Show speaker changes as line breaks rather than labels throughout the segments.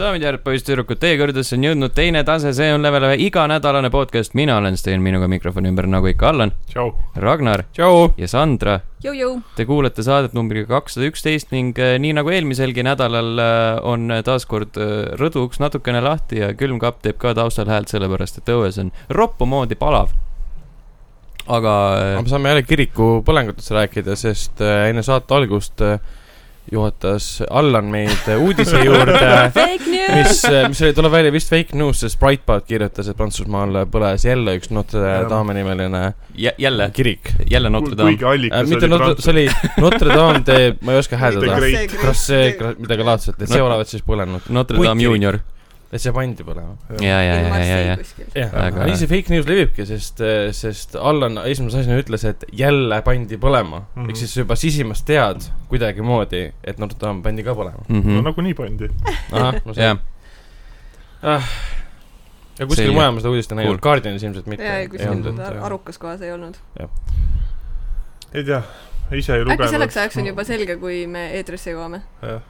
daamid ja härrad , poisssüdrukud , teie kõrgedesse on jõudnud teine tase , see on level ühe iganädalane podcast , mina olen Sten , minuga mikrofoni ümber , nagu ikka , Allan ,
tšau .
Ragnar
tšau .
ja Sandra .
jõujõu .
Te kuulate saadet numbriga kakssada üksteist ning äh, nii nagu eelmiselgi nädalal äh, on taaskord äh, rõduks natukene lahti ja külmkapp teeb ka taustal häält , sellepärast et õues on roppu moodi palav . aga äh,
aga me saame jälle kiriku põlengutest rääkida , sest äh, enne saate algust äh, juhatas Allan meid äh, uudise juurde ,
Fake news .
mis , mis oli , tuleb välja vist fake news , sest Breitbart kirjutas , et Prantsusmaal põles jälle üks Notre Dame'i nimeline
jä- jälle ,
kirik .
jälle Notre Dame .
kuigi allikas
Äh, mitte
oli
Notre , see oli Notre Dame de , ma ei oska hääldada .
Great.
kas see , midagi laadset , et see olevat siis põlenud ,
Notre
Kui
Dame
kirik.
juunior .
et see pandi põlema .
ja , ja , ja , ja , ja .
jah
Väga
aga... ,
hea.
nii see fake news levibki , sest , sest Allan esimese asjana ütles , et jälle pandi põlema mm
Mhm.
-hmm. . ehk siis sa juba sisimas tead kuidagimoodi , et Notre Dame pandi ka põlema .
Mhm.
no nagu- nagunii pandi .
ahah , ma
jah
sain ., ah. ja kuskil
Selge.
mujal ma seda uudist ei näinud
Cool.
cool. , Guardianis ilmselt mitte .
ja , ja kuskil
olnud,
ar- arukas kohas ei olnud .
ei tea , ise ei
äkki
lugenud .
selleks ajaks on juba selge , kui me eetrisse jõuame .
jah .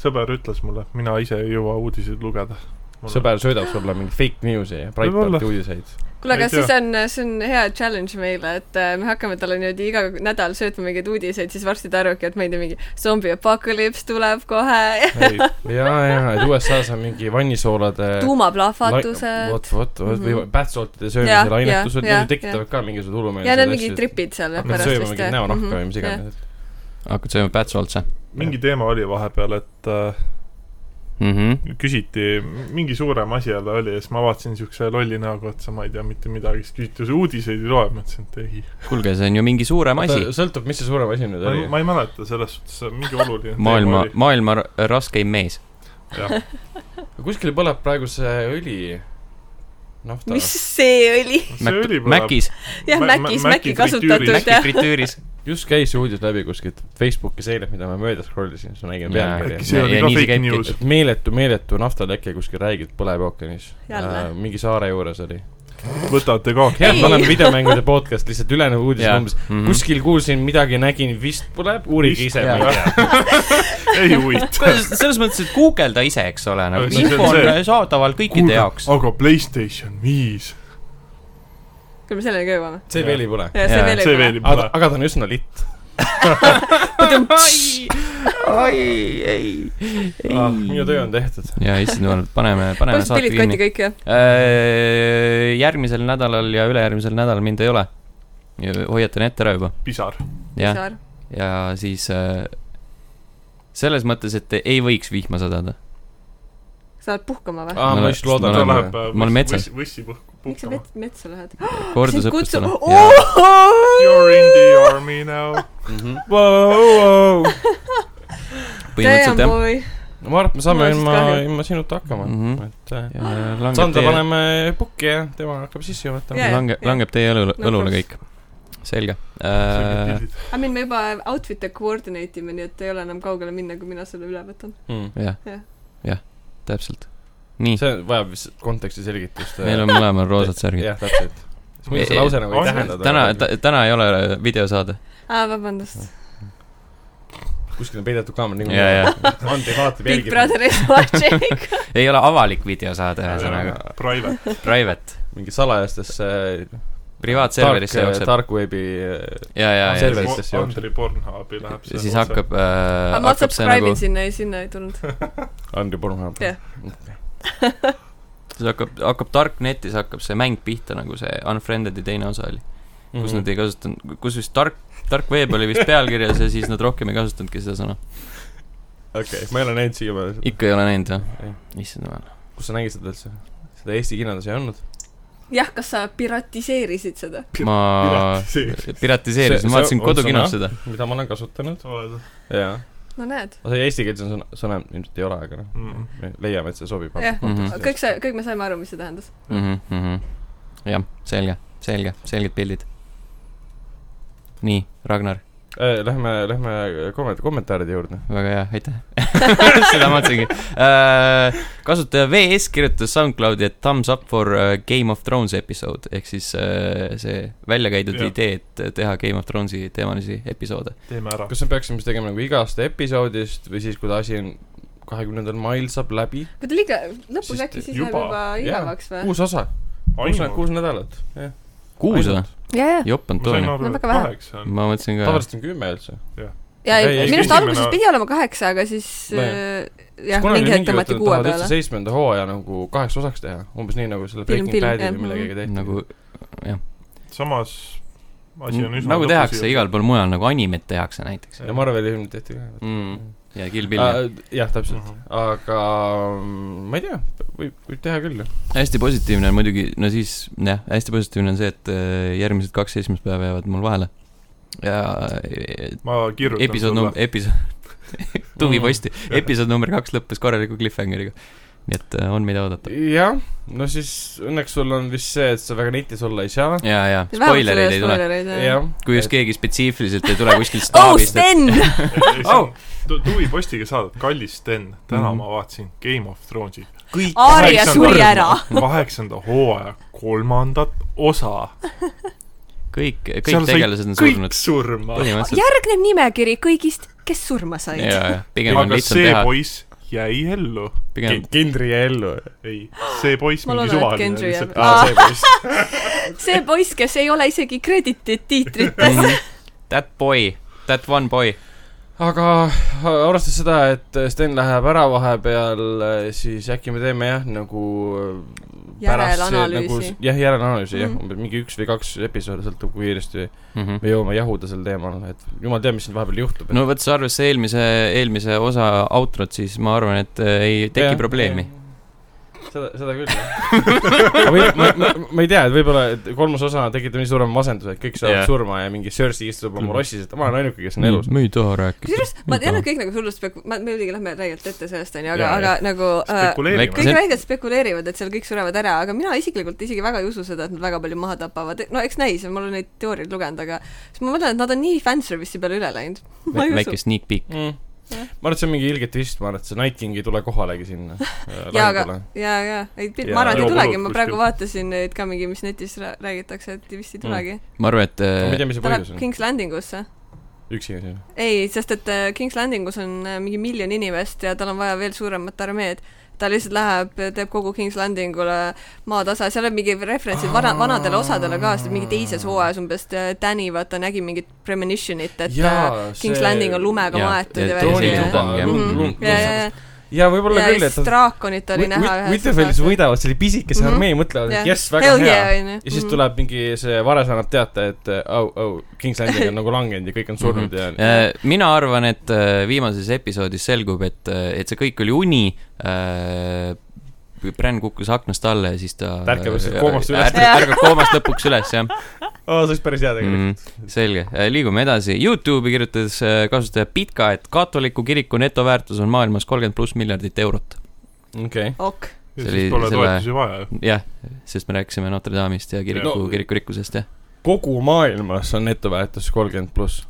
sõber ütles mulle , mina ise ei jõua uudiseid lugeda .
sõber söödab sulle mingeid fake news'i ja
Võib-olla.
Breitbarti uudiseid .
kuule ,
Ei
aga
tea.
siis on , see on hea challenge meile , et äh, me hakkame talle niimoodi iga nädal söötma mingeid uudiseid , siis varsti ta arvabki , et ma ei tea , mingi zombiapokalüps tuleb kohe ,
ja , ja , et USA-s on mingi vannisoolade lai-
tuumaplahvatused
vot , vot , vot , või
Mhm.
pätsootide
Jah,
söömise lainetused ,
jah,
need tekitavad ka mingisugused hullumeelsed
ja need mingid tripid seal
hakkad
pärast
sööma
vist
mingit näonahka või mis
jah.
Mhm.
iganes , et
hakkad sööma pätsu otsa
mingi teema oli vahepeal , et äh,
mm . -hmm.
küsiti , mingi suurem asi jälle oli ja siis ma vaatasin siukse lolli näoga otsa , ma ei tea mitte midagi , siis küsiti , uudiseid ei loe , ma ütlesin , et ei .
kuulge , see on ju mingi suurem asi
Oota, . sõltub , mis see suurem asi nüüd oli .
ma ei mäleta selles suhtes , mingi oluline
maailma , maailma ra- raskeim mees .
teema oli .
kuskil põleb praegu see õli , nafta .
mis see oli ?
see oli põnev .
Mäkis ,
jah ,
Mä-
Mäkis ,
mä-
Mäki
Mäki
kasutatud
fritüüris.
Mäki
jah .
fritüüris .
just käis see uudis läbi kuskilt Facebookis eile , mida ma mööda scrollisin , siis ma nägin
Jaa.
äkki
pealkirja .
see
Ja-
oli
ja
ka
nii see
fake
käibki.
news .
meeletu , meeletu naftaleke kuskil räägib , põleb ookeanis .
Jälle.
mingi saare juures oli .
võtate ka .
jah ,
Ei.
me oleme videomängude podcast , lihtsalt ülejäänud uudis
Jaa.
on umbes
Mhm.
kuskil kuulsin midagi , nägin , vist põleb , uurige
Vist-
ise , ma
jaa.
ei tea .
ei huvita .
selles mõttes , et guugelda ise , eks ole , nagu
Aga see on
info on
see-
saadaval kõikide jaoks .
aga Playstation viis .
küll me selleni ka jõuame .
see veel ei põle .
ja see
Jaa,
veel
see
ei
veel ei
ole .
aga
põle ,.
aga ta on üsna litt .
ai , ei ,
Ah, minu töö on tehtud .
ja issand jumal , paneme , paneme
põhimõtteliselt
saate
pillid kotti
kinni .
kõik jah .
järgmisel nädalal ja ülejärgmisel nädalal mind ei ole . hoiatan ette ära juba ,
pisar .
jah , ja siis äh, selles mõttes , et ei võiks vihma sadada .
sa lähed puhkama või ?
aa ,
Ma
Ah, ma just
olen-
loodan
ma . olen-
läheb äh,
ma olen metsas. .
võssi puhku ,
miks sa
puhkama .
met- metsa lähed ? Oh, sind kutsub
koordusõppustele ..
You are in the army now .
Äh, Mhm. põhimõtteliselt jah .
boy .
no ma arvan , et me
Mul
saame
on siis
ilma
kahju. ,
ilma sinuta hakkama mm ,
Mhm.
-hmm. et äh, Sandra
Sandra
paneme pukki ja tema hakkab sisse juhatama
Jaa,
yeah. .
jaa.
lange , langeb teie õlule ,
No
õlule
props.
kõik . selge äh, .
I mean , me juba outfit'e coordinate ime , nii et ei ole enam kaugele minna , kui mina selle üle võtan .
Mm.
jah
Jah. ,
jah , täpselt . nii ,
see vajab vist konteksti selgitust .
meil on mõlemal roosad särgid .
jah , täpselt . siis muidu see lause nagu
On-
ei tähenda .
täna ,, täna ei ole videosaade .
aa , Ah, vabandust .
kuskil on peidetud kaamera
Jaa, jaa.
niikuinii . Andri alati
Big
jälgib .
brother is watching .
ei ole avalik videosaade , ühesõnaga ,
Private .
private ,
mingi salajastesse äh, tark
privaatserverisse , jookseb .
tark veebi äh,
ja , ja , ja
serveri-
siis-
Serveritesse jookseb.
Andri Pornhubi läheb
ja siis . hakkab äh,
aga , ma
hakkab see
subscribe in
nagu ,
sinna ja sinna ei tulnud .
Andri Pornhub
Jah. .
siis hakkab , hakkab tarknetis hakkab see mäng pihta , nagu see Unfriended'i teine osa oli , kus
Mhm.
nad ei kasutanud , kus vist tark , tark veeb oli vist pealkirjas ja siis nad rohkem ei kasutanudki seda sõna .
okei , ma ei ole näinud siiamaani .
ikka ei ole näinud , jah ?
Ei.
issand jumal .
kus sa nägid seda üldse ? seda Eesti kinodes ei olnud ?
jah , kas sa piratiseerisid seda ?
ma
Piratiseerisin.
piratiseerisin ,
See-
ma
see
vaatasin
on
kodukinos
sõna?
seda .
mida ma olen kasutanud .
oled
jaa .
no näed .
no see eesti keeles on sõna , sõna ilmselt ei ole , aga noh ,
mm. .
me leiame , et see sobib .
jah ,
Mhm.
kõik see , kõik me saime aru , mis see tähendas .
jah , selge , selge , selged pildid . nii , Ragnar ,
Äh, Lähme , lähme komment- , kommentaaride juurde .
väga hea , aitäh . seda ma mõtlesingi uh, . kasutaja VS kirjutas SoundCloudi , et thumbs up for uh, Game of Thrones episood ehk siis uh, see välja käidud
Jah.
idee , et teha Game of Thronesi teemalisi episoode .
teeme ära .
kas me peaksime siis tegema nagu igast episoodist või siis , kui ta asi on kahekümnendal mail saab läbi .
kui ta liiga , lõpus
Siis
äkki siis
juba-
läheb juba igavaks või ?
kuus osa , kuus , kuus nädalat , jah .
kuus või ?
ja , ja ,
jop on
ma sain
tooni .
aru ,
No
et
väga vähe.
kaheksa on .
ma mõtlesin ka .
tavaliselt on kümme üldse .
ja
Ei, ei,
minu arust
esimene-
alguses pidi olema kaheksa , aga siis
Nojah.
äh, jah , mingi hetk tõmmati kuue
tahavad üldse
peale .
seitsmenda hooaja nagu kaheks osaks teha , umbes nii nagu selle
Film-
Breaking
film,
Badi
jah. Mhm.
või millegagi tehti .
nagu
samas asi on üsna
nagu tehakse igal pool mujal , nagu animet tehakse näiteks .
ja Marveli filmid tehti ka .
Mm. ja Kill Bill
Äh,
äh, .
jah , täpselt
Mhm. ,
aga mm, ma ei tea , võib , võib teha küll ju .
hästi positiivne on muidugi , no siis jah , hästi positiivne on see , et äh, järgmised kaks esimest päeva jäävad mul vahele . ja äh,
ma kirjutan Mm.
episood num- ,. episood , tugiposti , episood number kaks lõppes korraliku cliffhangeriga . nii et äh, on , mida oodata .
jah , no siis õnneks sul on vist see , et sa väga netis olla ei saa .
ja , ja spoilereid ei tule .
jah .
kui just keegi spetsiifiliselt ei tule kuskilt
oh ,
staabist , et
Sten !
Au!
tuvipostiga saadet , kallis Sten , täna
Oh! Mhm.
ma vaatasin Game of Thronesi . kõik
Aaria suri ära ..
kaheksanda hooaja kolmandat osa .
kõik ,
seal
kõik
sai
tegelased on
kõik
surnud .
surma .
põhimõtteliselt .
järgneb nimekiri kõigist , kes surma said .
ja , ja pigem on
aga
lihtsam
see
teha ,
poiss jäi ellu .
pigem
kindri jäi ellu .
ei , see poiss
Ma
mingi
loodan, et
suvaline
Kendri Ah. jääb-
lihtsalt .
aa , see poiss .
see poiss , kes ei ole isegi kreditit tiitrites .
Mhm. That boy , that one boy .
aga äh, arvestades seda , et äh, Sten läheb ära vahepeal , siis äkki me teeme jah , nagu äh, pärast see-
Järelanalüüsi.
nagu s- jah , järelanalüüsi jah
Mhm.
mm. , mingi üks või kaks episoodi , sõltub kui kiiresti me
no
jõuame jahuda sel teemal , et jumal teab , mis siin vahepeal juhtub .
Mhm. võttes arvesse eelmise , eelmise osa outrot , siis ma arvan , et äh, ei teki
Jah,
probleemi .
ei. seda , seda küll , jah . ma , ma, ma, ma ei tea , et võib-olla , et kolmas osa tekitab nii suurema masenduse , et kõik saavad
Jah. Mhm.
yeah. surma ja mingi Cersei istub oma rossis , et ma olen ainuke , kes on elus .
me ei taha rääkida .
kusjuures ma tean , et kõik nagu hullult spek- , ma , me muidugi lähme räigelt ette sellest , onju , aga
Jaa, ,
aga nagu äh,
Väike-
spekuleerime .
See-
kõik väidad spekuleerivad , et seal kõik surevad ära , aga mina isiklikult isegi väga ei usu seda , et nad väga palju maha tapavad , no eks näis , ma olen neid teooriaid lugenud , aga siis ma mõtlen , et nad on nii fanservice'i peale üle läinud . ma ei usu
väike . sneak peek .
Mm.
Jah.
ma arvan , et see on mingi ilge twist , ma arvan , et see Night King ei tule kohalegi sinna äh,
jaa , aga
lahingule. ,
jaa , jaa , ei ,
Jaa,
ma arvan , et ei
joobulud
tulegi , ma
kuskil.
praegu vaatasin neid ka mingi , mis netis rää- räägitakse , et vist ei tulegi .
ma arvan , et
ma ei
äh,
tea , mis see
ta läheb
Mm. põhjus on .
King's Landingusse .
üksi asi .
ei , sest et äh, King's Landingus on äh, mingi miljon inimest ja tal on vaja veel suuremat armeed . ta lihtsalt läheb , teeb kogu King's Landingule maatasa , seal on mingi referentsid vana , vanadele osadele ka , sest mingi teises hooajas umbes äh, Danny vaata nägi mingit premonitionit , et äh, King's Landing on
äh,
lumega
jaa,
maetud
et
ja
tooni
värki
juba
ja-
on, jah.
Mhm.
Lum- lum-
ja , ja , ja ,
jaa , võib-olla
ja
küll ,
siis
et nad
draakonit oli näha
Wi- Winterfellis . võidavad selle pisikese
Mhm.
armee ,
Jah.
mõtlevad ,
Mhm.
et jess , väga hea . ja siis
onju .
tuleb mingi see Vares annab teate , et äh, au , au , King's Landing on nagu langenud ja kõik on surnud
Mhm.
ja
Äh, mina arvan , et äh, viimases episoodis selgub , et , et see kõik oli uni . Bränn kukkus aknast alla ja siis ta .
Ta ärkab lihtsalt koomast üles.
ärkab koomast lõpuks üles , jah .
aa , see oleks päris hea tegelikult .
mm, . selge , liigume edasi , Youtube'i kirjutas äh, kasutaja Pitka , et katoliku kiriku netoväärtus on maailmas kolmkümmend pluss miljardit eurot .
Mhm.
okei okay. ,
ok ,
see
ja siis
oli
pole
selle-
toetusi vaja ju .
jah , sest me rääkisime Notre Dame'ist ja kiriku
No-
no. , kiriku rikkusest , jah .
kogu maailmas on netoväärtus kolmkümmend pluss .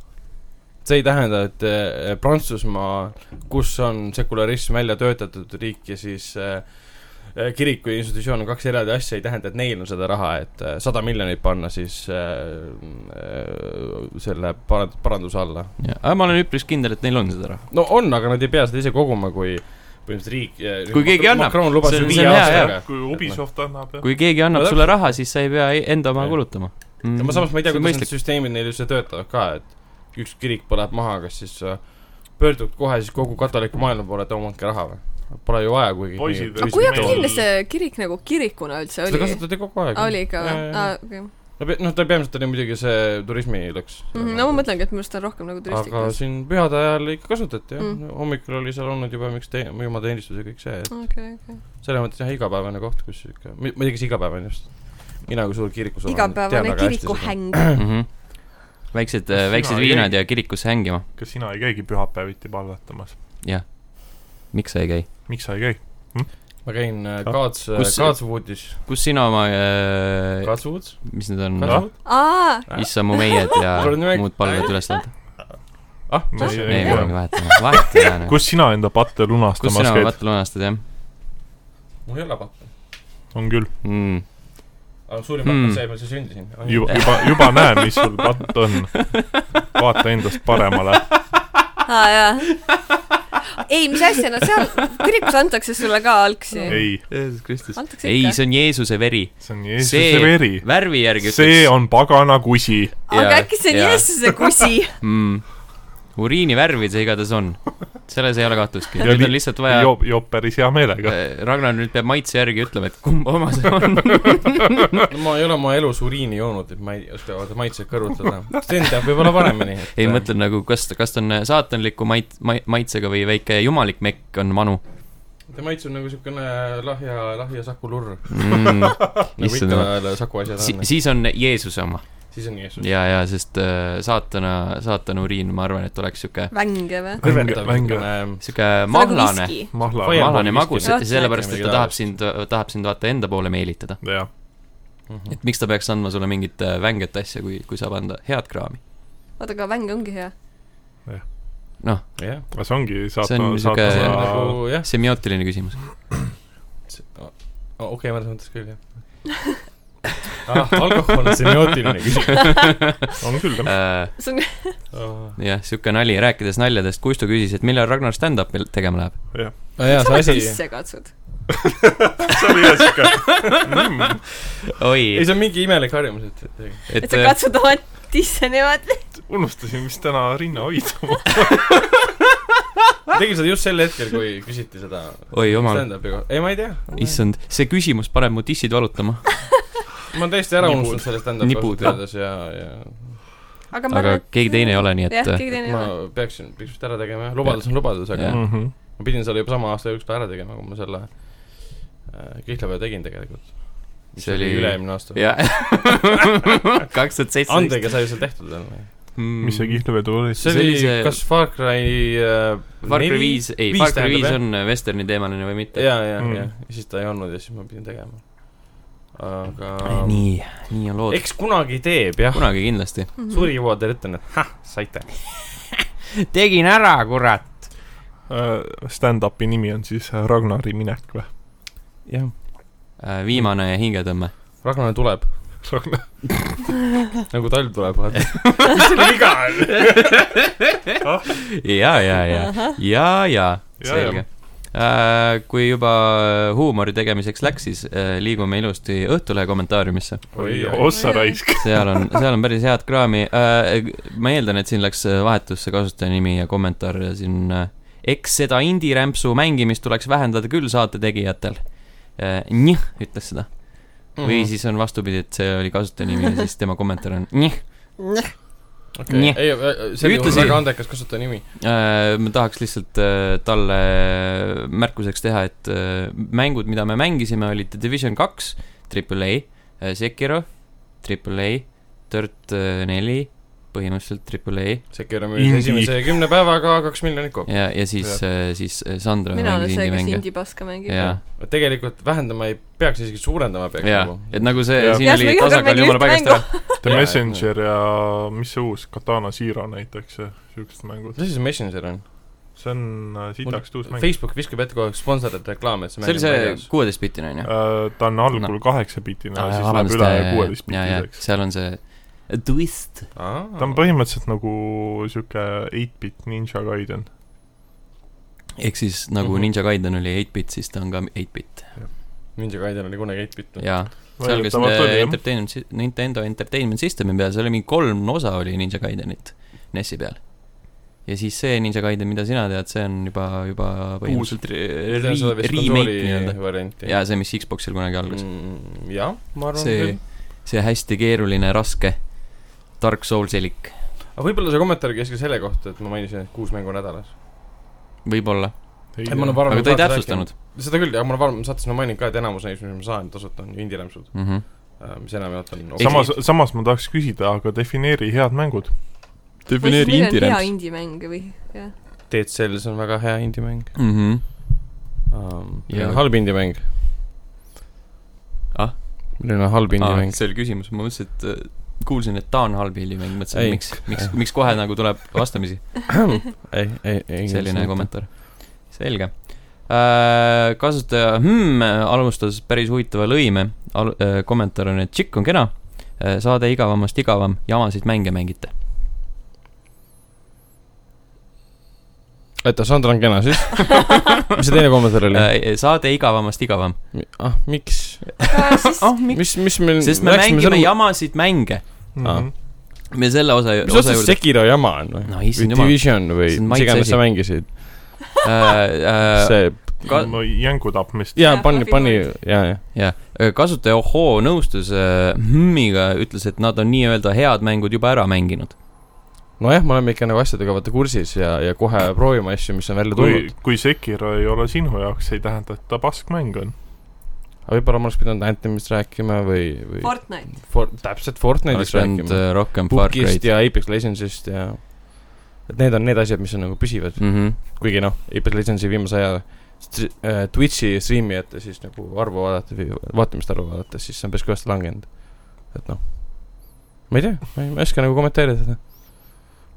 see ei tähenda , et äh, Prantsusmaa , kus on sekularism välja töötatud riik ja siis äh, äh, kiriku ja institutsioon on kaks eraldi asja , ei tähenda , et neil on seda raha , et äh, sada miljonit panna siis äh, äh, selle parand- , paranduse alla .
aga ma olen üpris kindel , et neil on seda raha .
no on , aga nad ei pea seda ise koguma , kui põhimõtteliselt riik eh,
Kui keegi annab,
Macron lubas
see on-
ju viie
see on hea,
aastaga .
kui Ubisoft annab ja
kui keegi annab
No
no, sulle raha , siis sa ei pea ei- enda oma
Jah.
kulutama
no
mm.
ma samas ma ei tea , kuidas need
mõistlik .
süsteemid neil üldse töötavad ka , et üks kirik põleb maha , kas siis äh, pöördud kohe siis kogu katoliku maailma poole , et omanike raha või ? Pole ju vaja kuigi .
Poisid-
aga kui aktiivne see kirik nagu kirikuna üldse
seda
oli ?
kasutati kogu aeg .
oli ikka või ? Ah. aa , okei .
no pe- , noh , ta peamiselt oli muidugi see turismi lõks .
Mhm, no ma mõtlengi , et minu arust on rohkem nagu
aga
turistikas .
siin pühade ajal ikka kasutati jah
Mm.
mm. , hommikul oli seal olnud juba miks tee- , jumalateenistus ja kõik see , et
okei , okei .
selles mõttes jah , igapäevane koht , kus ikka , ma ei tea , kas igapäevane just . mina kui suur kirikus
igapäevane . kirikuhäng .
Mhm. väiksed äh,
Sina ,
väiksed
ei
viinad ja kirikusse hängima .
kas sina ei käigi pühapäeviti palvetamas ?
miks sa ei käi ?
miks sa ei käi ?
ma käin äh, Kaats ,
Ah, Kus-
Kaatsvoodis .
kus sina oma äh, ,
Kaatsvood ?
mis need on
Kaatsvood ??
aa ,
issa mu meied ja
Kuule, nüüd-
muud palved üles laad .
ah ,
No see-
ei ,
Ei,
ei
jah.
peagi vahetama , vahet ei nagu. ole .
kus sina enda patte
kus
lunastamas
sina
käid ?
vatta lunastad , jah
mul ei ole patta .
on küll ,
mm. ?
aga suurim patt
Mm.
on see , millal sa sündisid .
juba , juba , juba näen , mis sul patt on . vaata endast paremale .
aa jaa . ei , mis asja , no seal kirikus antakse sulle ka algsi .
ei ,
Jeesus Kristus .
antakse
ei ,
ikka .
see on Jeesuse veri .
see on
see
Jeesuse veri .
värvi järgi
see on pagana kusi .
aga äkki see on Jeesuse kusi ?
mm. . uriini värvi see igatahes on . selles ei ole kahtlustki .
Ja
nüüd
li-
on lihtsalt vaja ,
joob , joob päris hea meelega .
Ragnar nüüd peab maitse järgi ütlema , et kumb oma see on .
no ma ei ole oma elus uriini joonud , et ma ei oska vaata maitseid kõrvutada . Sten teab võib-olla paremini .
ei , mõtlen nagu , kas , kas ta on saatanliku mait- , ma- , maitsega või väike jumalik mekk on vanu
ta maitseb nagu siukene lahja , lahja Saku lurr .
mm. .
nagu
Issand
ikka
jumal.
veel Saku asjad
Si-
on ,.
siis on Jeesuse oma .
siis on Jeesus .
ja , ja , sest äh, saatana , saatana uriin , ma arvan , et oleks sihuke ,
vänge või ? nagu
kõrvetav
Mänge-
siukene
sihuke mahlane ,
mahla ,
Fire-
mahlane magus ,
Jah,
sellepärast , et
midagi
ta tahab
taolist.
sind , tahab sind vaata enda poole meelitada .
jah .
Mhm.
et miks ta peaks andma sulle mingit äh, vänget asja , kui , kui saab anda head kraami .
oota , aga vänge ongi hea .
noh ,
jah ,
aga see ongi
See on
saatana ,
sihuke-
see on
saatana
nagu jah ,
semiootiline küsimus .
okei , mõnes mõttes küll jah ah, . alkohol on semiootiline küsimus .
on küll jah .
Äh,
see on ,
Ah.
jah , sihuke nali , rääkides naljadest , Kuistu küsis , et millal Ragnar stand-up'i tegema läheb .
no Ah, jaa ,
sa
see
oled
asi ,
sisse katsud .
see oli jah siuke mm, ,
oi
ei , see on mingi imelik harjumus , et
et
äh,
sa katsud oma tisse niimoodi .
unustasin vist täna rinna hoidma .
ma tegin seda just sel hetkel , kui küsiti seda
oi jumal ,
stand-up'i kohta , ei ma ei tea ,
äh, issand , see küsimus paneb mu tissid valutama .
ma olen täiesti ära
Nibud.
unustanud selle stand-up'i
Nibud,
kohta teades ja , ja
aga ma
aga
arvan ,
keegi teine ei ole , nii
et jah ,
et äh,
keegi teine ei
ma
ole .
peaksin , peaks vist ära tegema jah , lubadus on lubadus , aga
Jah.
Mhm.
ma pidin selle juba sama aasta jooksul ära tegema , kui ma selle äh, kihlapäeva tegin tegelikult .
See oli-
üle-eelmine aasta .
jah , kaks tuhat seitseteist . Mm.
Andega sai see tehtud jälle .
mis see kihlvedu oli ?
see
See oli
oli
see-
kas Far Cry äh,
Far Cry
neli?
viis , ei ,
Viis
Far Cry
tähendab,
viis
jah.
on vesterni teemaline või mitte ?
jaa , jaa ,
Mm.
jaa , ja siis ta ei olnud ja siis ma pidin tegema . aga
nii , nii on lood .
eks kunagi teeb jah ,
kunagi kindlasti .
Mhm.
suri juba tervitan , et hah , saite .
tegin ära , kurat .
äh, Stand-up'i nimi on siis Ragnari minek või ?
jah ,
Äh, viimane hingetõmme .
Ragnar tuleb ,
Ragnar ,
nagu talv tuleb , vaata .
ja , ja , ja , ja , ja ,
Ja,
selge . kui juba huumori tegemiseks läks , siis äh, liigume ilusti Õhtulehe kommentaariumisse .
oi
Oi, oi. ,
ossa raisk .
seal on , seal on päris head kraami . ma eeldan , et siin läks äh, vahetusse kasutajanimi ja kommentaar ja siin . eks seda indie-rämpsu mängimist tuleks vähendada küll saate tegijatel . Njh , ütles seda . või .
Mm. Mhm.
siis on vastupidi , et see oli kasutajanimi ja siis tema kommentaar on njh .
okei
Nii. ,
ei , äh, see oli
Ütlesi-
väga andekas kasutaja nimi .
ma tahaks lihtsalt äh, talle märkuseks teha , et äh, mängud , mida me mängisime , olid The Division kaks , Triple A , Sekiro , Triple A , Dirt äh, neli , põhimõtteliselt Triple A
Sekiro müüs
Indie.
esimese kümne päevaga kaks miljonit kokku .
ja , ja siis , siis äh, Sandra
mina olen
mängis
see , kes
indie-mänge .
indie-paska mängib .
jaa ,
tegelikult vähendama ei peaks , isegi suurendama peaks
jaa
nagu .,
et nagu see
Jah.
siin
Jah,
oli
me ükskord
tasakaal
mängime
jumala
ühte
paigast
mängu.
ära .
The
Jaa,
Messenger ja mis see uus , Katana Zero näiteks , siuksed mängud .
mis asi see Messenger on ?
see on äh, sitaks uus mäng .
Facebook viskab ette kogu aeg sponsorid reklaame , et see
see oli see kuueteistbitine onju .
Äh, ta on algul kaheksa-bitine , siis läheb üle kuueteistbitiseks .
seal on see äh, twist .
ta on põhimõtteliselt nagu siuke 8-bit Ninja Gaiden .
ehk siis nagu
Mhm.
Ninja Gaiden oli 8-bit , siis ta on ka 8-bit .
Ninja Gaiden oli kunagi eight-bit .
jaa , seal kas äh, Entertainment , Nintendo Entertainment Systemi peal , seal oli mingi kolm osa oli Ninja Gaidenit NES-i peal . ja siis see Ninja Gaiden , mida sina tead , see on juba , juba põhimõtteliselt re- re- remake nii-öelda .
variant .
jaa , see , mis Xboxil kunagi algas .
Mm, jah , ma arvan
see
küll .,
see hästi keeruline , raske Dark Soulsilik ,
aga võib-olla see kommentaar käis ka selle kohta , et ma mainisin , et kuus mängu nädalas .
võib-olla ,
ei, ma olen varem
aga ta ei
saates
täpsustanud
seda küll , aga ma olen varem saates ma mainin ka , et enamus neist , mis ma saan tasuta , on ju indie-rämpsud ,
mm . -hmm.
mis enamjaolt on
samas , samas ma tahaks küsida , aga defineeri head mängud .
defineeri indie-rämps . hea indie-mäng või , jah .
Dead Cells on väga hea indie-mäng
Mm -hmm.
um, .
Ja-
ja halb indie-mäng
Ah? ?
milline halb
Ah,
indie-mäng ?
see oli küsimus , ma mõtlesin , et äh, kuulsin , et ta on halb helimäng , mõtlesin ,
Ei.
et miks , miks , miks kohe nagu tuleb vastamisi ,
ei , ei , ei .
Ah. selline . kommentaar . selge äh, . kasutaja hmm, alustas päris huvitava lõime Al , äh, kommentaar on , et tšikk on kena äh, , saade igavamast igavam , jamasid mänge mängite .
aitäh , Sandra on kena siis . mis see teine kommentaar oli ?
Äh, e, saade igavamast igavam .
ah , miks ?
siis
oh , miks ?
mis , mis meil
sest me mängime
Ah, selle...
selle... jamasid mänge .
Mhm.
me selle osa ,
mis
osa
otseselt
juurde .
Sekiro jama on või ?
no
või
issand jumal .
Division või
See on
mis
maitse
iganes
asi.
sa mängisid ,
see
see ,
Äh, Ka-
no jängu tapmist .
jaa
Jah, ,
pani ,
Fluffy
pani ,
Bird.
jaa , jaa .
jah , äh, kasutaja Ohoo nõustus äh, Hmmiga , ütles , et nad on nii-öelda head mängud juba ära mänginud .
nojah , me oleme ikka nagu asjadega vaata kursis ja , ja kohe proovime asju , mis on välja
kui
tulnud .,
kui Sekiro ei ole sinu jaoks , see ei tähenda , et ta paskmäng on .
aga võib-olla ma oleks pidanud Anthemist rääkima või , või
Fortnite .
for, täpselt Fortnite'ist
oleks pidanud
rääkima .
äh, rohkem Far
Pukist
Cry'd .
ja Apex Legendsist ja , et need on need asjad , mis on nagu püsivad ,
Mhm.
kuigi noh , Apex Legendsi viimase aja stri- äh, Twitch'i striimijate siis nagu arvu vaadata või vaatamiste arvu vaadates , siis see on päris kõvasti langenud . et noh , ma ei tea , ma ei ma ei oska nagu kommenteerida seda ,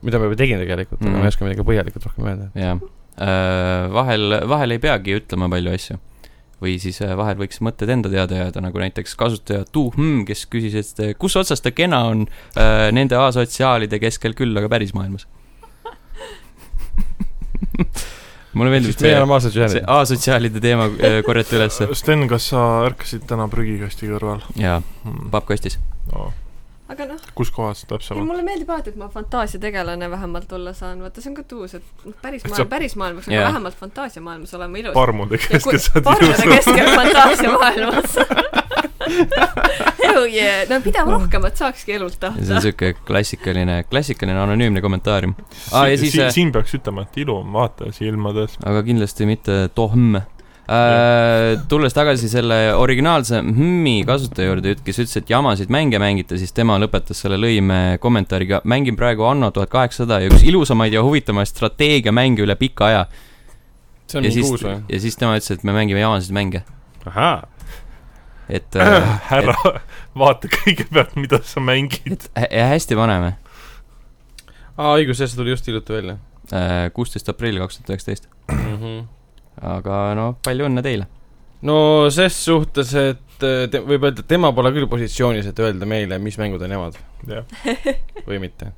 mida ma juba tegin tegelikult mm. ,
Mhm.
aga ma ei oska midagi põhjalikult rohkem öelda .
jah , vahel , vahel ei peagi ütlema palju asju . või siis äh, vahel võiks mõtted enda teada jääda , nagu näiteks kasutaja Tuhm , kes küsis , et äh, kus otsas ta kena on äh, nende asotsiaalide keskel küll , aga päris maailmas . mulle meeldib
sest meie
see ,
oleme aastaid
see
ühenenud .
asotsiaalide teema äh, korjati ülesse .
Sten , kas sa ärkasid täna prügikasti kõrval
jaa ,
mm. ?
pappkastis .
No,
aga noh ,
kus kohas täpsemalt ?
mulle meeldib alati , et ma fantaasiategelane vähemalt olla saan , vaata see on ka tuus , et noh , päris
Et sa-
maailm , päris maailm peaks nagu
Jaa.
vähemalt fantaasiamaailmas olema ilus .
parmude
ja kui
keskel saad
parmude
ilusa .
keskel fantaasiamaailmas oh yeah. no mida rohkemat saakski elult ah.
see on
tahta .
siuke klassikaline , klassikaline anonüümne kommentaarium , Aa, ja siis, äh,
siin peaks ütlema , et ilu on vaatajas ilmades .
aga kindlasti mitte Tohm . tulles tagasi selle originaalse Hmmi kasutaja juurde , kes ütles , et jamasid mänge mängite , siis tema lõpetas selle lõime kommentaariga . mängin praegu Anno tuhat kaheksasada ja üks ilusamaid ja huvitavamaid strateegiamänge üle pika aja .
see on
ja
mingi
siis
uus , või ?
ja siis tema ütles , et me mängime jamasid mänge ,
ahaa ,
et äh,
härra , vaata kõigepealt , mida sa mängid .
et hä- hästi paneme .
aa õigus , jah , see tuli just hiljuti välja .
äh,
Mhm.
kuusteist aprill kaks tuhat üheksateist , aga no palju õnne teile .
no ses suhtes , et äh, te, võib öelda , et tema pole küll positsioonis , et öelda meile , mis mängud on nemad
jah ,
või mitte .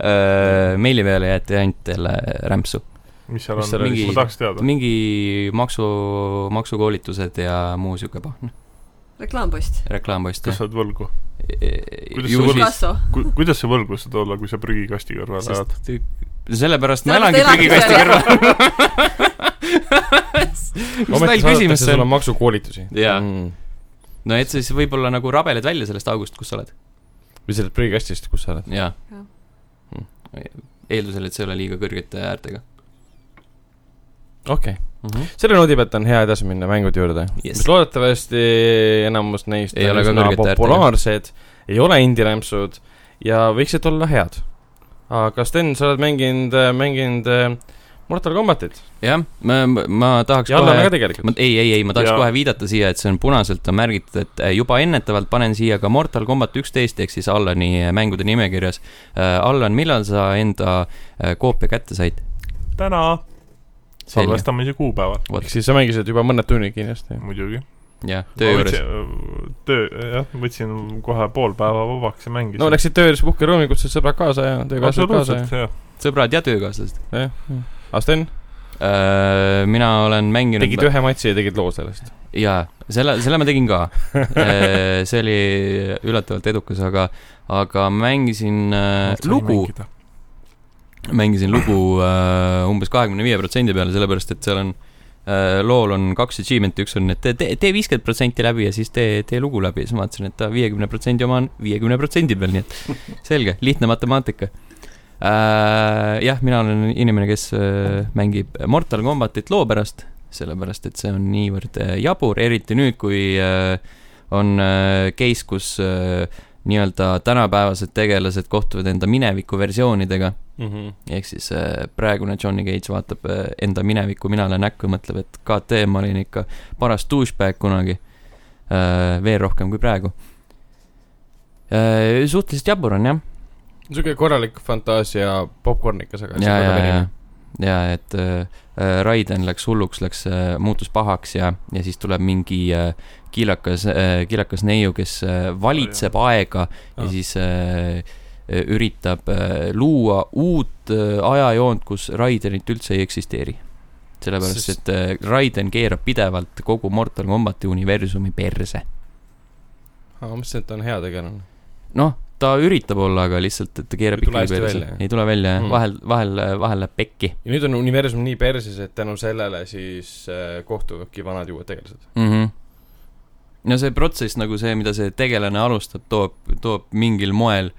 Äh, meili peale jäeti ainult jälle rämpsu .
mis seal
Mis seal
on ,
oli?
ma tahaks teada .
mingi maksu , maksukoolitused ja muu siuke pahn ,
reklaampost .
reklaampost jah
kas
E,
sa . oled võlgu ? kuidas
ju
sa
siis ,
kasso .
ku- , kuidas sa võlgu saad olla , kui sa prügikasti kõrval elad ?
sest sellepärast ma
Sellepärast
elangi
eladki
prügikasti
seal.
kõrval . mis meil küsimus
sul
on ?
on maksukoolitusi .
Jaa.
mm. .
no et siis võib-olla nagu rabeled välja sellest august , kus sa oled .
või sellest prügikastist , kus sa oled .
jaa Mm.
Jah. .
eeldusel , et see ei ole liiga kõrgete äärtega
okei okay. ,
mm .
Mhm.
-hmm.
selle noodi pealt on hea edasi minna mängude juurde
Yes.
mis loodetavasti enamus neist
Ei
on
ole ka
üsna
kõrgete äärtega.
populaarsed , ei ole indie-rämpsud ja võiksid olla head . aga Sten , sa oled mänginud , mänginud äh, Mortal Combatit
jah , ma , ma tahaks
ja Allane
kohe
ka tegelikult
ma , ei , ei , ei , ma tahaks
Ja-
ja. kohe viidata siia , et see on punaselt on märgitud , et eh, juba ennetavalt panen siia ka Mortal Combat üksteist ehk siis Allani eh, mängude nimekirjas . Allan , millal sa enda äh, koopia kätte said ?
täna , salvestamise kuupäeval ,
vot.
ehk siis sa mängisid juba mõned tunnid kindlasti .
muidugi .
jah , töö juures ..
töö , jah , võtsin kohe pool päeva vabaks ja mängisin .
no läksid tööle , siis puhkeruumi , kutsusid sõbrad kaasa ja töökaaslased kaasa
absoluutselt , jah .
sõbrad ja töökaaslased .
ja , jah . aga Sten ,
mina olen mänginud .
tegid ühe matši ja tegid loo sellest .
jaa , selle , selle ma tegin ka . see oli üllatavalt edukas , aga , aga mängisin äh, lugu , mängisin lugu äh, umbes kahekümne viie protsendi peale , sellepärast et seal on äh, lool on kaks achievement'i , üks on , et tee- tee , tee viiskümmend protsenti läbi ja siis tee , tee lugu läbi ja siis ma vaatasin , et ta viiekümne protsendi oma on viiekümne protsendi peal , nii et selge , lihtne matemaatika äh, . jah , mina olen inimene , kes äh, mängib Mortal Combatit loo pärast , sellepärast et see on niivõrd äh, jabur , eriti nüüd , kui äh, on äh, case , kus äh, nii-öelda tänapäevased tegelased kohtuvad enda mineviku versioonidega ehk siis äh, praegune Johnny Cage vaatab äh, enda minevikku minale näkku ja mõtleb , et KT ma olin ikka paras douchebag kunagi äh, . veel rohkem kui praegu äh, . suhteliselt jabur on jah ,
niisugune korralik fantaasia popkornikas , aga
ja , ja , ja , ja et äh, äh, Raiden läks hulluks , läks äh, , muutus pahaks ja , ja siis tuleb mingi äh, kiilakas äh, , kiilakas neiu , kes äh, valitseb aega ja
Ah.
siis äh, eh, üritab eh, luua uut eh, ajajoont , kus Raidenit üldse ei eksisteeri . sellepärast ,
Sest-
et eh, Raiden keerab pidevalt kogu Mortal Combati universumi perse .
aga ma mõtlesin , et ta on hea tegelane .
noh , ta üritab olla , aga lihtsalt , et ta keerab
Ei tule
ikkagi
hästi
perse
välja, . jah.
ei tule välja jah
Mm.
mm. , vahel , vahel , vahel läheb pekki
ja nüüd on universum nii perses , et tänu sellele siis äh, kohtuvadki vanad ja uued tegelased .
mm . -hmm. no see protsess nagu see , mida see tegelane alustab , toob , toob mingil moel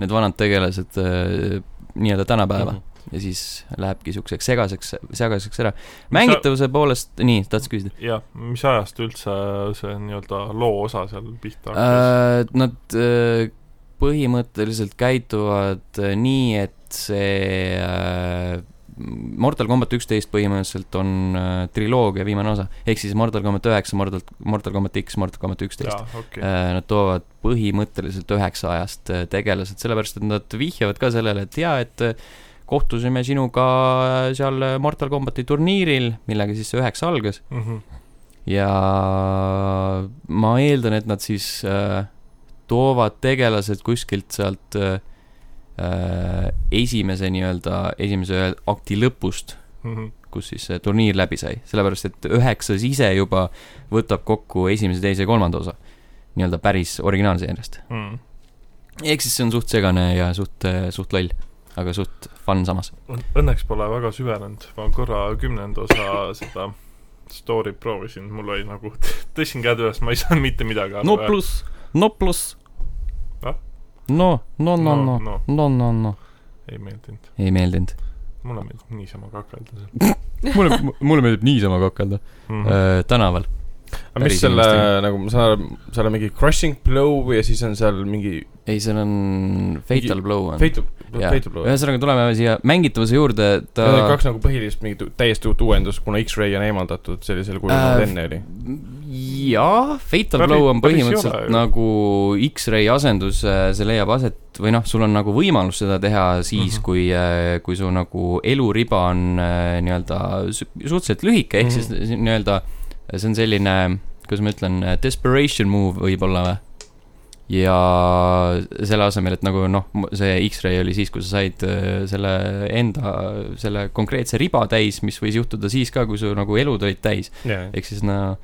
need vanad tegelased äh, nii-öelda tänapäeva mm .
-hmm.
-hmm. ja siis lähebki siukseks segaseks , segaseks ära . mängitavuse poolest , nii , tahtsid küsida ?
jah , mis ajast üldse see nii-öelda loo osa seal pihta hakkas ?
Äh, nad äh, põhimõtteliselt käituvad äh, nii , et see äh, Mortal Combat üksteist põhimõtteliselt on äh, triloogia viimane osa , ehk siis Mortal Combat üheksa , Mortal , Mortal Combat X , Mortal Combat üksteist .
jaa , okei okay. .
Äh, Nad toovad põhimõtteliselt üheksa ajast äh, tegelased , sellepärast et nad vihjavad ka sellele , et jaa , et äh, kohtusime sinuga seal Mortal Combati turniiril , millega siis see üheksa algas .
Mm -hmm.
ja ma eeldan , et nad siis äh, toovad tegelased kuskilt sealt äh, äh, esimese nii-öelda , esimese akti lõpust ,
Mm -hmm.
kus siis see turniir läbi sai , sellepärast et üheksas ise juba võtab kokku esimese , teise ja kolmanda osa nii-öelda päris originaalseeriast .
Mm.
ehk siis see on suht segane ja suht , suht loll , aga suht fun samas .
Õn- Õnneks pole väga süvenenud , ma korra kümnenda osa seda story proovisin , mul oli nagu , tõstsin käed üles , ma ei saanud mitte midagi aru .
pluss , no pluss .
Ah?
no , no , Noh. no ,
no,
no ,
no. .
no , no , no ,
ei meeldinud ,
ei meeldinud .
mulle meeldib niisama kakelda seal
mulle , mulle meeldib niisama kakelda
mm.
öö, tänaval .
aga mis
Päris
selle
inimestega. ,
nagu ma saan aru , seal on mingi crushing blow ja siis on seal mingi
ei , seal on Fatal
Mingi-
Blow on .
fatal , fatal blow .
ühesõnaga , tuleme siia mängitavuse juurde , ta
Need on kaks nagu põhilist mingit u- täiesti uut uuendust , kuna X-Ray on eemaldatud sellisel kujul
Äh,
äh, , nagu ta enne oli .
jah , Fatal
Päris-
Blow on
päris ei
põhimõtteliselt
ole ju.
nagu X-Ray asendus , see leiab aset või noh , sul on nagu võimalus seda teha siis mm ,
Mhm.
-hmm. kui , kui su nagu eluriba on äh, nii-öelda su- suhteliselt lühike , ehk mm
Mhm.
-hmm. siis nii-öelda äh, see on selline , kuidas ma ütlen , desperation move võib-olla või ? ja selle asemel , et nagu noh , see X-Ray oli siis , kui sa said äh, selle enda , selle konkreetse riba täis , mis võis juhtuda siis ka , kui su nagu elud olid täis . ehk siis no äh,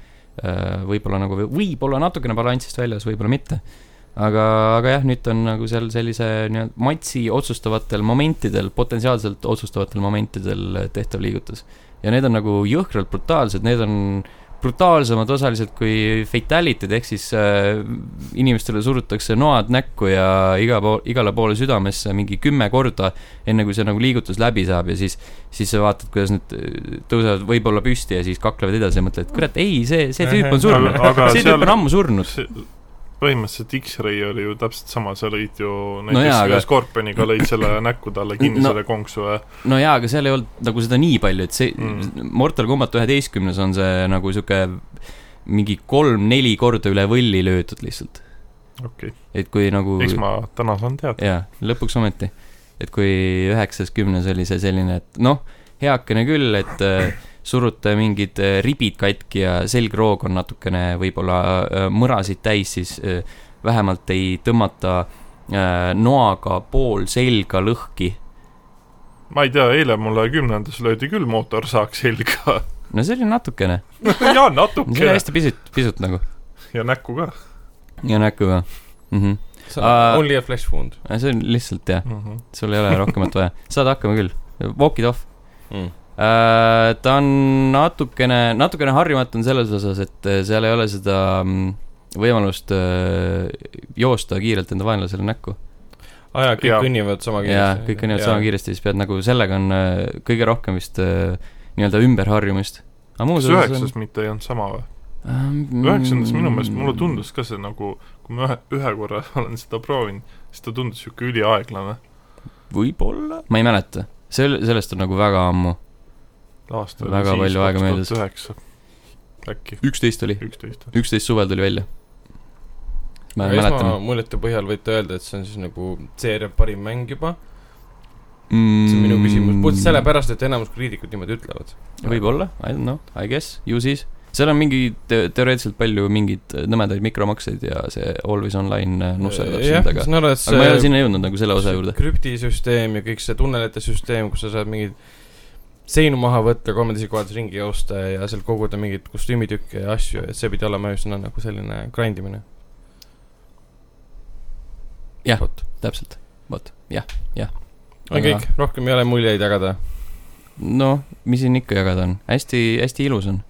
võib-olla nagu , võib-olla natukene balansist väljas , võib-olla mitte . aga , aga jah , nüüd on nagu seal sellise nii-öelda matsi otsustavatel momentidel , potentsiaalselt otsustavatel momentidel tehtav liigutus . ja need on nagu jõhkralt brutaalsed , need on brutaalsemad osaliselt kui fatality'd , ehk siis äh, inimestele surutakse noad näkku ja iga pool , igale poole südamesse mingi kümme korda , enne kui see nagu liigutus läbi saab ja siis siis sa vaatad , kuidas nad äh, tõusevad võib-olla püsti ja siis kaklevad edasi ja mõtled , kurat , ei , see , see tüüp on surnud .
Mhm. Aga- aga
see tüüp
seal-
on ammu surnud .
põhimõtteliselt X-Ray oli ju täpselt sama , sa lõid ju
No
näiteks
jaa,
no
aga-
aga... Scorpioniga lõid selle näkku talle kinni
No-
no. selle konksu ja
no jaa , aga seal ei olnud nagu seda nii palju , et see mm.
Mm.
Mortal Combat üheteistkümnes on see nagu sihuke mingi kolm-neli korda üle võlli löödud lihtsalt .
Okei.
et kui nagu
eks ma täna saan teada .
jaa , lõpuks ometi . et kui üheksas , kümnes oli see selline , et noh , heakene küll , et äh, surute mingid äh, ribid katki ja selgroog on natukene võib-olla äh, mõrasid täis , siis äh, vähemalt ei tõmmata äh, noaga pool selga lõhki .
ma ei tea , eile mulle kümnendas löödi küll mootorsaak selga .
no see oli natukene ,
jaa ,
see oli
natuke .
hästi pisut , pisut nagu
ja näkku ka
ja näkku ka mm . -hmm.
Uh, only a flesh wound
see on lihtsalt jah ,
mm . -hmm.
sul ei ole rohkemat vaja , saad hakkama küll , walk it off .
mm. .
Äh, ta on natukene , natukene harjumatu on selles osas , et äh, seal ei ole seda mm, võimalust äh, joosta kiirelt enda vaenlasele näkku .
aa Ah, jaa , kõik
Jaa.
kõnnivad sama
ja
kiiresti .
kõik kõnnivad sama . kiiresti , siis pead nagu sellega on äh, kõige rohkem vist äh, nii-öelda ümberharjumist . aga muus
kas
osas on
üheksas mitte ei olnud sama või ?
Ähm,
üheksandas minu meelest mulle tundus ka see nagu , kui ma ühe , ühe korra olen seda proovinud , siis ta tundus niisugune üliaeglane .
võib-olla . ma ei mäleta , sel- , sellest on nagu väga ammu .
aasta
Väga palju aega möödas.
üheksa äkki ,
üksteist oli ,
üksteist .
üksteist suvel tuli välja . ma
esma
mäletan .
muljete põhjal võite öelda , et see on siis nagu seeria parim mäng juba . see on minu
Mm.
küsimus , puhtalt sellepärast , et enamus kriitikud niimoodi ütlevad .
võib-olla , I don't know , I guess , ju siis . seal on mingi te teoreetiliselt palju mingeid äh, nõmedaid mikromakseid ja see Always Online äh, nuse läheb
jah
sinna , taga .
saan aru , et
aga ma ei ole
see
sinna jõudnud nagu selle osa juurde .
krüptisüsteem ja kõik see tunnelite süsteem , kus sa saad mingeid seinu maha võtta , kolmeteistkümnendas ringi joosta ja sealt koguda mingeid kostüümitükke ja asju , et see pidi olema üsna nagu selline grind imine .
Jah.
vot ,
täpselt , vot , jah , jah .
on kõik , rohkem ei ole muljeid jagada ,
noh , mis siin ikka jagada on , hästi , hästi ilus on ,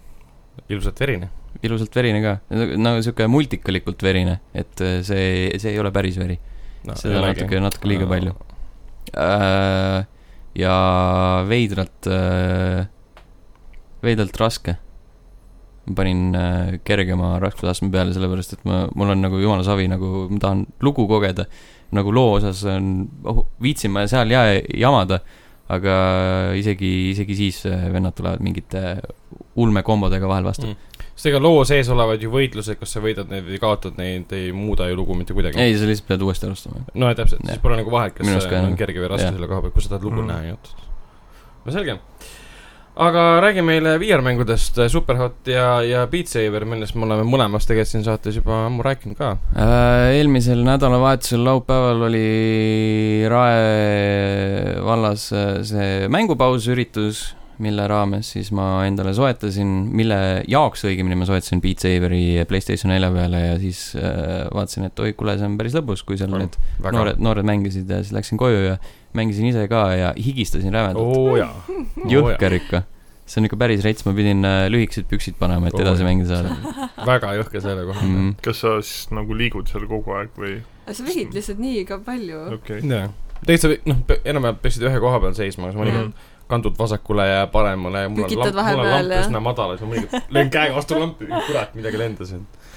ilusat verine .
ilusalt verine ka , nagu sihuke multikalikult verine , et äh, see , see ei ole päris veri ,
no,
seda
jällegi.
natuke , natuke liiga palju . Äh, ja veidralt , veidralt raske . ma panin äh, kergema raskusastme peale , sellepärast et ma , mul on nagu jumala savi , nagu ma tahan lugu kogeda . nagu loo osas on , viitsin ma seal ja jamada , aga isegi , isegi siis äh, vennad tulevad mingite ulmekombodega vahel vastu
Mm. . sest ega loo sees olevad ju võitlused , kas sa võidad neid või kaotad neid , ei muuda ju lugu mitte kuidagi .
ei , sa lihtsalt pead uuesti alustama .
no ja täpselt ,
Jah.
siis pole nagu vahet , kas
Minu arust
see
ka,
on
jah.
kerge või raske
Jah.
selle koha peal , kui sa tahad lugu
Mm.
mm. näha ainult . no selge . aga räägi meile VR-mängudest , Superhot ja , ja Beat Saber , millest me oleme mõlemas tegelikult siin saates juba ammu rääkinud ka .
Äh, eelmisel nädalavahetusel laupäeval oli Rae vallas äh, see mängupausiüritus , mille raames siis ma endale soetasin , mille jaoks õigemini ma soetasin Beat Saveri Playstation 4 peale ja siis äh, vaatasin , et oi , kuule , see on päris lõbus , kui seal need noored , noored mängisid ja siis läksin koju ja mängisin ise ka ja higistasin rämedalt .
oo jaa .
jõhker ikka . see on ikka päris rets , ma pidin äh, lühikesed püksid panema , et
Oo,
edasi
Oh, jah.
mängida saada
väga jõhker selle koha
mm .
peal .
-hmm.
kas sa siis nagu liigud seal kogu aeg või ?
aga sa vehid lihtsalt niiga palju .
okei okay. .
jah , täitsa , noh , enam-vähem peaksid ühe koha peal seisma , aga
Mhm.
mõnikord kandud vasakule ja paremale ja mul on
Pükitad
lamp , mul on
vahepeal
lamp
ja-
üsna madal ja siis ma mõnikord löön käega vastu lampi , kurat , midagi lendas , et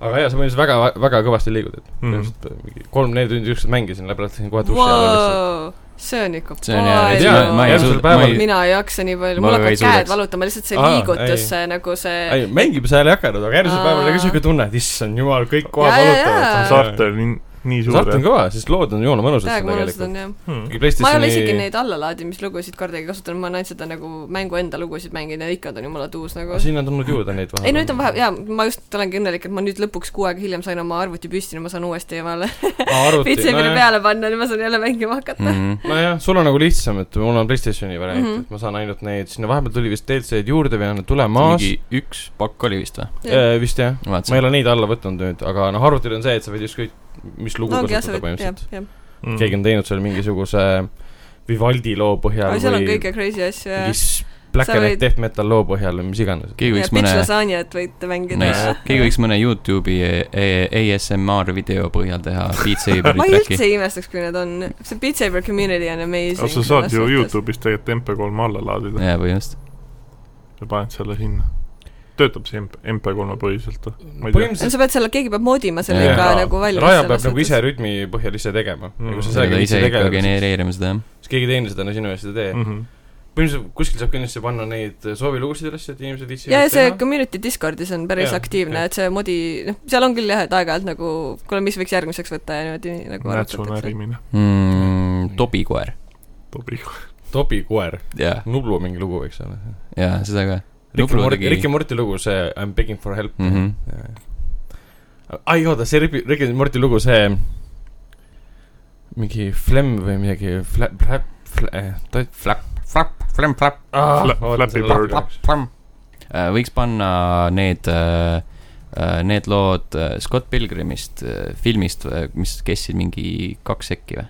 aga jaa , sa mõtlesid väga , väga kõvasti liigud , et
Mhm.
põhimõtteliselt mm. mingi kolm-neli tundi ükskord mängisin , läbi läksin kohe duši alla .
Wow, see on ikka
see on hea , et
Jaa,
ma, ma ei
järgmisel
suuda , ma
päeval-
ei ,
mina ei jaksa nii palju ,
Ma
mul
ka ei
hakkavad käed
suudaks.
valutama , lihtsalt see
Aa,
liigutus
ei. ,
see nagu see
ei , mängimise ajal ei hakanud , aga järgmisel
Aa.
päeval oli ka siuke tunne , et issand jumal , kõik kohad
Jaa, jaa, jaa.
valutavad .
Sarter on nii, nii suur
Sartre on kõva , sest lood on jumala mõnusad
täiega
seal
mõnusad on
tegelikult .
jah .
hmm. .
ma ei ole isegi neid allalaadimislugusid kordagi kasutanud , ma olen ainult seda nagu mängu enda lugusid mänginud ja ikka ta on jumala tuus nagu .
siin Ah, on tulnud juurde neid
ei nüüd on vahe , jaa , ma just olengi õnnelik , et ma nüüd lõpuks kuu aega hiljem sain oma arvuti püsti , nüüd ma saan uuesti omale
Ah,
pitseri
vahepeal .
peale panna , nüüd ma saan jälle mängima hakata .
Mm
nojah , sul on nagu lihtsam , et mul on Playstationi variant mm ,
Mhm.
-hmm. et ma saan ainult neid , sinna vahepeal tuli vist DLC-d juurde või on need tulemas
mingi . üks pakk oli vist või ?
Äh, vist jah ,
ma
ma ei
vaatasin .
ole neid alla võtnud nüüd , aga noh , arvutil on see , et sa võid ükskõik mis lugu no,
ongi jah , sa
kasutada
võid , jah
põhimõtteliselt .,
jah .
Mm. Mhm.
keegi on teinud seal mingisuguse Vivaldi loo põhjal
aga seal on
või
kõike crazy asju ja
mingi s- Black
Sa
and
võid-
White Death Metal loo põhjal või mis iganes .
keegi
ja
võiks
pitch
mõne ,
lasanjat võite mängida
nice
ja .
keegi võiks mõne Youtube'i e- e- ASMR video põhjal teha Beat
ma
Saberi
ei
track'i .
üldse ei imestaks , kui need on , see Beat Saber community on amazing .
aga Oh, sa saad ju . Youtube'ist tegelikult MP3 alla laadida
jaa , põhimõtteliselt .
ja paned selle sinna . töötab see MP , MP3 põhiselt või ? Ma ei tea.
põhimõtteliselt
sa pead selle , keegi peab moodima selle
Jaa.
ikka nagu valmis .
Raja peab nagu ise . rütmi põhjal ise tegema mm. . ja kui sa
seda
sellega
ta
ise
ise ikka
tegeled ,
genereerima seda , jah .
siis keegi teine seda no, sinu eest ei tee mm. .
mm . -hmm.
põhimõtteliselt kuskil saab kindlasti panna neid äh, soovilugusid üles , et inimesed viitsivad
ja , ja see community Discordis on päris
Jaa,
ja, aktiivne
jaa. ,
et see modi , noh , seal on küll jah , et aeg-ajalt nagu kuule , mis võiks järgmiseks võtta ja niimoodi nagu
nätsu
arutatakse .
närimine ,
Mm, Tobikoer .
tobi .
Tobi Koer ,
jaa ,
Nublu mingi lugu võiks olla .
jaa , seda ka .
Ricky
Nublu
Morti ,
tegi-
Ricky Morti lugu , see I m begging for help
Mhm.
ai , oota , see Ricky , Ricky Morti lugu , see mingi Flem või midagi , Flap , Flap , Flap , Flap , Flap , Flem , Flap .
Ah,
Fla- Flappy Bird.
Äh, võiks panna need , need lood äh, Scott Pilgrimist , filmist , mis kestsid mingi kaks sekki või ?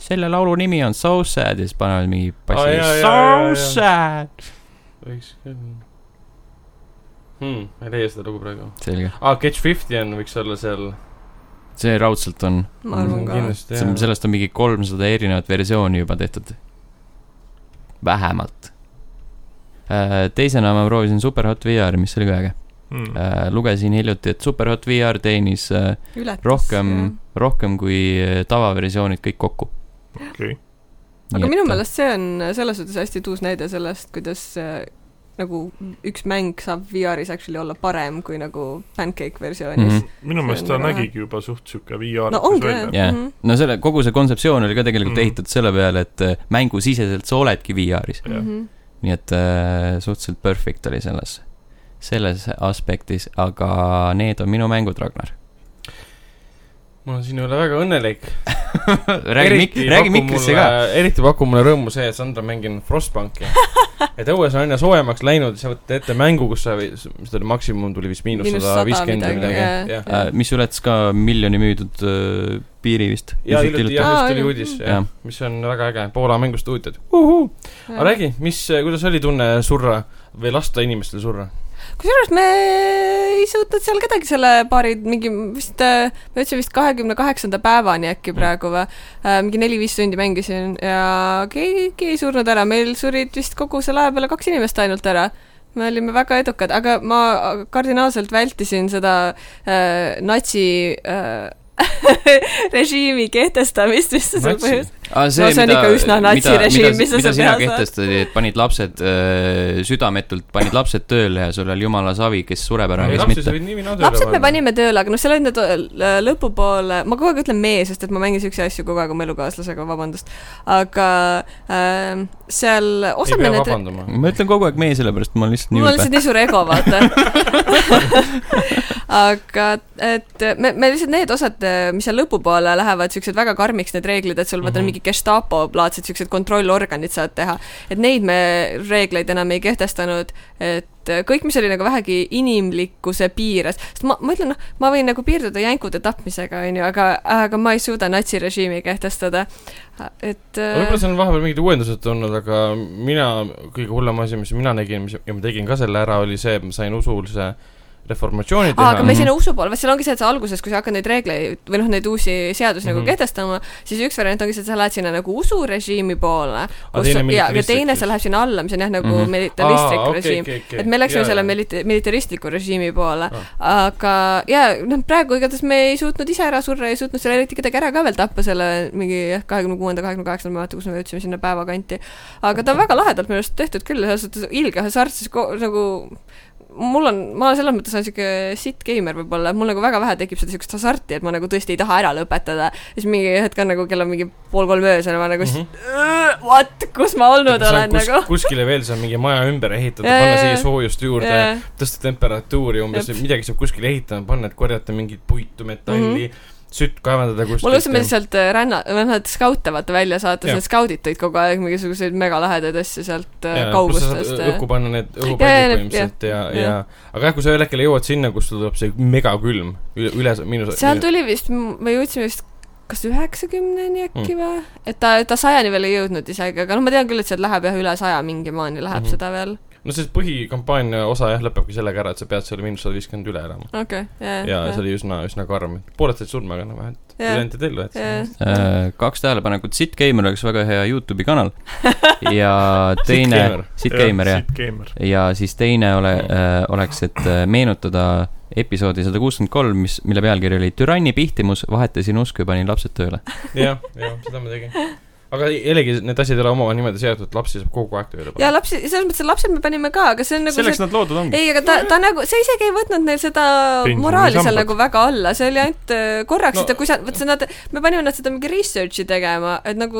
selle laulu nimi on So sad ja siis panevad mingi
Aa, jaa,
bassi .
jaa, jaa, jaa.
So sad .
võiks küll . Hmm, ma ei leia seda lugu praegu .
selge ,
aa , Catch Fifty on , võiks olla seal .
see raudselt on ,
ma arvan ka .
Mm, kindlasti jah .
sellest on mingi kolmsada erinevat versiooni juba tehtud . vähemalt . teisena ma proovisin Superhot VR-i , mis oli ka äge . Äh,
Mm.
lugesin hiljuti , et Superhot VR teenis äh,
ületas .
rohkem , rohkem kui eh, tavaversioonid kõik kokku . eh,
okei ,
aga minu . meelest see on selles suhtes hästi tuus näide sellest , kuidas äh, nagu üks mäng saab VR-is actually olla parem kui nagu pancake
Mhm.
versioonis .
minu meelest
See
ta
on väga
nägigi juba suht sihuke VR-i
no ongi jah . Mhm.
Jaa. no selle , kogu see kontseptsioon oli ka tegelikult
Mhm.
eh,
Mhm.
mm. ehitatud selle peale , et äh, mängusiseselt sa oledki VR-is . nii et äh, suhteliselt perfect oli selles , selles aspektis , aga need on minu mängud , Ragnar .
ma olen sinu üle väga õnnelik .
räägi Mik- , räägi Mikrisse ka ..
eriti pakub mulle rõõmu see , et Sandra on mänginud Frostbanki . et õues on aina soojemaks läinud , sa võtad ette mängu , kus sa , mis ta oli , maksimum tuli vist miinus
Miinus
sada
sada
viiskümmend või
midagi, jah.
midagi , jah .
Äh, mis ületas ka miljoni müüdud äh, piiri vist .
ja hiljuti , jah ,
Aa,
just tuli
jah.
uudis ,
Jah.
jah , mis on väga äge , Poola mängustuudiod . aga räägi , mis , kuidas oli tunne surra või lasta inimestel surra ?
kusjuures me ei suutnud seal kedagi selle paari mingi vist , ma ütlesin vist kahekümne kaheksanda päevani äkki praegu või , mingi neli-viis tundi mängisin ja keegi ei surnud ära , meil surid vist kogu selle aja peale kaks inimest ainult ära me olime väga edukad , aga ma kardinaalselt vältisin seda äh, natsi äh, režiimi kehtestamist , mis see seal
Natsi?
põhjus .
Ah,
No see on ikka üsna natsirežiim, mis sa
mida
seal
sina
peal saad.
kehtestad , et panid lapsed äh, südametult , panid lapsed tööle ja sul oli jumala savi , kes sureb ära ja kes mitte .
lapsed me . panime tööle , aga noh , seal olid need öö, lõpupoole , ma kogu aeg ütlen me , sest et ma mängin siukseid asju kogu aeg oma elukaaslasega , vabandust . aga äh, seal
ei
osa
pea
me need ,
vabandama .
ma ütlen kogu aeg me , sellepärast ma olen lihtsalt nii
mul on
ülbe
lihtsalt . nii suur ego , vaata . aga et me , me lihtsalt need osad , mis seal lõpupoole lähevad siuksed väga karmiks , need reeglid , et sul vaata mm -hmm.
Mhm.
mingi gestaapo laadsed siuksed kontrollorganid saad teha , et neid me reegleid enam ei kehtestanud , et kõik , mis oli nagu vähegi inimlikkuse piires , sest ma , ma ütlen , noh , ma võin nagu piirduda jänkude tapmisega , onju , aga , aga ma ei suuda natsirežiimi kehtestada , et
võib-olla seal on vahepeal mingid uuendused olnud , aga mina , kõige hullem asi , mis mina nägin , mis ja ma tegin ka selle ära , oli see , et ma sain usulise reformatsiooni
aa , aga me
teha .
siin-
sinna usu poole , vaat seal ongi see , et sa alguses , kui sa hakkad neid reegleid või noh , neid uusi seadusi mm -hmm. nagu
Mhm.
kehtestama , siis üks variant ongi see , et sa lähed sinna nagu usurežiimi poole , kus
teine
sa- ja , ja
militaristlik
teine
siis.
sa lähed sinna alla , mis on jah , nagu mm
Mhm.
-hmm. militaristlik ah, režiim okay, . Okay. et me läksime selle milita- , militaristliku režiimi poole
Ah.
ah. , aga jaa , noh , praegu igatahes me ei suutnud ise ära surra , ei suutnud seal eriti kedagi ära ka veel tappa selle mingi jah , kahekümne kuuenda , kahekümne kaheksanda , ma ei mäleta , kus me jõudsime sinna päeva kanti . aga ta on väga lahedalt minu arust tehtud küll , selles suhtes ilge hasartsus ko- nagu mul on , ma selles mõttes olen siuke sit gamer võib-olla , et mul nagu väga vähe tekib seda siukest hasarti , et ma nagu tõesti ei taha ära lõpetada . siis mingi hetk on nagu kell on mingi pool kolm öösel , ma nagu mm
Mhm.
-hmm. what , kus ma olnud olen nagu .
kuskile veel seal mingi maja ümber ehitada ,
Jaa,
panna
jaa,
siia
jaa.
soojust juurde , tõsta temperatuuri umbes ,
Jep.
midagi saab kuskile ehitama panna , et korjata mingit puitu , metalli , sütt kaevandada
mulle
kuskilt
usub , Mhm. et . sealt äh, ränna , või nad skaute vaata välja saates ,
Jah.
need skaudid tõid kogu aeg mingisuguseid megalahedaid asju sealt äh, kaugustest .
õhku panna need
Jaa,
õhupallid
jaa,
põhimõtteliselt ja ,
jah.
ja , aga jah , kui sa ühel hetkel jõuad sinna , kus sul tuleb see megakülm üle , üle , miinus .
seal tuli vist , me jõudsime vist kas üheksakümneni äkki
Mm.
või , et ta , ta sajani veel ei jõudnud isegi , aga noh , ma tean küll , et sealt läheb jah , üle saja mingi maani läheb
Mhm.
seda veel .
no see põhikampaania osa jah , lõpebki sellega ära , et sa pead selle miinus sada viiskümmend üle elama .
okei ,
ja see oli üsna , üsna karm . pooled said surma , aga noh , vähemalt ülejäänud jäid ellu , et
Äh, kaks tähelepanekut , Sitgamer oleks väga hea Youtube'i kanal ja teine , Sitgamer jah ,
Gamer .
ja siis teine ole , oleks , et äh, meenutada episoodi sada kuuskümmend kolm , mis , mille pealkiri oli Türanni pihtimus , vahetasin usku ja panin lapsed tööle .
jah , jah , seda ma tegin . aga jällegi , need asjad ei ole omavahel niimoodi seotud , lapsi saab kogu aeg tööle
ja
panna .
lapsi , selles mõttes , et lapsed me panime ka , aga see on nagu
selleks nad loodud ongi .
ei , aga ta , ta nagu , see isegi ei võtnud neil seda
Pensioni
moraali seal
sambad.
nagu väga alla , see oli ainult äh, korraks
No-
no, , et kui sa , vot see nad , me panime nad seda mingi research'i tegema , et nagu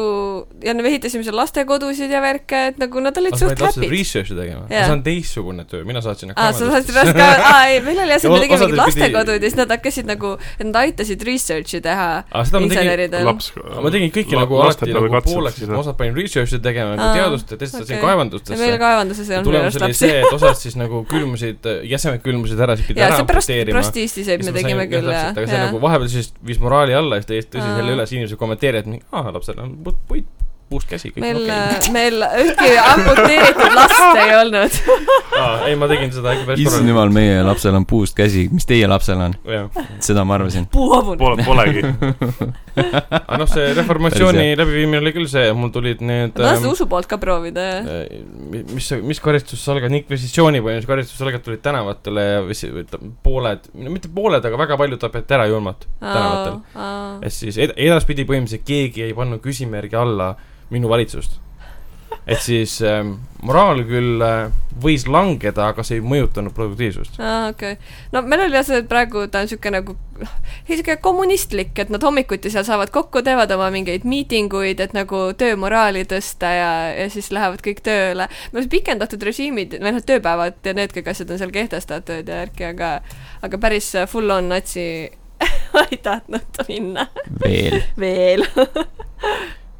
ja me ehitasime seal lastekodusid ja värke , et nagu nad olid
sa
suht
pead lapsed
happy .
research'i tegema ,
Jaa.
see on teistsugune töö , mina saatsin
aa , sa saad sellest ka , aa ei , meil oli jah ,
Ja
me
o-
tegime mingid
osadel pidi-
lastekodud ja siis nad hakkasid nagu , et nad aitasid research'i teha
aga seda ma tegin ,
inseneridel .
laps .
ma tegin kõiki
Äh, La-
nagu
laste
alati
peale
nagu
katsed
pooleks , et
seda.
ma osad panin research'i tegema nagu
Aa,
teadust ja teised sain
okei.
kaevandustesse .
meil kaevanduses ei olnud minu
tulemus
arust
oli
lapsi .
see , et osad siis nagu külmusid , jäsemed külmusid ära , siis pidi
ja
ära
seepärast
amputeerima .
prostiistiseid me tegime küll , jah .
aga see nagu vahepeal siis viis moraali alla ja siis tõesti tõsi
Aa.
selle üles , inimesed kommenteerivad , et aa , lapsel on puit , puit , puust käsi , kõik on
meil äh,
okei ,.
meil ühtki amputeeritud last ei olnud .
ei , ma tegin seda ikka päris
issand jumal , meie lapsel on puust käsi , mis teie lapsel on ,
korralikult .
seda ma arvasin .
puuhabune .
Pole , polegi .
aga noh , see reformatsiooni läbiviimine oli küll see , mul tulid need ähm,
ma tahan seda usu poolt ka proovida , jah .
äh, mi- mis , mis karistussalgad , inkvisitsiooni põhjus karistussalgad tulid tänavatele ja või see- või ta- pooled , no mitte pooled , aga väga palju tapeti ära julmalt
Äh.
tänavatel . ja siis ed- , edaspidi põhimõtteliselt keegi ei pannud küsimärgi alla minu valitsust . et siis ähm, moraal küll äh, võis langeda , aga see ei mõjutanud produktiivsust .
aa , okei okay. . no meil oli jah see , et praegu ta on niisugune nagu , niisugune kommunistlik , et nad hommikuti seal saavad kokku , teevad oma mingeid miitinguid , et nagu töömoraali tõsta ja , ja siis lähevad kõik tööle . no see pikendatud režiimid , või noh , tööpäevad ja need kõik asjad on seal kehtestatud ja värki , aga , aga päris full on natsi ei tahtnud minna
veel .
veel .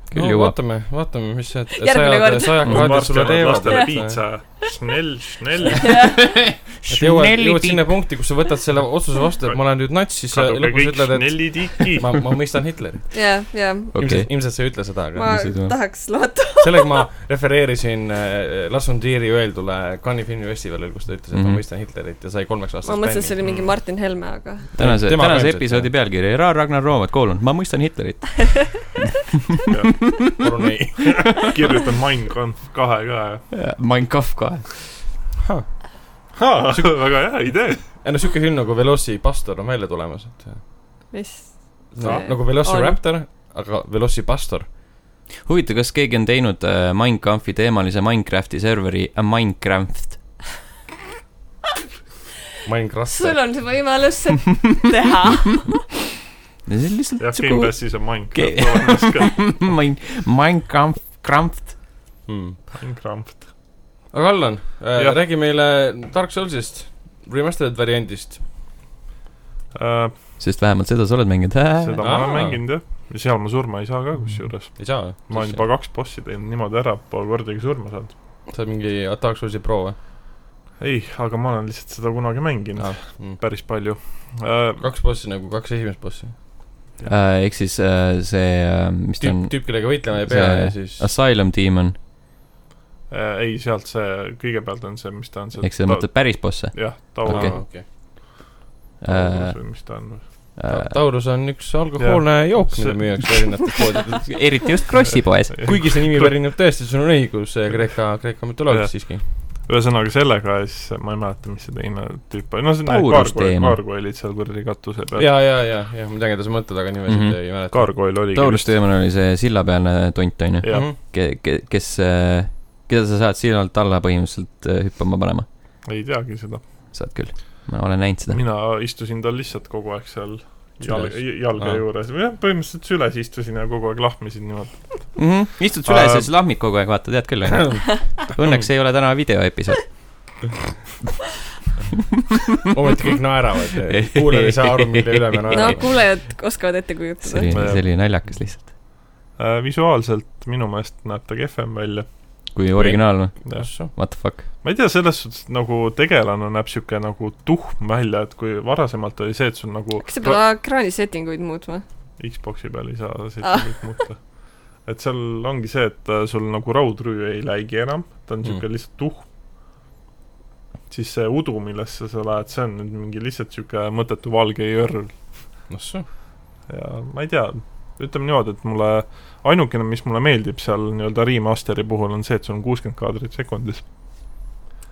küll jõuab .
vaatame , vaatame , mis see
Järgmine kord.
sajakad sulle
varsti annad lastele
teevad .
piitsa , Schnell , Schnell .
et jõuad , jõuad sinna punkti , kus sa võtad selle otsuse vastu , et ma olen nüüd nats , siis sa
kaduge
lõpus
kõik
ütled , et
Schnelli tiki .
ma , ma mõistan Hitleri .
jah , jah .
okei ,
ilmselt sa ei ütle seda , aga
ma
mis ei tule?
tahaks loota .
sellega ma refereeerisin äh, Lars von Trieri öeldule Cannes'i filmifestivalil , kus ta ütles , et mm -hmm.
Mhm.
ma mõistan Hitlerit ja sai kolmeks aastaks
ma mõtlesin , et see oli mingi Martin Helme , aga
tänase ,
Tema
tänase
põhimõtteliselt,
episoodi pealkiri , Ra- , Ragnar Roomat , koolon , ma mõistan Hitlerit .
palun ei .
kirjutan Mein Kampf kahe ka .
Mein Kampf ka .
väga hea idee .
ei no siuke film nagu Velocity Pastor on välja tulemas , et
mis
no,
See
nagu Velocity
on.
Raptor , aga Velocity Pastor .
huvitav , kas keegi on teinud äh, Mein Kampfi teemalise Minecrafti serveri A Minecraft ?
Minecraft
sul . on see võimalus teha .
see on lihtsalt
jah ,
siuke
Gamepassis on Mein
Ke-
Kampf olemas ka .
Mein , Mein Kampf , Krampft .
Hmm.
Mein Kampf .
aga Allan äh,
Jah. ,
räägi meile Dark Soulsist , remastered variandist .
sest vähemalt seda sa oled mänginud .
Äh, seda ma
Aa.
olen mänginud jah . ja seal ma surma ei saa ka kusjuures .
ei saa või ?
ma olen juba kaks bossi teinud niimoodi ära , pole kordagi surma saanud .
sa oled mingi Dark Soulsi pro või ?
ei , aga ma olen lihtsalt seda kunagi mänginud . päris palju .
Hmm.
Äh,
kaks bossi nagu kaks esimest bossi .
ehk siis äh, see , mis ta on
tüüp ,, tüüp , kellega võitlema ei pea
see-
ja siis .
Asylum Demon ,
äh, ei , sealt see , kõigepealt on see , mis ta on , see
eks sa mõtled päris Äh, bosse .
jah ,
okei.
Taurus
okei .
Äh,
või mis ta on .
äh,
Taurus on üks alkohoolne jook , mida
See-
müüakse erinevates poodides .
eriti just Krossi poes .
kuigi see nimi pärineb tõesti , sul on õigus , Kreeka , Kreeka
Jah.
mütoloogias siiski .
ühesõnaga sellega ja siis ma ei mäleta , mis see teine tüüp oli , no see
Taurus
kaarkoil ,
teema.
kaarkoilid seal kuradi katuse peal .
ja , ja , ja , ja ma tean , keda sa mõtled , aga nimesid mm
Mhm.
-hmm. ei mäleta .
kaarkoil oligi
Taurus . Teemann oli see sillapealne tont , onju ,
jah ,
Mhm.
ke- , ke- , kes , keda sa saad sillalt alla põhimõtteliselt äh, hüppama panema .
ei teagi seda .
saad küll , ma olen näinud seda .
mina istusin tal lihtsalt kogu aeg seal
Süles.
jalg , jalge
Aa.
juures , jah , põhimõtteliselt süles istusin ja kogu aeg lahmisin niimoodi .
istud süles ja
Äh,
siis lahmid kogu aeg , vaata , tead küll , onju . Õnneks ei ole täna videoepisood .
ometi kõik naeravad , kuulajad ei saa aru , mille üle me
no
naerame .
Noh, kuulajad oskavad ette
see
kujutada .
oli ,
Jah.
see oli naljakas lihtsalt .
Äh, visuaalselt minu meelest näeb ta kehvem välja .
kui originaal , what the fuck .
ma ei tea , selles suhtes nagu tegelane näeb sihuke nagu tuhm välja , et kui varasemalt oli see , et sul nagu
kas sa pead ekraani settinguid muutma ?
Xbox'i peal ei saa settingut muuta . et seal ongi see , et äh, sul nagu raudrüü ei läigi enam , ta on
Mm.
niisugune mm. lihtsalt tuhm . siis see udu , millesse sa lähed , see on nüüd mingi lihtsalt niisugune mõttetu valge jõrn ja ma ei tea , ütleme niimoodi , et mulle ainukene , mis mulle meeldib seal nii-öelda remasteri puhul on see , et sul on kuuskümmend kaadrit sekundis .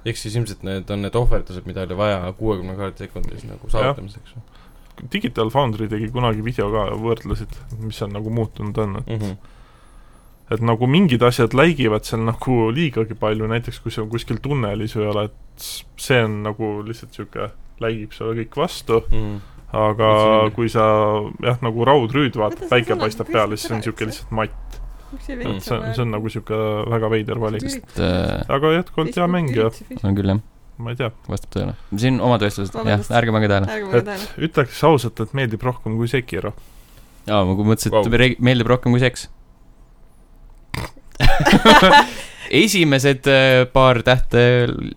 ehk siis ilmselt need on need ohverdused , mida oli vaja kuuekümne kaardi sekundis nagu saavutamiseks mm .
Digital Foundry tegi kunagi video ka , võrdlesid , mis seal nagu muutunud on , et
-hmm.
et nagu mingid asjad läigivad seal nagu liigagi palju , näiteks kui sa kuskil tunnelis või oled , see on nagu lihtsalt niisugune , läigib sulle kõik vastu ,
Mm
aga
See on-
kui sa jah , nagu raudrüüd vaatad
Kuidas , see
päike
sõna-
paistab
kuidas see
peale , siis see on
kõlab,
niisugune lihtsalt matt .
Mm,
see on , see on nagu niisugune väga veider valik .
on
aga jätkuvalt hea mäng ja
eh, küll jah ,
ma ei tea ,
vastab tõele . siin omad vestlused , jah ,
Vabandust.
ärge pange tähele .
ärge
Et-
mulle tähele .
ütleks ausalt , et meeldib rohkem kui Sekiro .
aa , ma mõtlesin , et
Vau.
wow. meeldib rohkem kui seks . esimesed äh, paar tähte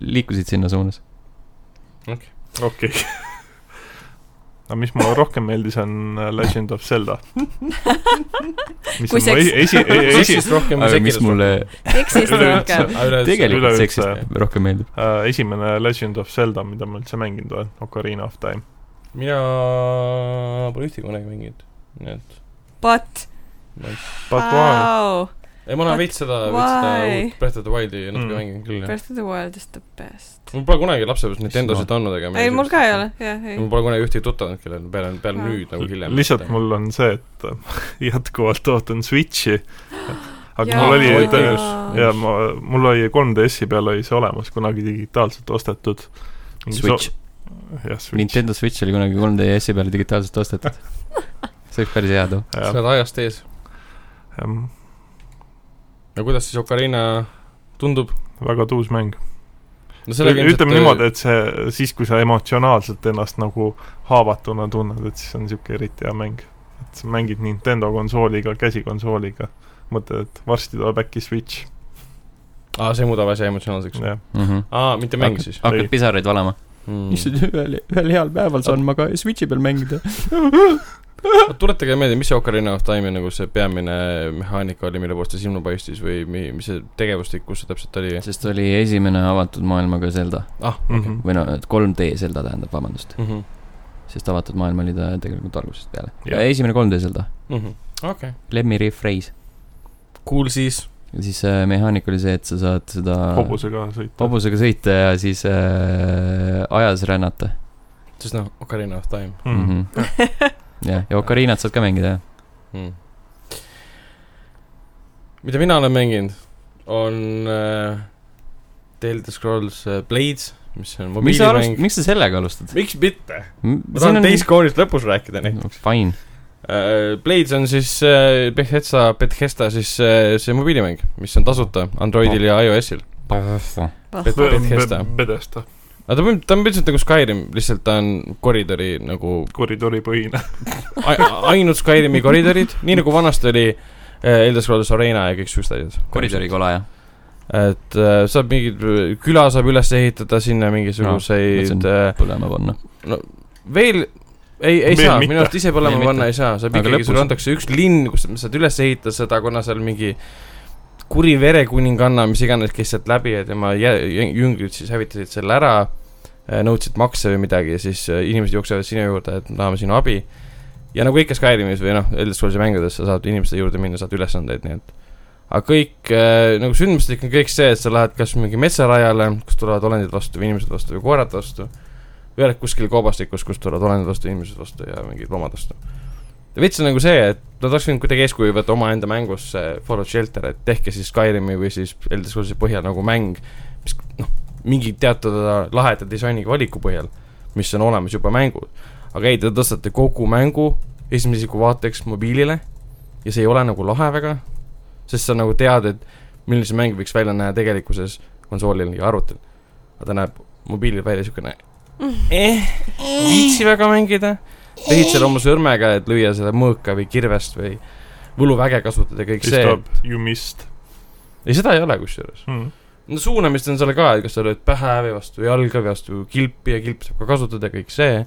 liikusid sinna suunas .
okei okay. . aga mis mulle rohkem meldis , on äh, Legend of Zelda . mis
Kui
on mu
seks.
esi , esi ,
-hmm.
esi ,
seksist rohkem
aga mis mulle
eksis
Üleüldse.
rohkem .
tegelikult
Üleüldse-
seksist rohkem meeldib .
Äh, esimene Legend of Zelda , mida ma üldse mänginud olen , Ocarina of Time .
mina pole ühtegi kunagi mänginud , nii et
But ,
ma ei ,
Wow.
wow ,
ei ma olen
But
veits seda , veits seda
why?
uut Breath of the Wildi natuke
Mm.
mm. mänginud küll , jah .
Breath of the Wild is the best .
mul pole kunagi lapsepõlves Nintendosid olnud , aga
ei , mul ka ei . ole , jah , ei .
mul pole kunagi ühtegi tuttavat , kellel on peale , peale
Aa.
nüüd nagu hiljem .
lihtsalt mul on see , et äh, jätkuvalt ootan Switchi , aga
Jaa.
mul oli ,
Oi,
et
kiirus.
ja ma , mul oli 3DS-i peal oli see olemas kunagi digitaalselt ostetud .
Switch ,.
jah , Switch .
Nintendo Switch oli kunagi 3DS-i peale digitaalselt ostetud . see oleks päris hea too .
sa oled ajast ees . ja kuidas siis Ocarina tundub ?
väga tuus mäng .
no
ütleme
äh,
niimoodi , et see , siis kui sa emotsionaalselt ennast nagu haavatuna tunned , et siis on niisugune eriti hea mäng . et sa mängid Nintendo konsooliga , käsikonsooliga , mõtled , et varsti tuleb äkki Switch ,
aa , see muudab asja emotsionaalseks .
jah . Ah,
aa , mitte mäng siis
Mhm. hakkad
Ei.
pisaraid valama .
mm. ?
ühel , ühel heal päeval saan ma ka Switchi peal mängida .
tuletage meelde , mis see Ocarina of Time'i nagu see peamine mehaanika oli , mille poolest ta silma paistis või mi- , mis see tegevustik , kus see täpselt oli ?
sest oli esimene avatud maailmaga Zelda
ah , Mhm.
Mhm.
või noh , 3D Zelda tähendab , vabandust ,
okei .
sest avatud maailm oli ta tegelikult algusest peale .
Jah.
esimene 3D Zelda ,
Mhm. okei .
Lemmi Refreis .
Cool siis .
ja siis äh, mehaanika oli see , et sa saad seda
äh,
hobusega sõita .
hobusega sõita ja siis äh, ajas rännata .
sest noh , Ocarina of Time
Mhm.
Mhm. jah , ja Ocarinat saad ka mängida , jah .
mm. . mida mina olen mänginud , on äh, The Elder Scrolls äh, Blades , mis on
miks sa
mobiilimäng
alustad ,. miks sa sellega alustad ?
miks mitte ? ma tahan on... teist koolist lõpus rääkida näiteks .
Fine ,
Blades on siis äh, Bethesda , Bethesda siis äh, see mobiilimäng , mis on tasuta Androidil ja iOS-il . Bethesda .
Pedesta ,
aga ta on , ta on põhimõtteliselt nagu Skyrim , lihtsalt ta on koridori nagu
koridoripõhine .
a- ainult Skyrimi koridorid , nii nagu vanasti oli äh, Elder Scrolls Arena ja kõik siuksed asjad .
koridorikola , jah .
et äh, saab mingid , küla saab üles ehitada sinna
Noh, mõtlesin-
mingisuguseid äh, ,
põlema panna .
veel ei , ei
Veel
saa ,
mitte.
minu arust ise põlema
Veel
panna
mitte.
ei saa , saab
Aga
ikkagi , sulle
lõpus-
antakse üks linn , kus sa saad üles ehitada seda , kuna seal mingi kuri verekuninganna , mis iganes käis sealt läbi ja tema jä- jä- jüngrid siis hävitasid selle ära , nõudsid makse või midagi ja siis äh, inimesed jooksevad sinu juurde , et me tahame sinu abi . ja nagu ikka Skyrimis või noh , Elder Scrollsi mängudes sa saad inimeste juurde minna , saad ülesandeid , nii et aga kõik äh, nagu sündmustik on kõik see , et sa lähed kas mingi metsarajale , kus tulevad olendid vastu või inimesed vastu või koerad vastu , või oled kuskil koobastikus , kus tulevad olendid vastu , inimesed vastu ja mingid loomad vastu . veits on nagu see , et nad oleks võinud kuidagi eeskuju võtta omaenda mängus see Fallout Shelter , et tehke siis Skyrimi või siis Elder Scrollsi põhjal nagu mäng , mis noh , mingi teatud laheda disainiga valiku põhjal , mis on olemas juba mängul . aga ei , te tõstate kogu mängu esimese isiku vaateks mobiilile ja see ei ole nagu lahe väga , sest sa nagu tead , et milline see mäng võiks välja näha tegelikkuses konsoolil ja arvutil . aga ta näeb mobiilil välja siukene eh, , viitsi väga mängida . tehid seal oma sõrmega , et lüüa selle mõõka või kirvest või võluväge kasutada ja kõik
siis
see .
tuleb You Missed
ei , seda ei ole kusjuures .
mm. .
no suunamist on seal ka , et kas sa lööd pähe või vastu jalga või vastu kilpi ja kilpi saab ka kasutada ja kõik see .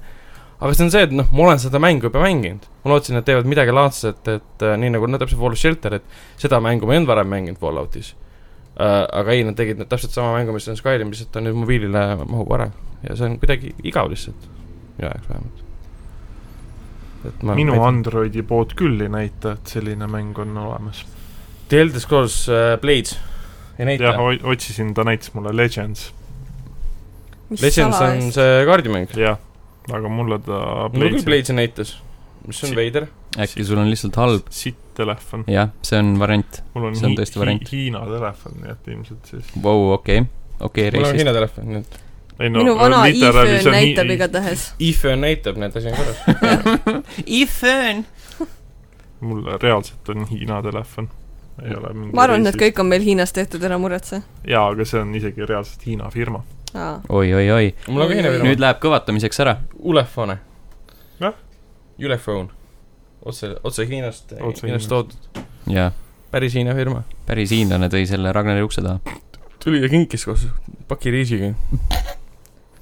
aga see on see , et noh , ma olen seda mängu juba mänginud . ma lootsin , et teevad midagi laadset , et äh, nii nagu no täpselt Fallout Shelter , et seda mängu ma ei olnud varem mänginud Falloutis äh, . aga ei , nad tegid nüüd täpselt sama mängu , mis on Skyrim , lihtsalt ta nüüd mobiilile mahub ära ja see on kuidagi igav lihtsalt . minu jaoks vähemalt . et ma
minu
ma ei tea.
Androidi pood küll ei näita , et selline mäng on olemas .
The Elder Scrolls äh, Blades ei näita
jah ,. otsisin , ta näitas mulle Legends ,
Legends on see kaardimäng .
jah . aga mulle ta
mul küll . Blades'i näitas , mis on
Si-
veider .
äkki sul on lihtsalt halb ,
sitt telefon .
jah , see on variant .
mul on,
See on
hi-
tõesti
hi-
variant.
Hiina telefon , nii et ilmselt siis .
Vau , okei , okei ,
mul on
reisist .
Hiina telefon , nii et
ei
minu vana
literaali- see
iPhone
on hi-
näitab igatahes .
IFÖ näitab , nii et asi on korras .
iPhone .
mul reaalselt on Hiina telefon . ei ole mingi
ma arvan , et need . kõik on meil Hiinas tehtud , ära muretse .
jaa , aga see on isegi reaalselt Hiina firma .
aa ,
oi , oi , oi ,
mul on ka Hiina firma .
nüüd läheb kõvatamiseks ära .
Ulefone
Jah. .
Ulefone . otse , otse Hiinast ,
Otse
Hiinast
Hiinast.
toodud .
jaa ,
päris Hiina firma .
päris hiinlane tõi selle Ragnari ukse taha .
tuli ja kinkis koos paki riisiga .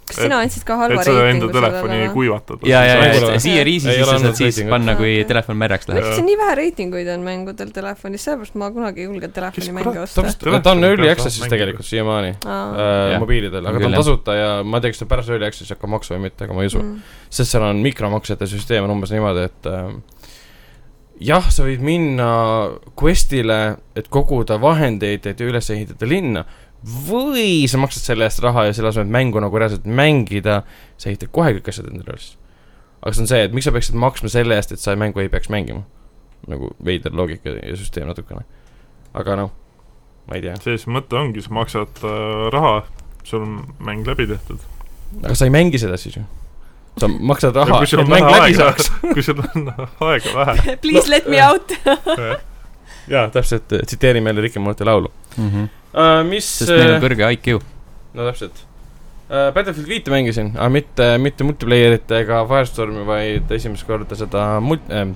kas sina andsid ka halva
et seda enda
reitingu
telefoni
sellele või ?
kuivatada .
ja , ja ,
Ei
ja
ole.
siia riisi
Ei
sisse
ole andnud
saad siis
reitingut.
panna , kui
Okei.
telefon märjaks läheb .
miks siin nii vähe reitinguid on mängudel telefonis , sellepärast ma kunagi ei julgenud telefonimänge
kurat
osta .
ta on early
Telefoni
access'is
peal saab
tegelikult siiamaani . Äh,
Jah.
mobiilidel , aga ta on
Küll, jah.
tasuta ja ma ei tea , kas ta pärast early access'i hakkab maksma või mitte , aga ma ei usu .
Mm.
sest seal on mikromaksete süsteem on umbes niimoodi , et äh, jah , sa võid minna quest'ile , et koguda vahendeid , et üles ehitada linna , või sa maksad selle eest raha ja selle asemel , et mängu nagu reaalselt mängida , sa ehitad kohe kõik asjad endale üles . aga see on see , et miks sa peaksid maksma selle eest , et sa mängu ei peaks mängima . nagu veider loogika ja süsteem natukene . aga noh , ma ei tea .
see siis mõte ongi , sa maksad äh, raha , sul on mäng läbi tehtud .
aga sa ei mängi seda siis ju ? sa maksad
ja
raha ,
kui sul on
et mäng
vähe
läbi
aega
saaks .,
kui sul on aega vähe .
Please let
äh,
me out .
jaa , täpselt , tsiteerime jälle Ricky Morty laulu
mm .
uh, .
Mhm.
mis
sest neil on kõrge IQ .
no täpselt uh, . Battlefield viite mängisin , aga mitte , mitte multiplayerit ega Firestormi , vaid esimest korda seda mult- äh, ,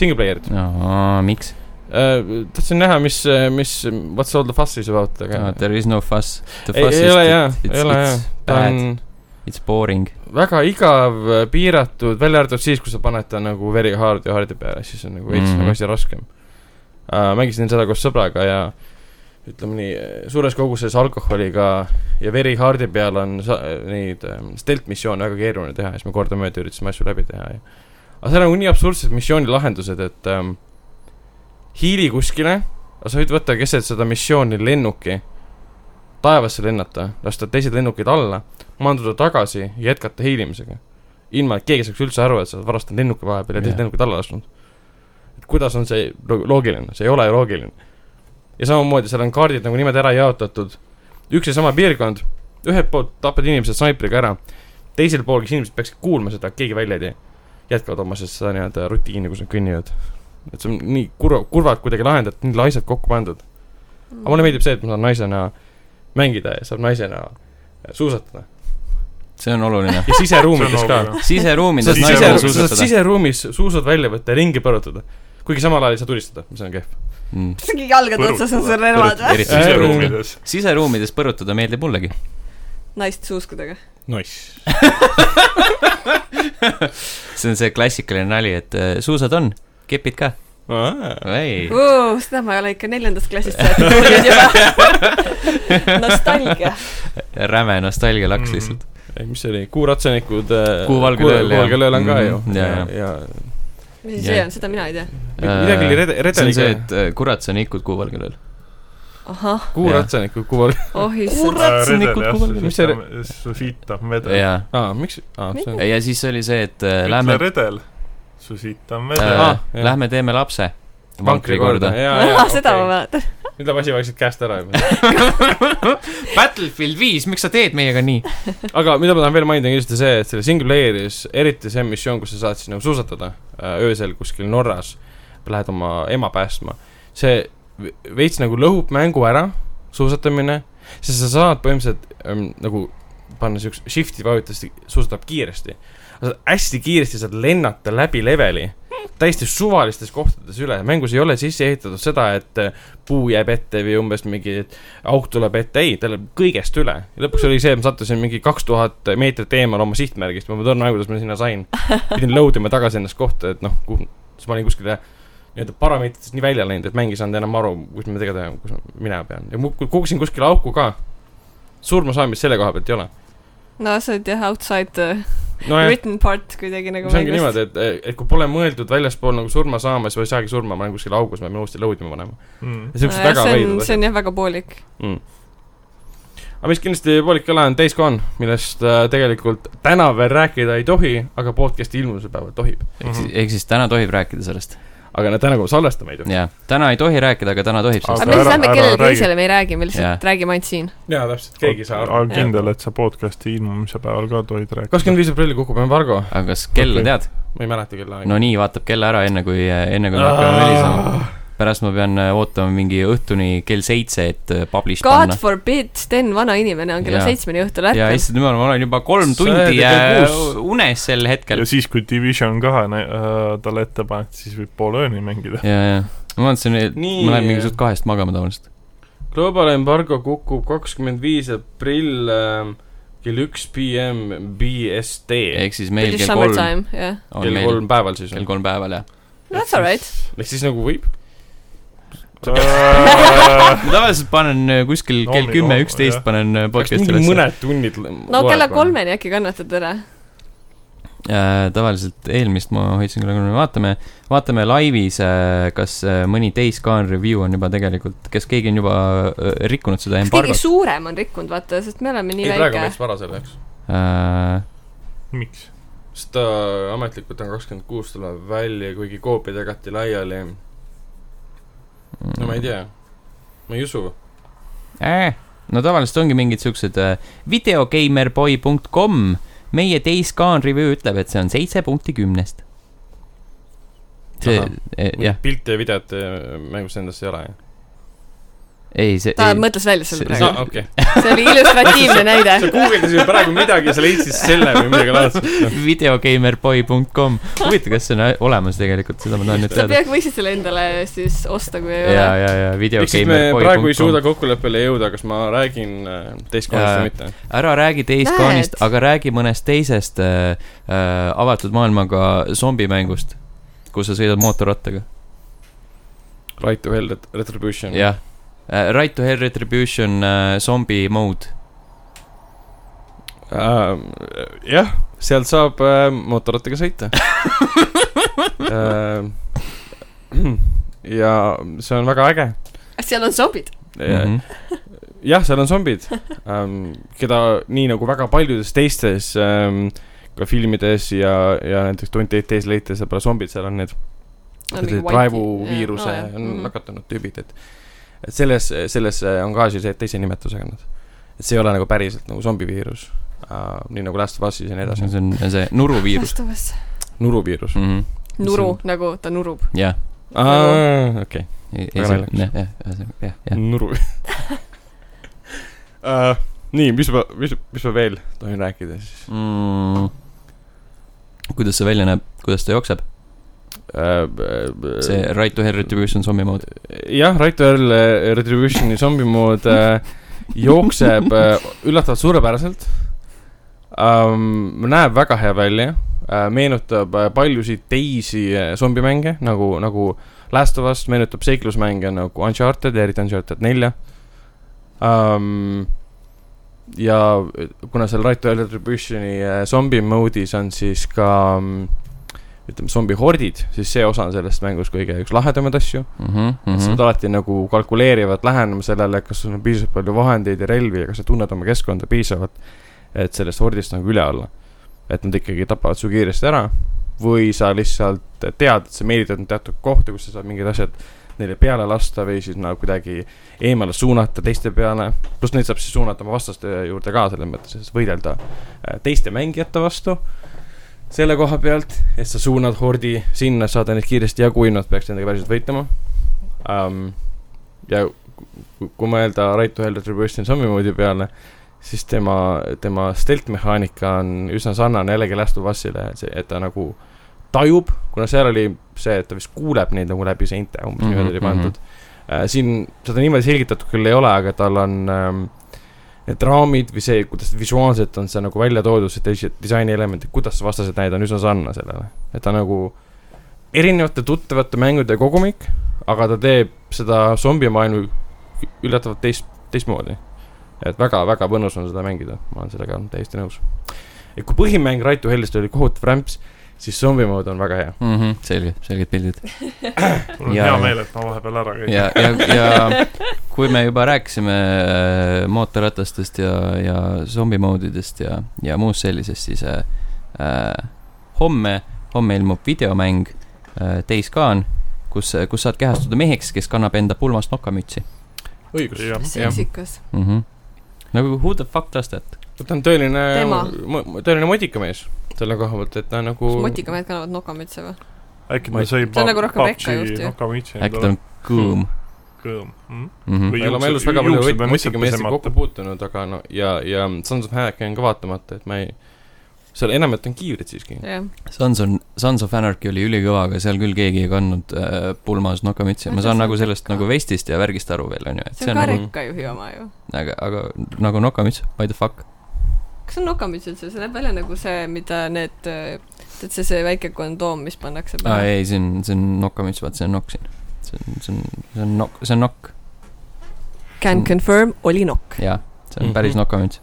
single player'it
jaa , miks ?
uh, . tahtsin näha , mis , mis What's all the fuss is about , aga no,
There is no fuss .
ei , ei ole jaa , ei ole jaa . ta on
It's boring .
väga igav , piiratud , välja arvatud siis , kui sa paned ta nagu very hard ja hard'i peale , siis on nagu veits mm
Mhm.
-hmm. nagu asi raskem uh, . mängisin seda koos sõbraga ja ütleme nii , suures koguses alkoholiga ja very hard'i peal on sa- neid ähm, stealth missioone väga keeruline teha ja siis me kordamööda üritasime asju läbi teha ja aga seal on nagu nii absurdsed missiooni lahendused , et ähm, hiili kuskile , aga sa võid võtta keset seda missiooni lennuki , taevasse lennata , lasta teised lennukid alla , maanduda tagasi ja jätkata hiilimisega . ilma , et keegi saaks üldse aru , et sa oled varastanud lennuki vahepeal ja teised
Jah.
yeah. lennukid alla lasknud . et kuidas on see lo- loogiline , see ei ole ju loogiline . ja samamoodi seal on kaardid nagu nimed ära jaotatud , üks ja sama piirkond , ühelt poolt tapad inimesed snaipriga ära , teisel pool , kes inimesed peaksid kuulma seda , keegi välja ei tee , jätkavad oma siis seda nii-öelda rutiini , kus nad kõnnivad . et see on nii kurva , kurvalt kuidagi lahendatud , nii laisalt kokku pandud . aga
Mm.
mulle meeldib see , et ma saan naisena mängida ja saab naisena suusatada .
see on oluline .
ja siseruumides ka .
nagu-
sa
siseruumides
saad
naisena
naisele
sise- sa saad
suusatada .
siseruumis suusad välja võtta ja ringi põrutada . kuigi samal ajal ei saa tulistada , mis on kehv .
Mm.
mingi jalgade otsas on sul relvad või ?
Äh,
eriti
siseruumides .
siseruumides põrutada meeldib mullegi .
naist suuskudega .
Nice .
see on see klassikaline nali , et äh, suusad on , kepid ka . ei ,
seda ma ei ole ikka neljandast klassist saati kuulnud juba . nostalgia .
räme nostalgia laks
Mhm.
lihtsalt .
ei , mis see oli , kuuratsanikud .
Kuu valgel ööl, jah.
Kuu valgel ööl on ka
Mhm.
ju .
Jaa, jaa.
ja ,
mis asi see on , seda mina ei tea .
ja midagi oli rede- ,
see on see ,
redeliga .
et äh, kuratsanikud kuuvalgelel .
ahah ,
kuuratsanikud , kuu valgel .
oh issand .
Kuuratsanikud kuulavad.
Mis see
kuulavad . susita vedel .
jaa ,
aa , miks ? aa , see on .
ja siis oli see , et äh,
ütle
lähme ,
redel , susita vedel .
äh,
Ah, jah.
lähme teeme lapse . vankri korda .
seda ma . mäletan .
nüüd läheb asi vaikselt käest ära juba .
Battlefield viis , miks sa teed meiega nii ?
aga mida ma tahan veel mainida , on kindlasti see , et selle single player'is , eriti see missioon , kus sa saad siis nagu suusatada äh, öösel kuskil Norras , lähed oma ema päästma , see ve- veits nagu lõhub mängu ära , suusatamine , sest sa saad põhimõtteliselt ähm, nagu panna siukse shift'i vajutust , suusatab kiiresti . sa saad hästi kiiresti saad lennata läbi leveli , täiesti suvalistes kohtades üle , mängus ei ole sisse ehitatud seda , et äh, puu jääb ette või umbes mingi , et auk tuleb ette , ei , ta läheb kõigest üle . ja lõpuks oli see , et ma sattusin mingi kaks tuhat meetrit eemal oma sihtmärgist , ma ei torna aru , kuidas ma sinna sain . pidin load ima tagasi ennast kohta , et noh , kuhu , siis ma olin kuskile nii-öelda parameetritest nii välja läinud , et mäng ei saanud enam aru , kus ma tegelikult olen , kus ma minema pean . ja ma kukkusin kuskile auku ka . surmasaamist selle koha pealt ei ole .
no sa oled jah outside the
nojah ,
written part kuidagi nagu
see ongi niimoodi , et , et kui pole mõeldud väljaspool nagu surma saama , siis ma ei saagi surma , ma olen kuskil augus , ma pean uuesti load ima panema . siuksed
Nojah,
väga
see on ,
veidrad
see on jah väga poolik .
mm. . aga mis kindlasti poolik ei ole , on Days Gone , millest äh, tegelikult täna veel rääkida ei tohi , aga podcast'i ilmumise päeval tohib .
ehk siis , ehk siis täna tohib rääkida sellest .
aga no täna , kui me salvestame , ei tohi .
jaa , täna ei tohi rääkida , aga täna tohib sellest .
aga me
ära-
siis lähme
ära
kellelegi
räägi.
teisele , me ei räägi , me lihtsalt
Jaa.
räägime ainult siin .
jaa , täpselt , keegi ei saa aru .
aga kindel , et sa podcast'i ilmumise päeval ka tohid rääkida .
kakskümmend viis aprilli kukub embargo ,
aga kas kella
Okei.
tead ?
ma ei mäleta kella aega
no nii , vaatab kella ära enne kui , enne kui me hakkame välisema .. pärast ma pean äh, ootama mingi õhtuni kell seitse , et äh, publish
God
panna .
forbid , Sten , vana inimene on kella
Jaa.
seitsmeni õhtul
ja
ärkanud .
issand jumal , ma olen juba kolm
Sa oled
tundi
ikka
äh,
kuus.
unes sel hetkel
ja . siis , kui Division kahe nä- äh, talle ette paned , siis võib pool ööni mängida .
ja , ja , ma mõtlesin , et
Nii.
ma lähen mingi suht kahest magama tavaliselt .
Global embargo kukub kakskümmend viis aprill ähm, kell üks PM BST .
ehk siis meil
British
kell kolm
summertime , jah .
on
kell
meil
kolm päeval siis .
kell kolm päeval , jah .
That's alright .
ehk siis nagu võib .
ma tavaliselt panen äh, kuskil
No,
kell
no,
kümme ,
jah.
üksteist panen äh,
kas
podcast'i
mingi
ülesse .
mõned tunnid .
no kella . kolmeni äkki kannatad ära .
Äh, tavaliselt eelmist ma hoidsin küll , aga no vaatame , vaatame laivis , kas äh, mõni Days Gone review on juba tegelikult , kas keegi on juba äh, rikkunud seda
kas keegi
embargot ?
suurem on rikkunud , vaata , sest me oleme nii
ei , praegu on
väike .
veits vara selle jaoks .
Äh,
miks ?
sest ta ametlikult on kakskümmend kuus
Mhm.
tuleb välja , kuigi koopiad jagati laiali . no ma ei tea , ma ei usu .
äh. . no tavaliselt ongi mingid siuksed äh, videogeimerboy.com , meie Dayscan review ütleb , et see on seitse punkti kümnest . see e,
Ahah. ,
jah ,
pilte ja videot eh, mängus endas ei ole , jah ?
ei see ,
ta mõtles välja selle
See-
praegu .
aa , okei .
see oli illustratiivne näide .
sa guugeldasid praegu midagi ja sa leidsid selle või midagi laadset .
videogeimerboy.com , huvitav , kas see on olemas tegelikult , seda ma tahan nüüd
sa
teada .
peaks , võiksid selle endale siis osta , kui ei
ja ,
ole .
ja , ja
eks siis me praegu ei suuda
videogeimerboy.com .
kokkuleppele jõuda , kas ma räägin eh, teist kohast
Jaa.
või mitte .
ära räägi Dayscanist ,
Näed.
aga räägi mõnest teisest äh, äh, avatud maailmaga zombimängust , kus sa sõidad mootorrattaga .
Right to Hell Ret- Retribution .
jah , Right to Hell Retribution äh, zombi mode .
Ähm, jah , sealt saab äh, mootorrattaga sõita . ja see on väga äge .
seal on zombid .
-hmm.
jah , seal on zombid ähm, , keda nii nagu väga paljudes teistes ähm, ka filmides ja , ja näiteks Twenty Eight Days Later , seal pole zombid , seal on need raevuviiruse on
Mhm.
nakatunud tüübid , et et selles , selles äh, on ka siis teise nimetusega nad . et see ei ole nagu päriselt nagu zombiviirus äh, , nii nagu Last of Us'is ja nii edasi ,
see on see nuruviirus
vastavas .
nuruviirus
mm . -hmm.
nuru nagu ta nurub .
jah ,
aa , okei ,
ei ,
Väga
ei see ,
naljakas.
jah , jah , ühesõnaga jah , jah .
nuru uh, . nii , mis ma , mis , mis ma veel tohin rääkida siis
Mm. kuidas see välja näeb , kuidas ta jookseb ,
uh, ?
see Right to Hell Retribution zombi mode ?
jah , Right to Hell äh, Retributioni zombi mood äh, jookseb äh, üllatavalt suurepäraselt um, . näeb väga hea välja äh, , meenutab äh, paljusid teisi äh, zombimänge nagu , nagu Last of Us , meenutab seiklusmänge nagu Uncharted , eriti Uncharted nelja um, . ja kuna seal Right to Hell Retributioni äh, zombi mode'is on siis ka um, ütleme , zombihordid , siis see osa on sellest mängus kõige üks lahedamaid asju .
Mhm,
-hmm. sa pead alati nagu kalkuleerivalt lähenema sellele , kas sul on piisavalt palju vahendeid ja relvi ja kas sa tunned oma keskkonda piisavalt , et sellest hordist nagu üle olla . et nad ikkagi tapavad su kiiresti ära või sa lihtsalt tead , et sa meelitad nad teatud kohta , kus sa saad mingid asjad neile peale lasta või siis nagu kuidagi eemale suunata teiste peale . pluss neid saab siis suunata oma vastaste juurde ka selles mõttes , et võidelda äh, teiste mängijate vastu selle koha pealt , et sa suunad hordi sinna , saad neid kiiresti jagu , kui nad peaks nendega päriselt võitlema um, . ja ku- kui mõelda Right to Hell Retribution samamoodi peale , siis tema , tema stealth mehaanika on üsna sarnane jällegi Last of Usile , et ta nagu tajub , kuna seal oli see , et ta vist kuuleb neid nagu läbi seinte , umbes mm -hmm, niimoodi oli
mhm,
pandud uh, . siin seda niimoodi selgitatud küll ei ole , aga tal on um, need raamid või see , kuidas visuaalselt on see nagu välja toodud , see dis- disainielement , kuidas vastased näid on üsna sarnane sellele , et ta nagu erinevate tuttavate mängude kogumik , aga ta teeb seda zombimaailma üllatavalt teist , teistmoodi . et väga-väga põnus on seda mängida , ma olen sellega täiesti nõus . et kui põhimäng Right to Hell'ist oli kohutav rämps , siis zombimood on väga hea .
Mhm. selge , selged pildid .
mul on
Jaa,
hea
jaa.
meel , et ma vahepeal ära käin .
ja , ja , ja kui me juba rääkisime äh, mootorratastest ja , ja zombi mode idest ja , ja muust sellisest , siis äh, äh, homme , homme ilmub videomäng äh, Dayscan , kus , kus saad kehastuda meheks , kes kannab enda pulmast nokamütsi
õigus .
seksikas .
mm . -hmm. nagu who the fuck does that ?
ta on tõeline
Tema. ,
tõeline modikamees selle koha pealt , et ta on nagu
kas . motikamehed kannavad nokamütse või ?
äkki
Ma
ta
ei-
sai
See on nagu rohkem rekka just ju.
Nakamitši
äkki ta on kõõm
kõõm mm? .
mm .
Või-
-hmm.
me oleme elus
juuksed-
väga palju
juuksed
võit-
on
motikameestega
mõttepisemata.
kokku puutunud , aga no ja , ja Sons of Anarchy on ka vaatamata , et ma ei , seal enamjaolt on kiivrid siiski .
jah .
Sons on , Sons of Anarchy oli ülikõva , aga seal küll keegi ei kandnud äh, pulmas nokamütsi , ma saan nagu sellest nagu vestist ja värgist aru veel , onju , et
see
see
on
on
ka
nagu ,
nagu-
rekkajuhi oma ju .
aga , aga nagu nokamüts , what the fuck .
kas on nokamüts üldse , see näeb välja nagu see , mida need , tead see , see väike kondoom , mis pannakse
aa
peale .
Ah, ei , see on , see on nokamüts , vaat see on nokk siin . see on , see on , see on nokk , see on nokk , Mm.
Can confirm , oli nokk .
jaa , see on päris
Mhm.
nokamüts .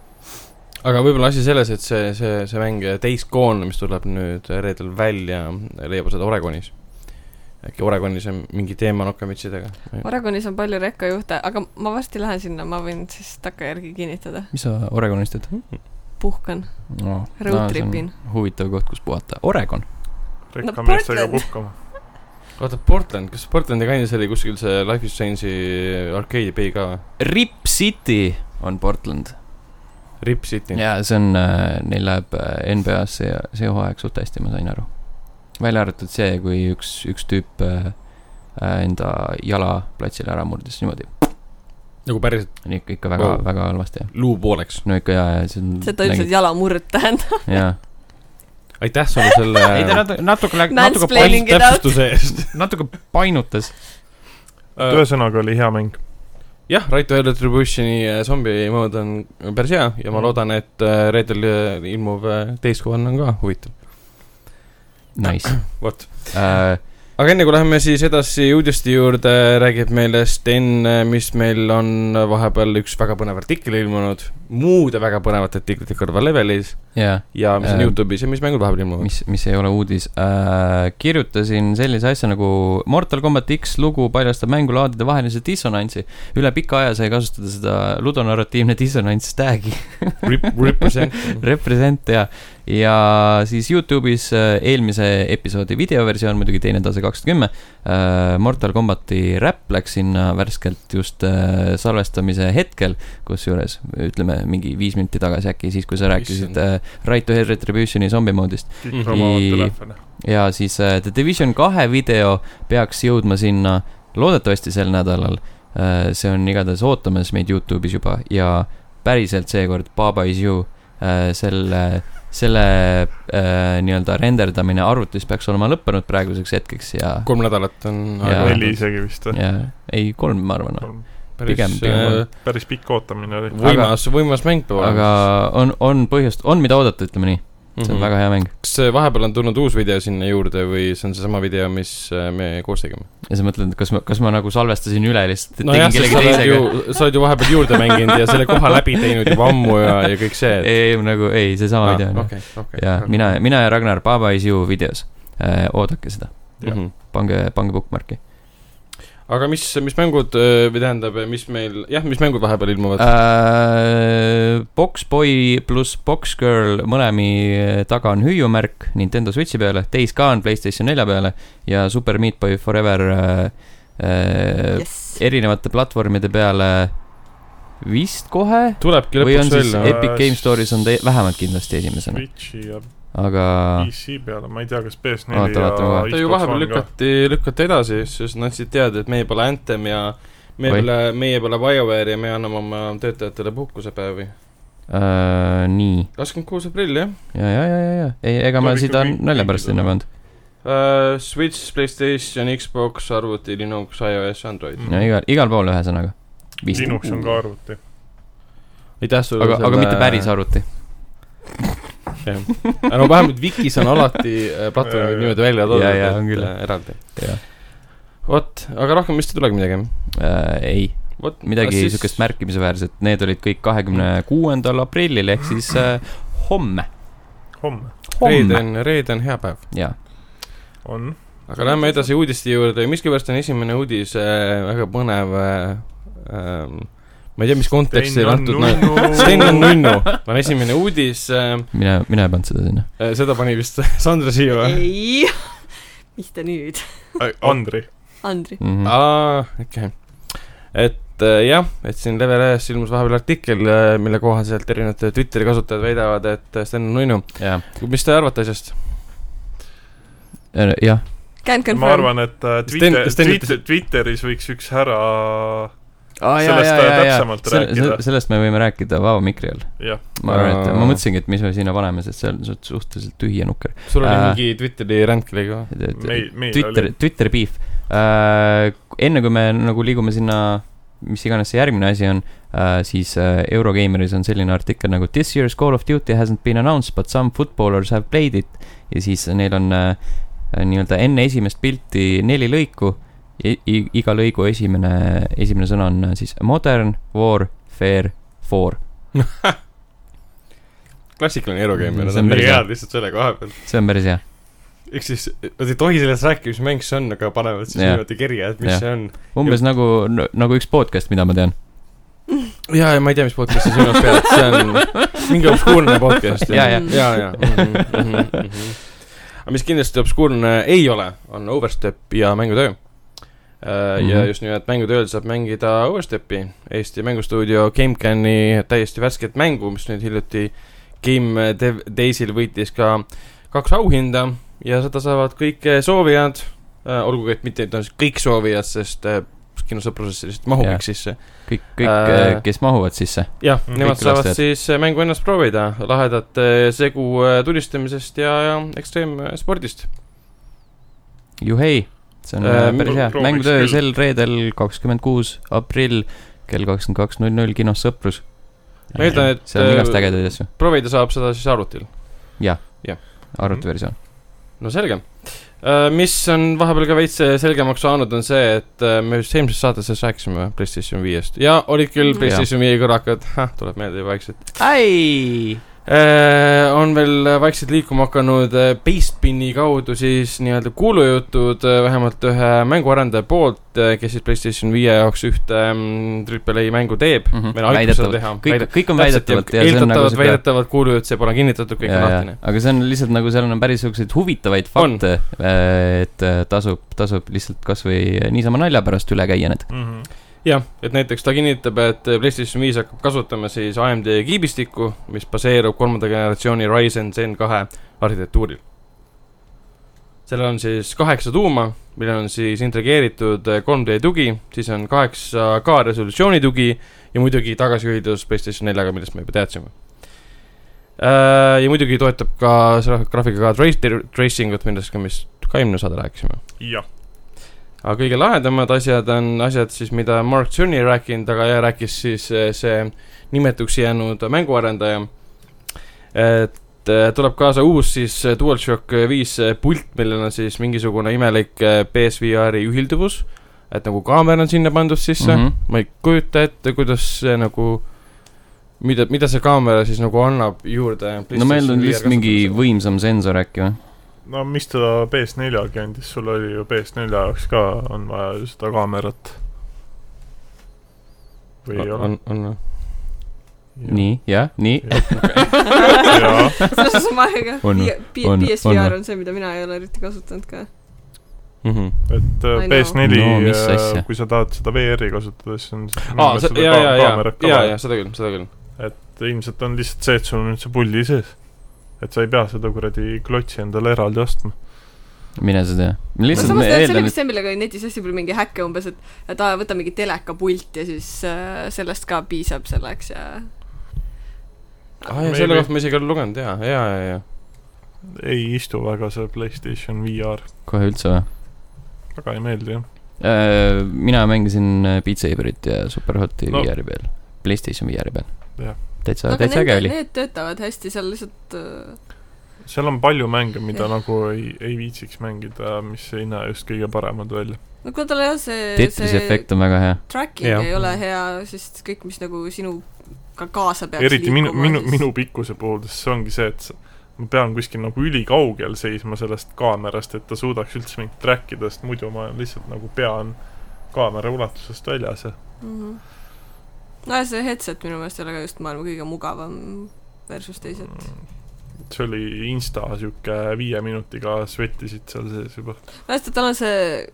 aga võib-olla asi selles , et see , see , see mäng Daysgone , mis tuleb nüüd reedel välja , leiab seda Oregonis . äkki Oregonis on mingi teema nokamütsidega ?
Oregonis on palju rekkajuhte , aga ma varsti lähen sinna , ma võin siis takkajärgi kinnitada .
mis sa Oregonist teed ?
puhkan , road trip in .
huvitav koht , kus puhata . Oregon .
rekka
No
meestega
Portland.
puhkama .
oota , Portland , kas Portlandi kandis oli kuskil see Life is Change'i arcade'i pei ka või ?
Rip City on Portland .
Rip City .
jaa , see on , neil läheb äh, NBA-s see , see hooaeg suht hästi , ma sain aru . välja arvatud see , kui üks , üks tüüp äh, äh, enda jala platsile ära murdis , niimoodi .
nagu päriselt
ikka , ikka väga
Vau.
wow. , väga halvasti , jah .
luu pooleks .
no ikka jaa , jaa , see on .
seda üldiselt jalamurd tähendab .
jaa .
aitäh sulle selle
ei , ta natuke , natuke läks , natuke
Mansplaining.
pain- ,
Planning it out.
täpsustuse eest .
natuke painutas .
ühesõnaga oli hea mäng .
äh, jah , Right to Retributioni äh, zombi mood on päris hea ja ma
Mhm.
loodan , et äh, reedel äh, ilmuv äh, täiskohane on ka huvitav .
Nice
Vot.
äh, .
aga enne kui läheme siis edasi uudiste juurde , räägib meile Sten , mis meil on vahepeal üks väga põnev artikkel ilmunud , muude väga põnevat artiklit kõrval levelis
jaa ,
ja mis on
Ähm,
Youtube'is ja mis mängud vahepeal ilmuvad .
mis , mis ei ole uudis äh, . kirjutasin sellise asja nagu Mortal Combat X lugu paljastab mängulaadide vahelise dissonantsi . üle pika aja sai kasutada seda ludonarratiivne dissonants tag'i
Rip , represent .
represent ja , ja siis Youtube'is äh, eelmise episoodi videoversioon , muidugi teine tase kakskümmend kümme . Mortal Combati räpp läks sinna värskelt just äh, salvestamise hetkel , kusjuures ütleme mingi viis minutit tagasi äkki , siis kui sa rääkisid
Issand.
äh, Right to Hell Retributioni zombi moodist .
kõik omavad
Mhm.
telefone .
ja siis äh, The Division kahe video peaks jõudma sinna loodetavasti sel nädalal . see on igatahes ootamas meid Youtube'is juba ja päriselt seekord Baba is you äh, selle , selle äh, nii-öelda renderdamine arvutis peaks olema lõppenud praeguseks hetkeks ja ,
kolm nädalat on
Jaa.
neli isegi vist või ?
ja ei , kolm , ma arvan , pigem-
päris
pigem
äh,
on.
päris pikk ootamine oli .
võimas , võimas mäng peab olema
aga . on , on põhjust , on mida oodata , ütleme nii , see
Mhm.
on väga hea mäng
kas vahepeal on tulnud uus video sinna juurde või see on seesama video , mis äh, me koos tegime ?
ja sa mõtled , et kas ma , kas ma nagu salvestasin üle lihtsalt , et
nojah ,
tegin
sa
kellegi
oled
teisega
ju , sa oled ju vahepeal juurde mänginud ja selle koha läbi teinud juba ammu ja , ja kõik see et... .
ei , ei nagu ei , seesama video on ju
okei , okei .
ja mina , mina ja Ragnar Baba is you videos äh, . oodake seda ,
mina .
pange , pange bookmarki
aga mis , mis mängud öö, või tähendab , mis meil , jah , mis mängud vahepeal ilmuvad ?
äh, . Boxboy pluss Boxgirl mõlemi taga on hüüumärk Nintendo Switchi peale , Days Gone Playstation nelja peale ja Super Meat Boy Forever äh, äh, yes.
jess .
erinevate platvormide peale vist kohe
tulebki
või on
lõpuks
siis
välja
ep-
või ?
Epic Game Store'is on te- vähemalt kindlasti esimesena ,
Switchi ja
aga
Ah.
PC peale , ma ei tea , kas PS4
Oota,
ja
vaatame kohe.
ta ju vahepeal lükati , lükati edasi , sest nad andsid teada , et meie pole Anthem ja meie
Või?
pole , meie pole BioWare ja me anname oma töötajatele puhkusepäevi .
äh, nii ,
kakskümmend kuus aprill , jah .
ja , ja , ja , ja , ja , ei , ega
Tuleb
ma
ikka
seda
kõik-
nalja pärast
kõikidele.
sinna ei pannud .
Uh, Switch , Playstation , Xbox , arvuti , Linux , iOS , Android
Mm.
mm. .
no igal , igal pool ühesõnaga .
Linux on ka arvuti .
aitäh sulle
aga , aga mitte päris arvuti .
aga Äh, no vähemalt Vikis on alati äh, platvormid niimoodi välja toodud .
Jaa, jaa, on küll.
eraldi
Jaa. .
vot , aga rohkem vist ei tulegi midagi .
Äh, ei ,
vot
midagi siukest . märkimisväärset , need olid kõik kahekümne kuuendal aprillil ehk siis äh, homme .
homme
reede
homme ,
on , reede on hea päev .
jaa .
on
aga lähme edasi uudiste juurde , miskipärast on esimene uudis äh, väga põnev äh, . Ähm, ma ei tea , mis konteksti on antud , no Sten on nunnu , on esimene uudis äh, ,
mina , mina ei pannud seda sinna .
äh, seda pani vist Sandra siia või ?
ei , mis te nüüd ,
Andri ,
Andri .
Mhm. Ah.
aa , okei . et äh, jah , et siin Level ühes ilmus vahepeal artikkel äh, , mille kohaselt erinevad Twitteri kasutajad väidavad , et äh, Sten on nunnu .
jah ,
mis te arvate asjast ?
Äh, jah ,
Can
ma
confirm .
arvan , et äh,
Sten-
Twitter ,
Sten
Twitter , Twitteris võiks üks härra ,
Aa, Ah, jaa,
Sellest
jaa,
ta
jaa, jaa.
täpsemalt
Selle-
rääkida.
selle- sellest me võime rääkida Vao mikri all .
jah ,
ma arvan , et
Aa.
ma mõtlesingi , et mis me sinna paneme , sest see on suht- suhteliselt tühi ja nukker .
sul oli
Äh.
mingi Twitteri ränd kellega või ?
meil , meil
Twitter
oli ,.
Twitter beef äh, . enne kui me nagu liigume sinna , mis iganes see järgmine asi on äh, , siis äh, Eurogeimeris on selline artikkel nagu This year's call of duty hasn't been announced but some footballers have played it . ja siis neil on äh, nii-öelda enne esimest pilti neli lõiku . iga lõigu esimene , esimene sõna on äh, siis modern , war , fair , for .
klassikaline Eurogame ,
See
nad
on
on
päris
nii
hea.
head lihtsalt selle koha peal .
see on päris hea .
ehk siis , nad ei tohi sellest rääkida , mis mäng see on , aga panevad siis
Jah.
niimoodi kirja , et mis
Jah.
see on .
umbes nagu , nagu üks podcast , mida ma tean .
ja , ja ma ei tea , mis podcast'i sa silmas pead , see on mingi obskuurne podcast .
Jaa,
jaa.
ja , ja . Mhm, aga mis kindlasti obskuurne ei ole , on Overstep ja mängutöö mm . -hmm. ja
Mhm.
just nimelt mängutööl saab mängida Overstepi , Eesti mängustuudio GameCami täiesti värsket mängu , mis nüüd hiljuti Game Dev Daysil võitis ka kaks auhinda ja seda saavad kõik eh, soovijad , olgugi et mitte et on s- kõik soovijad , sest eh, kinosõprusesse lihtsalt mahub
Jah.
kõik sisse .
kõik , kõik
Äh,
äh, , kes mahuvad sisse .
jah ,
Mm,
nemad
kõik
saavad
lastajad.
siis eh, mängu ennast proovida , lahedat eh, segu eh, tulistamisest ja , ja ekstreemspordist .
juhei , see on
Äh,
äh, päris hea .
prooviks
mängutöö
küll.
sel reedel , kakskümmend kuus aprill kell kakskümmend kaks null null kinos Sõprus .
Ma eeldan, et,
seal on igast
äh,
ägedaid asju ,
proovida saab seda siis arvutil .
arvutiversioon .
no selge . mis on vahepeal ka veits äh, selgemaks saanud , on see , et eh, me just eelmises saates just rääkisime PlayStation viiest ja olid küll
Mm.
Mhm.
PlayStation viie kõrakad , tuleb meelde juba vaikselt .
ai ,
Eh, on veel vaikselt liikuma hakanud eh, Baspini kaudu siis nii-öelda kuulujutud eh, vähemalt ühe mänguarendaja poolt , kes siis PlayStation viie jaoks ühte mm, triple A mängu teeb .
Mhm. väidetavalt , kõik , kõik on väidetavalt ja see on nagu
eeldatavalt ,
siuke
väidetavalt kuulujutt , see pole kinnitatud , kõik on
Jaa, jaa.
lahtine .
aga see on lihtsalt nagu seal on päris siukseid huvitavaid
On.
fakte , et äh, tasub , tasub lihtsalt kasvõi niisama nalja pärast üle käia need .
mm .
jah , et näiteks ta kinnitab , et PlayStation viis hakkab kasutama siis AMD kiibistikku , mis baseerub kolmanda generatsiooni Ryzen Zen kahe arhitektuuril . sellel on siis kaheksa tuuma , millel on siis integreeritud 3D tugi , siis on kaheksa K resolutsiooni tugi ja muidugi tagasihoidlus PlayStation neljaga , millest me juba teadsime . ja muidugi toetab ka selle graafikaga tra- , tracing ut , millest ka , mis ka eelmine saade rääkisime .
jah ,
aga kõige lahedamad asjad on asjad siis , mida Mark Tsunni ei rääkinud , aga jah, rääkis siis eh, see nimetuks jäänud mänguarendaja . et eh, tuleb kaasa uus siis eh, DualShock viis eh, pult , millel on siis mingisugune imelik eh, BSVR-i ühilduvus . et nagu kaamera on sinna pandud sisse
Mhm.
mm , -hmm. ma ei kujuta ette , kuidas see nagu , mida , mida see kaamera siis nagu annab juurde .
no meil on lihtsalt mingi võimsam sensor äkki või ?
no mis ta PS4-gi andis , sul oli ju PS4 jaoks ka on vaja ju seda kaamerat . või ei ole ?
on , on või ?
nii , jah , nii .
jaa ,
selles osas ma aega
On või? . On või? On
PSVR
või?
on see , mida mina ei ole eriti kasutanud ka .
Mhm.
et
I
äh,
know.
PS4
No mis
äh,
asja?
kui sa tahad seda VR-i kasutada , siis on
aa ,
seda
ja , ja , ja
kaamerat , ka
ja ,
vaja.
ja seda küll , seda küll .
et ilmselt on lihtsalt see , et sul on nüüd see pulli sees . et sa ei pea seda kuradi klotsi endale eraldi ostma .
mine sa tea .
no
lihtsalt
samas
ma
see oli
eeldan ,
vist see , millega oli netis hästi palju mingi häkke umbes , et , et aa , võta mingi telekapult ja siis äh, sellest ka piisab selleks ja
aa , Ah, ja
Maybe.
selle kohta ma isegi olen lugenud ja , ja , ja , ja
ei istu väga see PlayStation VR ,
et kohe üldse või ?
väga ei meeldi jah .
mina mängisin äh, Beat Saberit ja Superhoti
No.
no. VR-i peal , Playstation VR-i peal
Jah. .
täitsa ,
aga
täitsa äge
need ,
oli .
need töötavad hästi , seal lihtsalt äh,
seal on palju mänge , mida
Jah.
nagu ei , ei viitsiks mängida , mis ei näe just kõige paremad välja .
no kui tal ei ole see ,
Tetrise
see
efekt on väga hea .
tracking
Jah.
ja. ei ole hea , siis kõik , mis nagu sinuga kaasa peaks
eriti minu ,
liikuma,
minu ,
siis-
minu pikkuse puhul , sest see ongi see , et sa- ma pean kuskil nagu ülikaugel seisma sellest kaamerast , et ta suudaks üldse mind track ida , sest muidu ma lihtsalt nagu pean kaamera ulatusest väljas ja
Mhm. no ja see headset minu meelest ei ole ka just maailma kõige mugavam versus teised .
see oli Insta sihuke viie minutiga svettisid seal sees juba ,
no just , et tal on see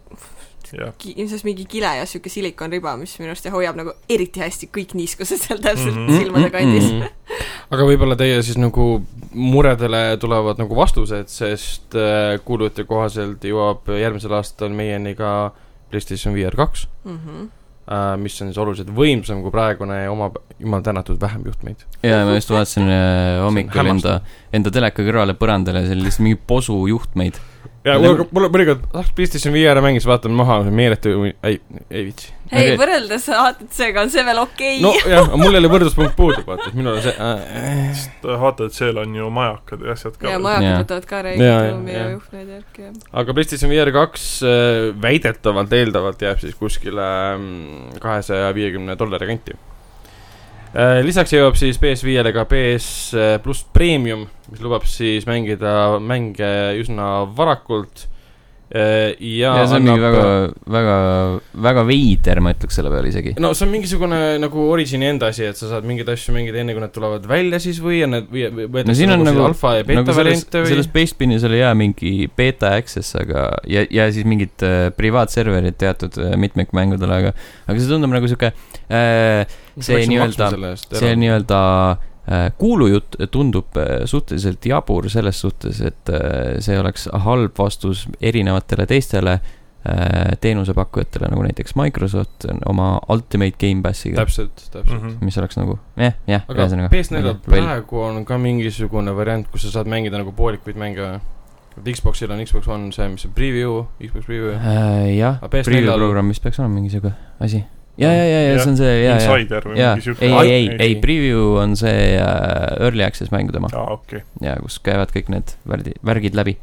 jah .
ki- ilmselt mingi kile ja siuke silikonriba , mis minu arust hoiab nagu eriti hästi kõik niiskused seal täpselt mm
Mhm.
-hmm. silmade kandis mm .
-hmm. aga võib-olla teie siis nagu muredele tulevad nagu vastused , sest äh, kuulujute kohaselt jõuab järgmisel aastal meieni ka PlayStation VR kaks ,
-hmm. Mm -hmm.
mis on siis oluliselt võimsam kui praegune ja omab , jumal tänatud , vähem juhtmeid .
jaa , ma just vaatasin äh, hommikul enda , enda teleka kõrvale põrandale , seal lihtsalt mingi posu juhtmeid .
ja
Mul-
mul , mul mõnikord , ah , PlayStation VR-i mängis , vaatan maha , meeletu , ei , ei viitsi .
ei
Okei.
okay. , võrreldes ATC-ga on see veel okei
no
okay. .
jah , mul jälle võrdluspunkt puudub , vaata , minul on see äh, ,
sest HTC-l on ju majakad ja asjad ka
ja .
Jaa.
majakad võtavad ka
Jaa, jaa,
reeglitumi ja
jaa.
juhtmeid ja värki ja .
aga PlayStation VR kaks äh, väidetavalt , eeldavalt jääb siis kuskile kahesaja viiekümne dollari kanti . lisaks jõuab siis PS5-le ka PS äh, pluss premium , mis lubab siis mängida mänge üsna varakult Äh, ja,
ja see on mingi väga , väga , väga veider , ma ütleks selle peale isegi .
no see on mingisugune nagu Origini enda asi , et sa saad mingeid asju mängida enne , kui nad tulevad välja siis või on need , või või
no
võetakse
siin on nagu
alfa ja
nagu
beeta
selles ,
variante või
selles Basepinis oli jaa mingi beeta access , aga ja , ja siis mingid äh, privaatserverid teatud äh, mitmikmängudele , aga , aga see tundub nagu sihuke äh, , see nii-öelda- see nii-öelda äh, kuulujutt tundub äh, suhteliselt jabur selles suhtes , et äh, see oleks halb vastus erinevatele teistele äh, teenusepakkujatele , nagu näiteks Microsoft on oma Ultimate Gamepassiga ,
täpselt , täpselt .
Mhm.
mis oleks nagu jah , jah ,
aga PS4-l praegu on ka mingisugune variant , kus sa saad mängida nagu poolikuid mänge või ? et Xboxil on Xbox One see , mis see preview , Xbox preview ja
Äh, jah ,
Aga PS4-l
preview programm vist peaks olema mingi siuke asi . ja , ja , ja , ja see on see , ja , ja ,
Insider või
ja , ei ,
mingi siuke
ei , ei ,
Ei.
ei , preview on see äh, early access mäng tema
aa , okei .
ja kus käivad kõik need värdi , värgid läbi .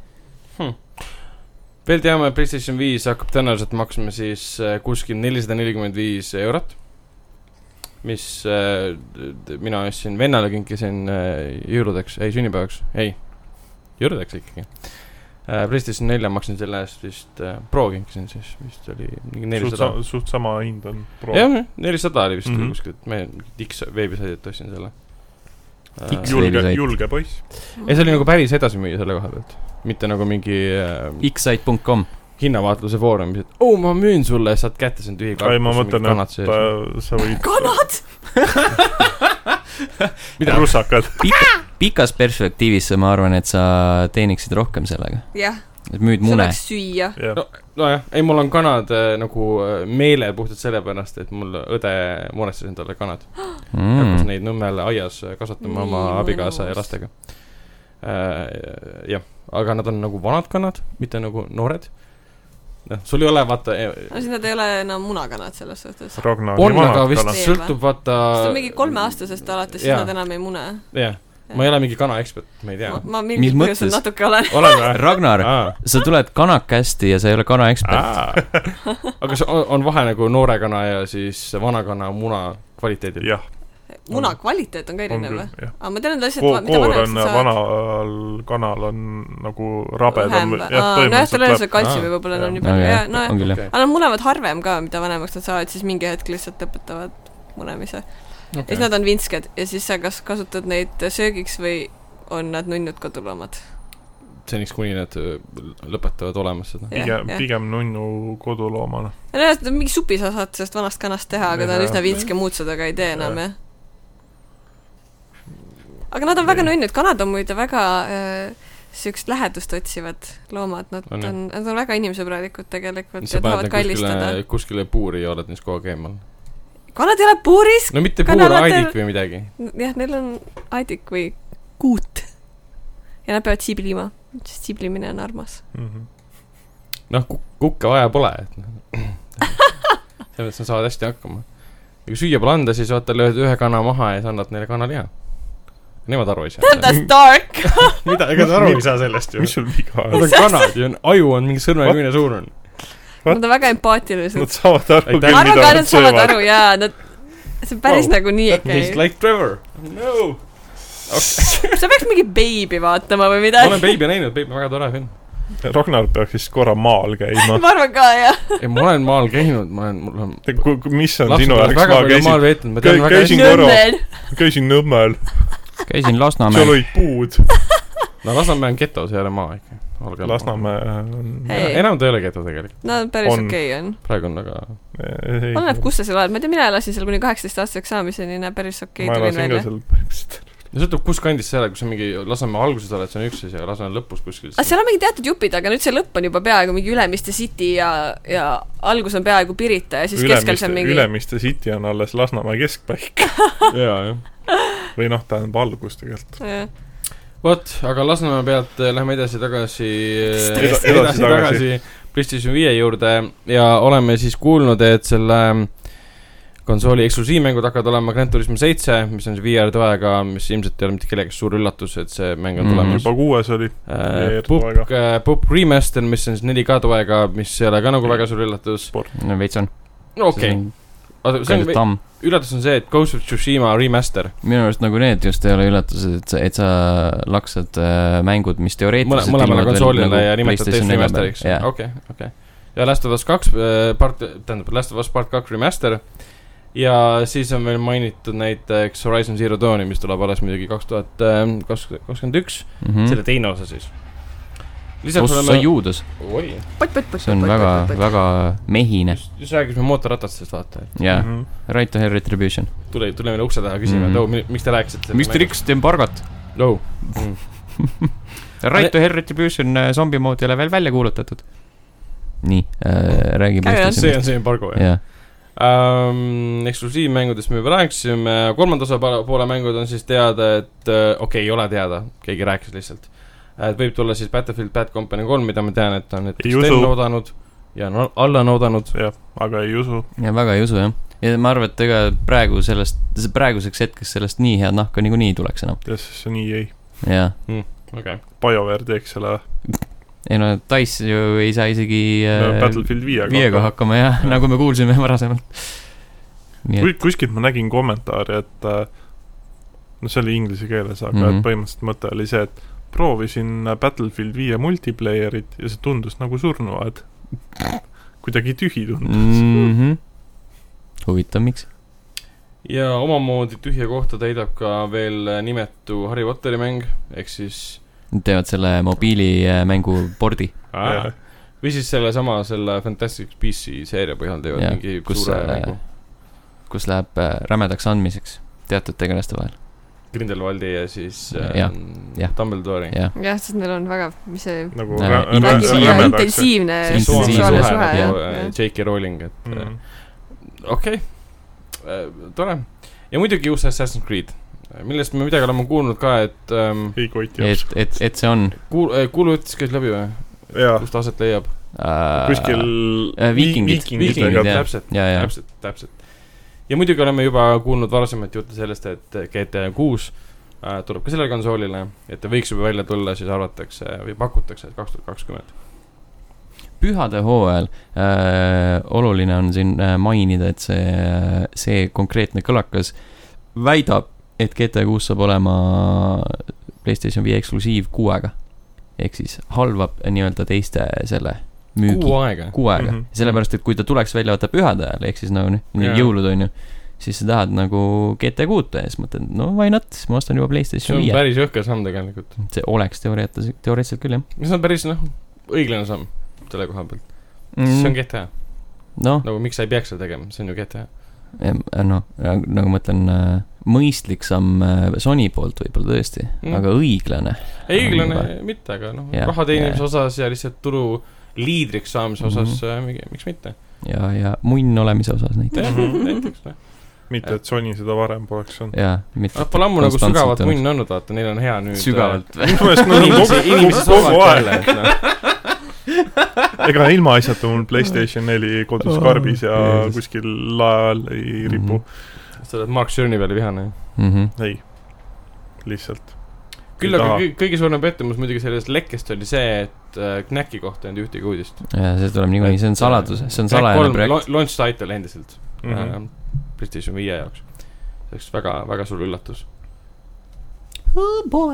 veel teame , Playstation viis hakkab tõenäoliselt maksma siis äh, kuskil nelisada nelikümmend viis eurot . mis äh, d- d- mina ostsin , vennale kinkisin äh, jõuludeks , ei sünnipäevaks , ei , jõuludeks ikkagi äh, . Playstation nelja maksin selle eest vist äh, , Pro kinkisin siis vist oli mingi
suht
nelisada
sa- ,. suht sama hind on .
jah , nelisada oli vist mm
Mhm.
-hmm. kuskilt , me X veebisaidilt ostsin selle .
X-
ei ,
julge ,
Veebisait.
julge poiss .
see oli nagu päris edasimüüja selle koha pealt , mitte nagu mingi äh,
Xsite.com ,
hinnavaatluse foorumis , et oo , ma müün sulle , saad kätte , see on tühi
ei , ma mõtlen , et
et
äh, sa võid ,
kanad ?
Mida?
russakad .
pikas perspektiivis ma arvan , et sa teeniksid rohkem sellega ,
jah ,
et müüd
sa
mune .
võiks süüa .
jah ,
nojah , ei , mul on kanad äh, nagu äh, meelel puhtalt sellepärast , et mul õde muretses endale kanad mm. . hakkas
Mm.
neid Nõmmel aias äh, kasvatama
Nii
oma abikaasa ja
mõnus.
lastega äh, . jah , aga nad on nagu vanad kanad , mitte nagu noored . noh , sul ei ole vaata ,
no siis nad ei ole enam munakanad selles
Äh,
suhtes .
Ragnar .
on , aga vist
kanad.
sõltub vaata
see on mingi kolmeaastasest alates , siis
Jaa.
nad enam ei mune .
jah , ma ei ole mingi kanaekspert , ma ei tea
ma, . ma
Mis
mingil põhjusel
mõttes?
natuke olen .
oled või ?
Ragnar , sa tuled kanakasti ja sa ei ole
Ah.
kanaekspert .
aga kas on, on vahe nagu noore kana ja siis vana kana muna kvaliteedil ?
jah ,
muna kvaliteet on ka
on
erinev
küll
või ?,
jah .
aga ma tean , et
Ko-
asjad , mida
koor
vanemaks
on
sa saad
vanal kanal on nagu rabedam .
vähem , nojah , tal ühesõnaga kaltsiumi võib-olla enam
Jah.
nii palju , jaa , nojah .
on küll jah .
aga nad munevad harvem ka , mida vanemaks nad saavad , siis mingi hetk lihtsalt lõpetavad munemise okay. . ja siis
Okay.
nad on vintsked ja siis sa kas kasutad neid söögiks või on nad nunnud koduloomad .
seniks , kuni nad öö, lõpetavad olemas seda .
pigem ,
jah.
pigem nunnu koduloomana .
nojah , mingi supi sa saad sellest vanast kanast teha , aga ta on
Jah.
üsna vintske , muud seda ka ei tee enam ,
Jah.
jah . aga nad on väga
Jah.
nunnud , kanad on muide väga äh, siukest lähedust otsivad loomad , nad
On,
on,
jah.
on , nad on väga inimsõbralikud tegelikult
sa
ja
paned
tahavad
nad kuskile
kallistada .,
kuskile puuri ja oled neist kogu aeg eemal .
kanad ei ole puuris ,
no mitte puur ,
Kanalatel-
aidik või midagi .
jah , neil on aedik või kuut . ja nad peavad siblima , sest siblimine on armas .
Mhm.
noh , kukke vaja pole , et noh . selles mõttes nad saavad hästi hakkama . ja kui süüa pole anda , siis vaata , lööd ühe kana maha ja siis annad neile kanaliha . Nemad aru ei saa .
That's dark .
mida , ega nad aru ei saa sellest ju
mis . sul viga on ?
Nad on kanad ju , aju on mingi sõrmeküüne suurune .
Nad on väga empaatilised
Nad . saavad aru
Ei,
küll ,
ma arvan
mida
ka ,
nad
nad saavad
söövad .
aru jaa , nad , see on päris
Wow.
wow. nagu nii
That
okei
tastes
okay. .
like Trevor . no
sa peaks mingi Baby vaatama või
ma olen
midagi .
Baby näinud , Baby on väga tore film .
Ragnar peaks vist korra maal käima .
ma arvan ka jah .
ei , ma olen maal käinud , ma olen , mul on
mis on
lapsed
sinu
on
jaoks , ma
väga palju
käisin ,
maal veetnud , ma tean
Käi-
väga
käisin
hästi .
korra-
Nõmmel .
käisin Nõmmel ,
käisin
seal
Lasnamäel ,
olid puud .
no Lasnamäe on geto , see ei ole maa ikka . olge .
Lasnamäe on
Ei.
enam ta ei ole geto tegelikult ,
no päris
On.
okei okay on .
praegu on väga ,
Ei,
oleneb , kus sa seal oled , ma ei tea , mina elasin seal kuni kaheksateist aastaseks saamiseni , näe päris okei
ma
okay, tulin
elasin ka
välja .
seal põhimõtteliselt .
no sõltub , kus kandis sa elad , kui sa mingi Lasnamäe alguses oled , see on üks asi , aga Lasnamäe lõpus kuskil .
aga Ah, seal on mingi teatud jupid , aga nüüd see lõpp on juba peaaegu mingi Ülemiste City ja , ja algus on peaaegu Pirita ja siis keskel
Ülemiste
seal , mingi
Ülemiste City on alles Lasnamäe keskpaik
jaa , jah .
või noh , tähendab algus tegelikult .
Jah.
vot , aga Lasnamäe pealt eh, lähme edasi-tagasi ,
Edasi-
edasi-tagasi PlayStation viie juurde ja oleme siis kuulnud , et selle konsooli eksklusiivmängud hakkavad olema Grand Turismo seitse , mis on siis VR-toega , mis ilmselt ei ole mitte kellelegi suur üllatus , et see mäng on
Mm.
tulemas
juba kuues oli ,
Äh,
VR
Pupk
toega. ,
Pup Remaster , mis on siis 4K toega , mis ei ole ka nagu väga suur üllatus .
no veits on .
okei ,. oota , see on
kõige , tamm .
üllatus on see , et Ghost of Tsushima remaster .
minu arust nagu need just ei ole üllatused , et sa , et sa laksad äh, mängud , mis
mõle- ,
teoreetiliselt ilmuvad veel
mõlemale
nagu
konsoolile ja nimetad
PlayStation
teist
nelja
remaster'iks ,
peal. jah ,
okei , okei . ja Last of Us kaks äh, part , tähendab Last of Us part kaks remaster ja siis on veel mainitud näiteks Horizon Zero Dawni , mis tuleb alles muidugi kaks tuhat kakskümmend üks , selle
mhmh .
teine osa siis . lisaks
Mhm. pluss sa
oleme ,
juudas ,
oi ,
see on väga , väga mehine
just , just rääkisime mootorratastest , vaata ,
ja
Mhm.
Right to Hell Retribution .
tuli , tuli meile ukse taha küsima , et
Mhm.
oo , miks te rääkisite .
rikkusite embargot ?
oo ,
Right to Hell Retribution äh, zombi mood ei ole veel välja kuulutatud . nii äh, , räägi
Carry on.
see
PlayStationist .
on see embargo , jah .
jah ,
ähm, . eksklusiivmängudest me juba rääkisime , kolmanda osa pa- poole mängud on siis teada , et äh, okei okay, , ei ole teada , keegi rääkis lihtsalt . et võib tulla siis Battlefield Bad Company kolm , mida ma tean , et on näiteks
Ei usu.
Sten oodanud ja no, Allan oodanud .
jah , aga ei usu .
ja väga ei usu jah . ja ma arvan , et ega praegu sellest , praeguseks hetkeks sellest nii head nahka niikuinii ei tuleks enam .
jah , sest see nii ei .
jah ,
okei okay. ,
BioWare teeks selle
ei no Dice ju ei saa isegi
äh,
äh,
Battlefield viiega .
viiega hakkama jah , nagu me kuulsime varasemalt . nii et
kui , kuskilt ma nägin kommentaari , et äh, no see oli inglise keeles , aga mm
Mhm.
-hmm. et põhimõtteliselt mõte oli see , et proovisin äh, Battlefield viie multiplayerit ja see tundus nagu surnuaed . kuidagi tühi tundus mm. .
mm . -hmm. huvitav , miks ?
ja omamoodi tühja kohta täidab ka veel äh, nimetu Harry Potteri mäng , ehk siis
Nad teevad selle mobiilimängu pordi ,
ah, või siis sellesama , selle Fantastic Beastsi seeria põhjal teevad
Jah,
ja, mingi
kus,
suure
äh,
äh... mängu .
kus läheb äh, rämedaks andmiseks teatud tegelaste vahel ,
Grindelwaldi ja siis
Jah,
äh,
jah.
Dumbledore'i .
jah .
jah , sest neil on väga , mis see
nagu
Näe,
rä- rä-
Väga
intensi-
intensiivne-
ja
rämedaks .
intensiivne
See intensiivne
seksuaalne
suhe,
suhe ,
jah.
jah .
J.K. Eh, Rowling , et mm.
Mm.
okei okay. , Eh, tore . ja muidugi uus Assassin's Creed , millest me midagi oleme kuulnud ka , et ähm,
ei koti
et
jaoks .,
et , et see on
kuul- , eh, kuulujutis käis läbi või ,
jaa ,
kus ta aset leiab ?
äh,
kuskil
äh, viikingid. Viikingid,
viikingid ,
jah.
täpselt ,
ja , ja ,
täpselt , täpselt . ja muidugi oleme juba kuulnud varasemaid jutte sellest , et eh, GTA kuus äh, tuleb ka sellele konsoolile , et ta võiks juba välja tulla , siis arvatakse või pakutakse , et kaks tuhat kakskümmend .
pühade hooajal äh, oluline on siin äh, mainida , et see , see konkreetne kõlakas väidab , et GTA kuus saab olema PlayStation viie eksklusiiv kuu aega . ehk siis halvab nii-öelda teiste selle müügi .
kuu aega .
kuu aega mm ,
Mhm.
-hmm. sellepärast et kui ta tuleks välja vaata pühade ajal , ehk siis nagu noh ,
Jaa.
jõulud on ju , siis sa tahad nagu GT kuuta ja siis mõtled , no why not , siis ma ostan juba
see
Playstation
on
viie .
päris jõhker samm tegelikult .
see oleks teoreetiliselt , teoreetiliselt küll jah
see on päris noh , õiglane samm selle koha pealt mm. . see on
mm, .
GTA ,
noh ,
nagu miks sa ei peaks seda tegema , see on ju GTA .
noh , nagu ma ütlen , mõistlik samm äh, Sony poolt võib-olla tõesti mm. ,
Mm.
aga õiglane .
ei õiglane
Aga-
mitte , aga noh ,
Jah,
raha teenimise
jah. Mhm.
osas ja lihtsalt turu liidriks saamise osas mm , -hmm. miks mitte .
ja , ja munn olemise osas näiteks
jah ,
Mhm.
näiteks noh .
mitte et Sony seda varem poleks olnud .
ja mitte .
Mm. Nad pole ammu nagu sügavat munni olnud , vaata , neil on hea nüüd . äh,
sügavalt .
minu meelest nad on
inimesi ,
kogu
inimesi ,
kogu
solvavad
aeg
jälle ,, et noh ,
ega ilmaasjata mul Playstation neli kodus karbis ja
Jeesus. Mhm.
kuskil lae all ei ripu .
sa oled Mark Cerny peale vihane .
mm . -hmm.
ei , lihtsalt .
küll
Ei
aga
taha.
kõi- kõige suurem pettumus muidugi sellest lekkest oli see , et äh, Knäki kohta ei olnud ühtegi uudist . äh,
ja see tuleb niikuinii , see on saladus , see on salajane projekt .
projekt . Launch title endiselt mm ,
Mhm.
-hmm. PlayStation viie jaoks . see oleks väga , väga suur üllatus .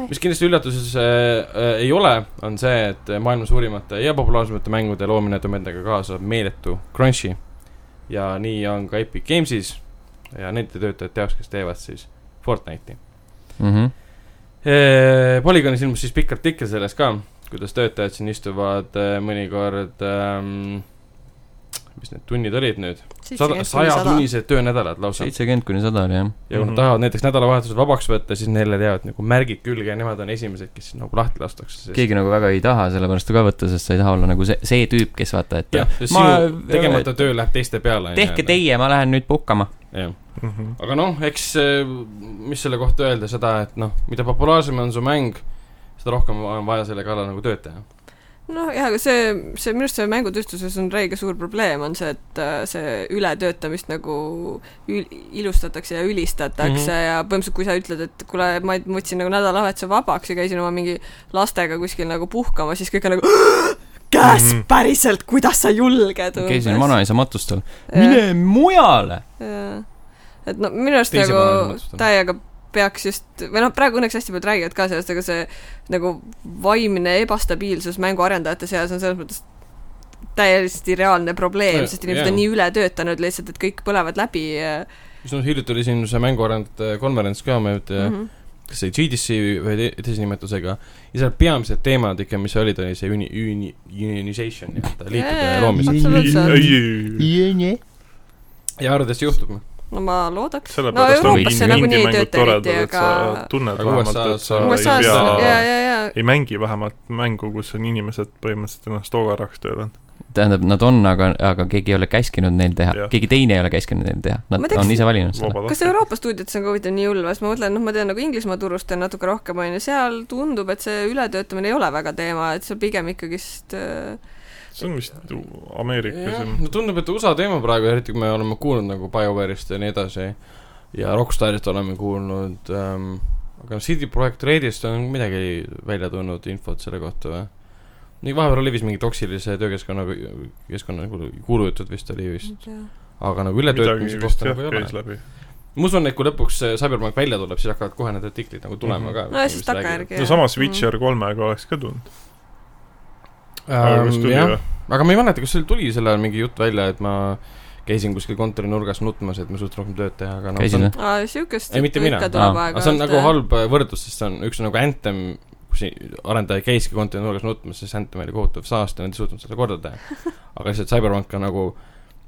mis kindlasti üllatuses äh, äh, ei ole , on see , et maailma suurimate ja populaarsemate mängude loomine toob endaga kaasa meeletu crunch'i . ja nii on ka Epic Games'is ja nende töötajate jaoks , kes teevad siis Fortnite'i .
Mm -hmm.
Polügonis ilmus siis pikk artikkel sellest ka , kuidas töötajad siin istuvad äh, mõnikord ähm, mis need tunnid olid nüüd ? sada , sajatunnised töönädalad lausa .
seitsekümmend kuni sada oli jah .
ja kui nad
Mhm.
tahavad näiteks nädalavahetusel vabaks võtta , siis neile jäävad nagu märgid külge ja nemad on esimesed , kes nagu lahti lastakse .
keegi nagu väga ei taha selle pärast ka võtta , sest sa ei taha olla nagu see , see tüüp , kes vaata , et
jah , sinu
Ma-
tegemata töö läheb teiste peale .
tehke . teie , ma lähen nüüd puhkama .
jah ,
Mm -hmm.
aga noh , eks eh, mis selle kohta öelda , seda , et noh , mida populaarsem on su mäng , seda rohkem on vaja selle kallal nagu tööd teha .
noh , jah , aga see , see minu arust see mängutööstuses on räige suur probleem , on see , et äh, see ületöötamist nagu ül- , ilustatakse ja ülistatakse mm
Mhm.
-hmm. ja põhimõtteliselt , kui sa ütled , et kuule , ma ma võtsin nagu nädalavahetuse vabaks ja käisin oma mingi lastega kuskil nagu puhkamas , siis kõik on nagu
käes
Mhm.
päriselt , kuidas sa julged
käisin . vanaisa matustel .
et
mine mujale .
no minu arust
Teise vanaisa
nagu
matustel.
täiega peaks just või noh , praegu õnneks hästi paljud räägivad ka sellest , aga see nagu vaimne ebastabiilsus mänguarendajate seas on selles mõttes täiesti reaalne probleem ,
Ja-
sest inimesed
jaa.
on nii üle töötanud lihtsalt , et kõik põlevad läbi ja
just hiljuti oli siin see mänguarendajate konverents ka , me nüüd mm -hmm.
Mhm.
kas see GDC või te- teise nimetusega ja seal peamised teemad ikka , mis olid , oli see uni- , uni- , unionization nii-öelda , liikide
Jaa,
loomine .
absoluutselt .
ja arvatavasti juhtub .
no ma loodaks . no
sellepärast no,
Euroopas
ongi
see nagunii ei
indie-mängud
tööta eriti ,
toredad , et
aga
sa tunned
Aga
vähemalt ,
USA-s
et sa
on-
ei
USA-s ,
pea-
ja , ja , ja
ei mängi vähemalt mängu , kus on inimesed põhimõtteliselt ennast hoogaraks töötanud .
tähendab , nad on , aga , aga keegi ei ole käskinud neil teha
Jah. ,
keegi teine ei ole käskinud neil teha , nad
Ma teeks-
on ise valinud seda .
kas Euroopa stuudiotes on ka huvitav nii hull või , sest ma mõtlen , noh , ma tean nagu Inglismaa turust tean natuke rohkem , on ju , seal tundub , et see ületöötamine ei ole väga teema , et see pigem ikkagist äh,
see on vist u- Ameerikas
jah
ja ,
no tundub , et USA teema praegu , eriti kui me oleme kuulnud nagu BioWare'ist ja nii edasi ja Rockstarist oleme kuulnud ähm, , aga CD Projekt Redist on midagi välja tulnud infot selle kohta või ? nii vahepeal oli vist mingi toksilise töökeskkonna , keskkonna kuulu- kuulujutud vist oli vist ,
ma ei tea.
aga nagu
midagi
ületöötamise
vist
kohta
jah
nagu ei
käis
ole .
läbi .
ma usun , et kui lõpuks see Cyberpunk välja tuleb , siis hakkavad kohe need artiklid nagu tulema
Mhm.
mm -hmm. ka .
nojah , siis takkajärgi .
no samas
Mm.
Witcher kolmega oleks ka tulnud .
ähm, . jah , aga ma ei mäleta , kas seal tuli sel ajal mingi jutt välja , et ma käisin kuskil kontorinurgas nutmas , et ma suht rohkem tööd teha , aga noh ,
Käisid,
see on
jah?
Mm. aa , siukest
ei , mitte mina ,
ikka tuleb
Aa.
aga see on
aeg-ajalt,
nagu
jah.
halb äh, võrdlus , sest see on üks on nagu Anthem , kus ei- arendaja käiski kontorinurgas nutmas , sest Anthem oli kohutav saast ja nad ei suutnud seda korda teha . aga lihtsalt Cyberpunk on nagu ,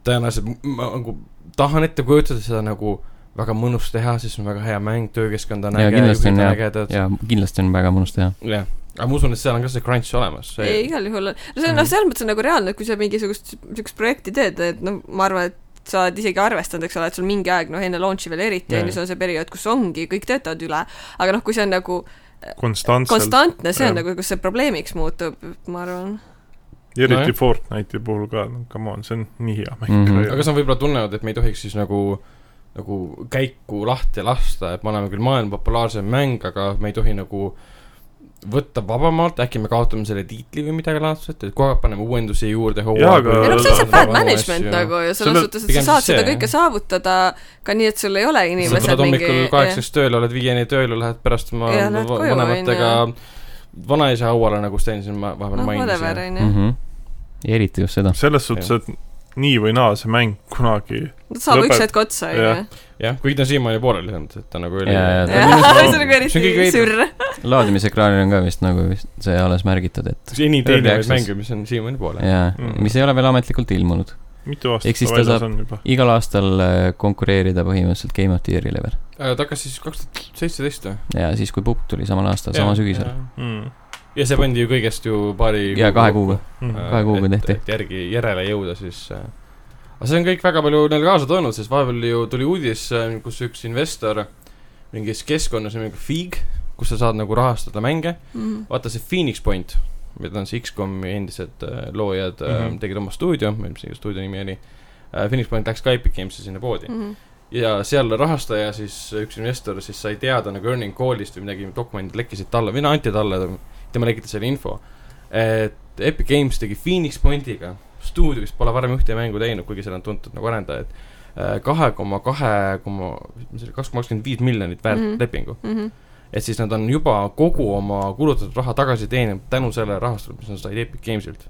tõenäoliselt m- ma nagu tahan ette kujutada seda nagu väga mõnus teha , sest see on väga hea mäng , töökeskkond on
Jaa,
äge ,
kindlasti on
juhid on
hea.
ägedad ,
ja kindlasti on väga mõnus teha .
jah . aga ma usun , et seal on ka see Mm. crunch olemas .
ei , igal juhul on , no see on noh , selles mõttes on nagu reaalne , et kui sa mingisugust siukest projekti teed , et noh , ma arvan , et sa oled isegi arvestanud , eks ole , et sul mingi aeg , noh enne launch'i veel eriti , on
Jaa.
ju , see on see periood , kus ongi , kõik töötavad üle , aga noh , kui see on nagu
konstantselt ,
konstantne , see on
Jah.
nagu , kus see probleemiks muutub , ma arvan .
eriti
Nojah.
Fortnite'i puhul ka , no come on , see on nii hea
Mhm.
mäng .
aga see on võib-olla tunnevad , et me ei tohiks siis nagu , nagu käiku lahti lasta , et me oleme küll maailma populaarsem mäng , aga me ei tohi nagu võtta vabamalt , äkki me kaotame selle tiitli või midagi laadset , et kogu aeg paneme uuendusi juurde .
Jaa, aga-
Äh,
ei
Ei
no see on lihtsalt bad management
nagu .
nagu ju , selles
Selle-
suhtes , et sa
pigem
saad
siis
seda
see,
kõike saavutada ka nii , et sul ei ole
sa tuled
inimesed
hommikul
mingi
kaheksaks tööle , oled viieni tööl ja lähed pärast oma
Ja lähed
va-
koju,
vanematega vanaisa hauale , nagu Sten siin ma- vahepeal
noh , whatever ,
mainis .
onju .
Mhm. eriti just seda .
selles suhtes , et nii või naa see mäng kunagi
saab üks
Lõpet-
hetk otsa ,
jah.
onju .
jah , kuigi ta on siiamaani pooleli olnud , et ta nagu oli
Jaa, jaa, ta-
see on nagu
See on kõige
eriti
veidram.
sürr .
laadimisekraanil on ka vist nagu vist see alles märgitud , et
seni
Early
teine
access.
mäng , mis on siiamaani pooleli .
jaa
Mm. ,
mis ei ole veel ametlikult ilmunud .
mitu aastat
Ehk siis
ta
ta
väljas
saab-
on juba .
igal aastal äh, konkureerida põhimõtteliselt Game of the Year'ile veel .
Äh, ta hakkas siis kaks tuhat seitseteist või ?
ja siis , kui Pukk tuli samal aastal , sama sügisel ..
Hmm.
ja see pandi ju kõigest ju paari
ja kahe kuuga .
Hmm.
Äh.
Kahe kuuga
Et-
tehti.
et järgi , järele jõuda siis äh. aga see on kõik väga palju neil kaasa toonud , sest vahepeal ju tuli uudis , kus üks investor mingis keskkonnas nimega Fig , kus sa saad nagu rahastada mänge ,
Mhm.
vaata see Phoenix Point , mida on see X-komi endised äh, loojad mm
Mhm.
-hmm. tegid oma stuudio , ma ei tea , mis selle stuudio nimi oli , Phoenix Point läks ka Epic Games'i sinna poodi .
Mhm.
ja seal rahastaja siis , üks investor siis sai teada nagu earning call'ist või midagi , dokumendid lekkisid talle , või no anti talle , tema lekitas selle info . et Epic Games tegi Phoenix Pointiga stuudio , kes pole varem ühte mängu teinud , kuigi seal on tuntud nagu arendajad , kahe koma kahe koma , mis see oli , kaks koma kakskümmend viis miljonit väärt mm
Mhm.
-hmm. lepingu . et siis nad on juba kogu oma kulutatud raha tagasi teeninud tänu sellele rahastusele , mis nad said Epic Gamesilt .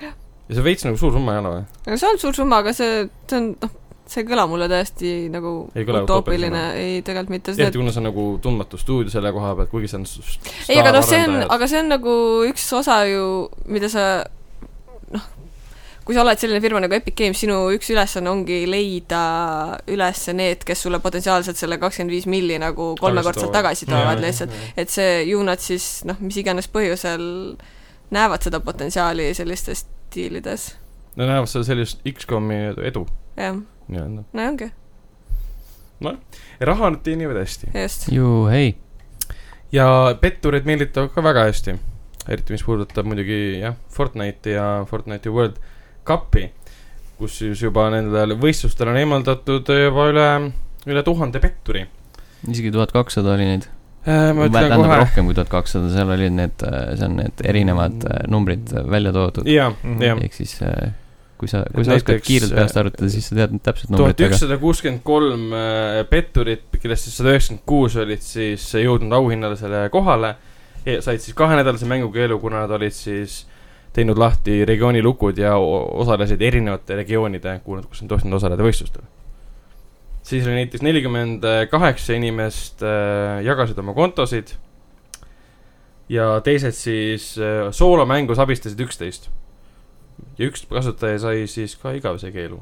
ja see veits nagu suur summa ei ole või ?
no see on suur summa , aga see , see on , noh , see ei kõla mulle täiesti nagu
Ei kõla
utoopiline
utoopilisena. ,
ei tegelikult mitte , sest
eriti
et
kuna see on nagu tundmatu stuudio selle koha pealt , kuigi see on s- s-
ei , aga noh , see on ,
staararendajad.
aga see on nagu üks osa ju , mida sa noh , kui sa oled selline firma nagu Epic Games , sinu üks ülesanne ongi leida üles need , kes sulle potentsiaalselt selle kakskümmend viis milli nagu kolmekordselt tagasi toovad lihtsalt . et see ju nad siis noh , mis iganes põhjusel näevad seda potentsiaali sellistes diilides ,
Nad näevad seda sellist X-komi edu
jah ,
nii-öelda .
no ongi ,
raha nad teenivad hästi
just .
ju hei ,
ja pettureid meelitavad ka väga hästi . eriti , mis puudutab muidugi jah , Fortnite'i ja Fortnite'i World Cupi , kus siis juba nendel võistlustel on eemaldatud juba üle , üle tuhande petturi .
isegi tuhat kakssada oli neid .
ma ütlen
tähendab
kohe .
rohkem kui tuhat kakssada , seal olid need , see on need erinevad äh, numbrid äh, välja toodud .
jah , jah .
ehk siis äh, kui sa , kui
Et
sa oskad
näiteks,
kiirelt peast
äh,
arvutada , siis sa tead täpselt
tuhat
numbrit , aga
ükssada kuuskümmend kolm petturit , kellest siis sada üheksakümmend kuus olid siis jõudnud auhinnalisele kohale . said siis kahenädalase mängukeelu , kuna nad olid siis teinud lahti regiooni lukud ja o- osalesid erinevate regioonide , kus on tohtinud osaleda võistlustel . siis oli näiteks nelikümmend kaheksa inimest äh, jagasid oma kontosid . ja teised siis äh, soolomängus abistasid üksteist . ja üks kasutaja sai siis ka igavese keelu .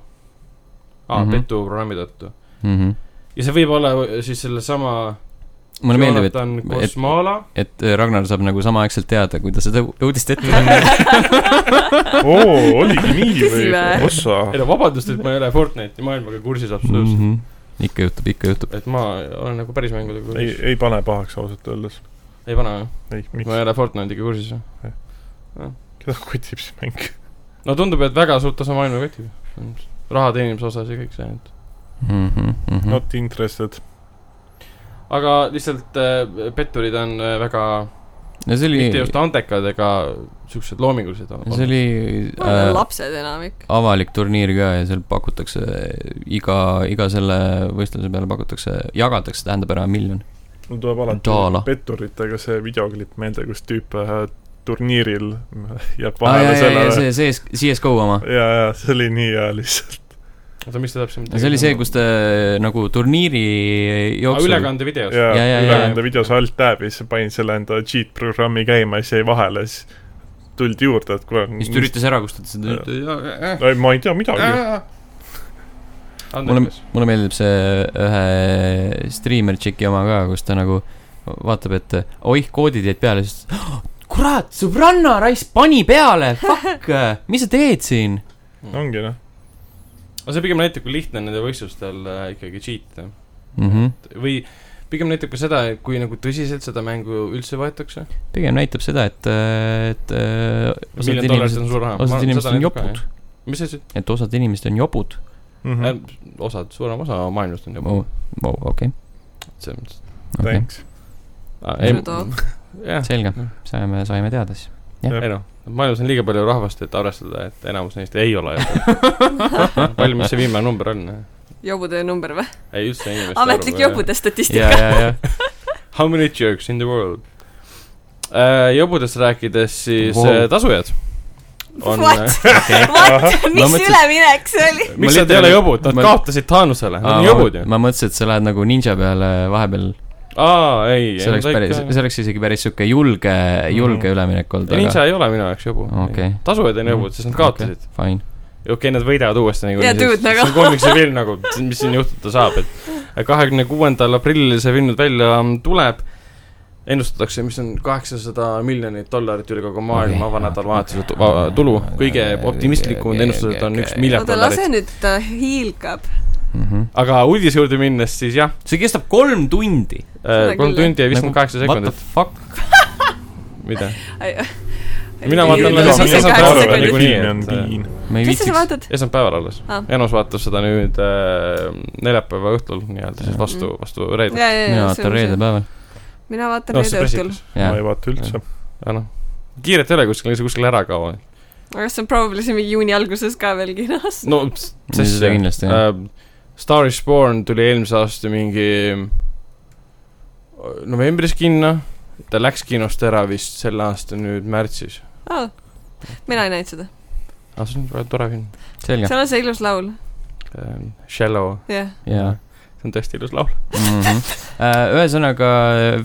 aa mm
Mhm.
-hmm. , petuprogrammi tõttu .
mm . -hmm.
ja see võib olla äh, siis sellesama .
mulle meeldib , et ,
Kosmala
et Ragnar saab nagu samaaegselt teada , kui ta seda u- uudist ette tuleb .
oo , oligi nii või
Tõsi või? ?
ossa .
et... . ei no vabandust , et ma ei ole Fortnite'i maailmaga kursis absoluutselt
Mhm.
mm .
ikka juhtub , ikka juhtub .
-hmm. et ma olen nagu päris mängudega
ei
kursis .,
ei pane pahaks ausalt öeldes .
ei pane või ?
ei ,
ma ei
miks ?
ole Fortnite'iga kursis või ?
keda kotib see mäng ?
no tundub , et väga suurt osa maailma kotib . raha teenimise osas ja kõik see , et .
Mhm,
Mhm.
Not interested .
aga lihtsalt äh, petturid on äh, väga
no see oli ,
mitte just andekad ega siuksed loomingulised .
see oli äh,
lapsed enamik .
avalik turniir ka ja seal pakutakse iga , iga selle võistluse peale pakutakse , jagatakse , tähendab ära miljon .
mul tuleb alati
Daala.
petturitega see videoklipp meelde , kus tüüp äh, turniiril jääb
aa
vahele
jaa , jaa , jaa ,
sellele .
see , see CSGO oma .
ja , ja see oli nii hea lihtsalt .
oota , mis ta täpsemalt
see oli see , kus te nagu turniiri
jooksul .
jooksul
ülekande videos .
ja ,
Jaa, jaa,
ülekande videos alt tab ja siis panin selle enda cheat programmi käima ja siis jäi vahele , siis tuldi juurde , et kuule .
vist üritas ära kustutada seda
Jaa. ei , ma ei tea midagi .
mulle
andekas .,
mulle meeldib see ühe striimer tšiki oma ka , kus ta nagu vaatab , et äh, oih , koodid jäid peale , siis "Ah, kurat , sõbranna raisk pani peale , fuck , mis sa teed siin ?
ongi noh ,
aga see pigem näitab , kui lihtne on nendel võistlustel äh, ikkagi cheat ida
Mm -hmm.
või pigem näitab ka seda , et kui nagu tõsiselt seda mängu üldse võetakse .
pigem näitab seda , et , et äh, osad
miljon dollarit on
inimesed ,
suur raha .
osad inimesed on jopud ,
mis sa ütlesid ?
et osad inimesed on jopud .
Mhm.
osad , suurem osa maailmast on
Oh.
jopud .
okei ,
selles mõttes .
thanks .
ei ,
Rudolf.
jah ,
selge , saime , saime teada siis .
ei noh , maailmas on liiga palju rahvast , et arvestada , et enamus neist ei ole jopud . palju , mis see viimane number on ?
jobude number või ?
ei üldse inimeste
ametlik jobude statistika .
ja , ja , ja
How many jerks in the world uh, ? jobudest rääkides siis wow.
Wow.
tasujad on
What? What , mis
mõtlesin-
üleminek see oli ?
miks nad ei ole jobud , nad
nagu- Ma-
ma... kaotasid Thanosele , nad on jobud ju .
ma mõtlesin , et sa lähed nagu ninja peale vahepeal ,
aa , ei ,
see oleks päris , see oleks isegi päris sihuke julge , julge üleminek olnud , aga
Ninja ei ole minu jaoks jobu
Okei. .
tasujad on jobud , sest nad kaotasid .
fine .
okei okay, , nad võidavad uuesti nagu .
Yeah, dude, nagu.
see on koomiksefilm nagu , mis siin juhtuda saab , et kahekümne kuuendal aprillil see film nüüd välja ähm, tuleb . ennustatakse , mis on kaheksasada miljonit dollarit üle kogu maailma
Okei.
okay. avanädalavahetuse tu- va- tulu . kõige optimistlikumad
Okei,
okay, ennustused okay,
okei,
on üks
okei. Mhm.
miljard
oota , lase
dollarit .
nüüd , ta hiilgab .
aga uudise juurde minnes , siis jah ,
see kestab kolm tundi .
Seda
kolm
küll,
tundi ja viiskümmend kaheksa
Nagu What the
sekundit ,
fuck ?
mida .
mina
Mina vaatan
vaatan
alles esmaspäeval
esmaspäeval
sekundit.
niikuinii .
niikuinii,
filmi on
et-
piin .
ma ei
mis sa
viitsiks .
vaatad ?
esmaspäeval alles
Ah.
ah. . Jaanus vaatas seda nüüd äh, neljapäeva õhtul nii-öelda siis vastu , vastu reede .
ja , ja ,
mina
ja ,
vaatan reede . päeval .
mina vaatan
noh , see
reede õhtul .
pressikas .
ma
jah ,
ei vaata üldse .
aga noh , kiiret ei ole kuskil , see kuskil ära kaua .
aga kas see on probably siin mingi juuni alguses ka veel kinos ?
no ,
seda kindlasti, jah.
äh, . Star is Born tuli eelmise aasta mingi äh, novembris kinno , ta läks kinost ära vist selle aasta nüüd märtsis .
aa , mina ei näinud seda .
aga see on väga tore film
selge ,
seal on see ilus laul ,
äh, . Shallow ,
jah .
jaa .
see on tõesti ilus laul .
mm . -hmm. ühesõnaga ,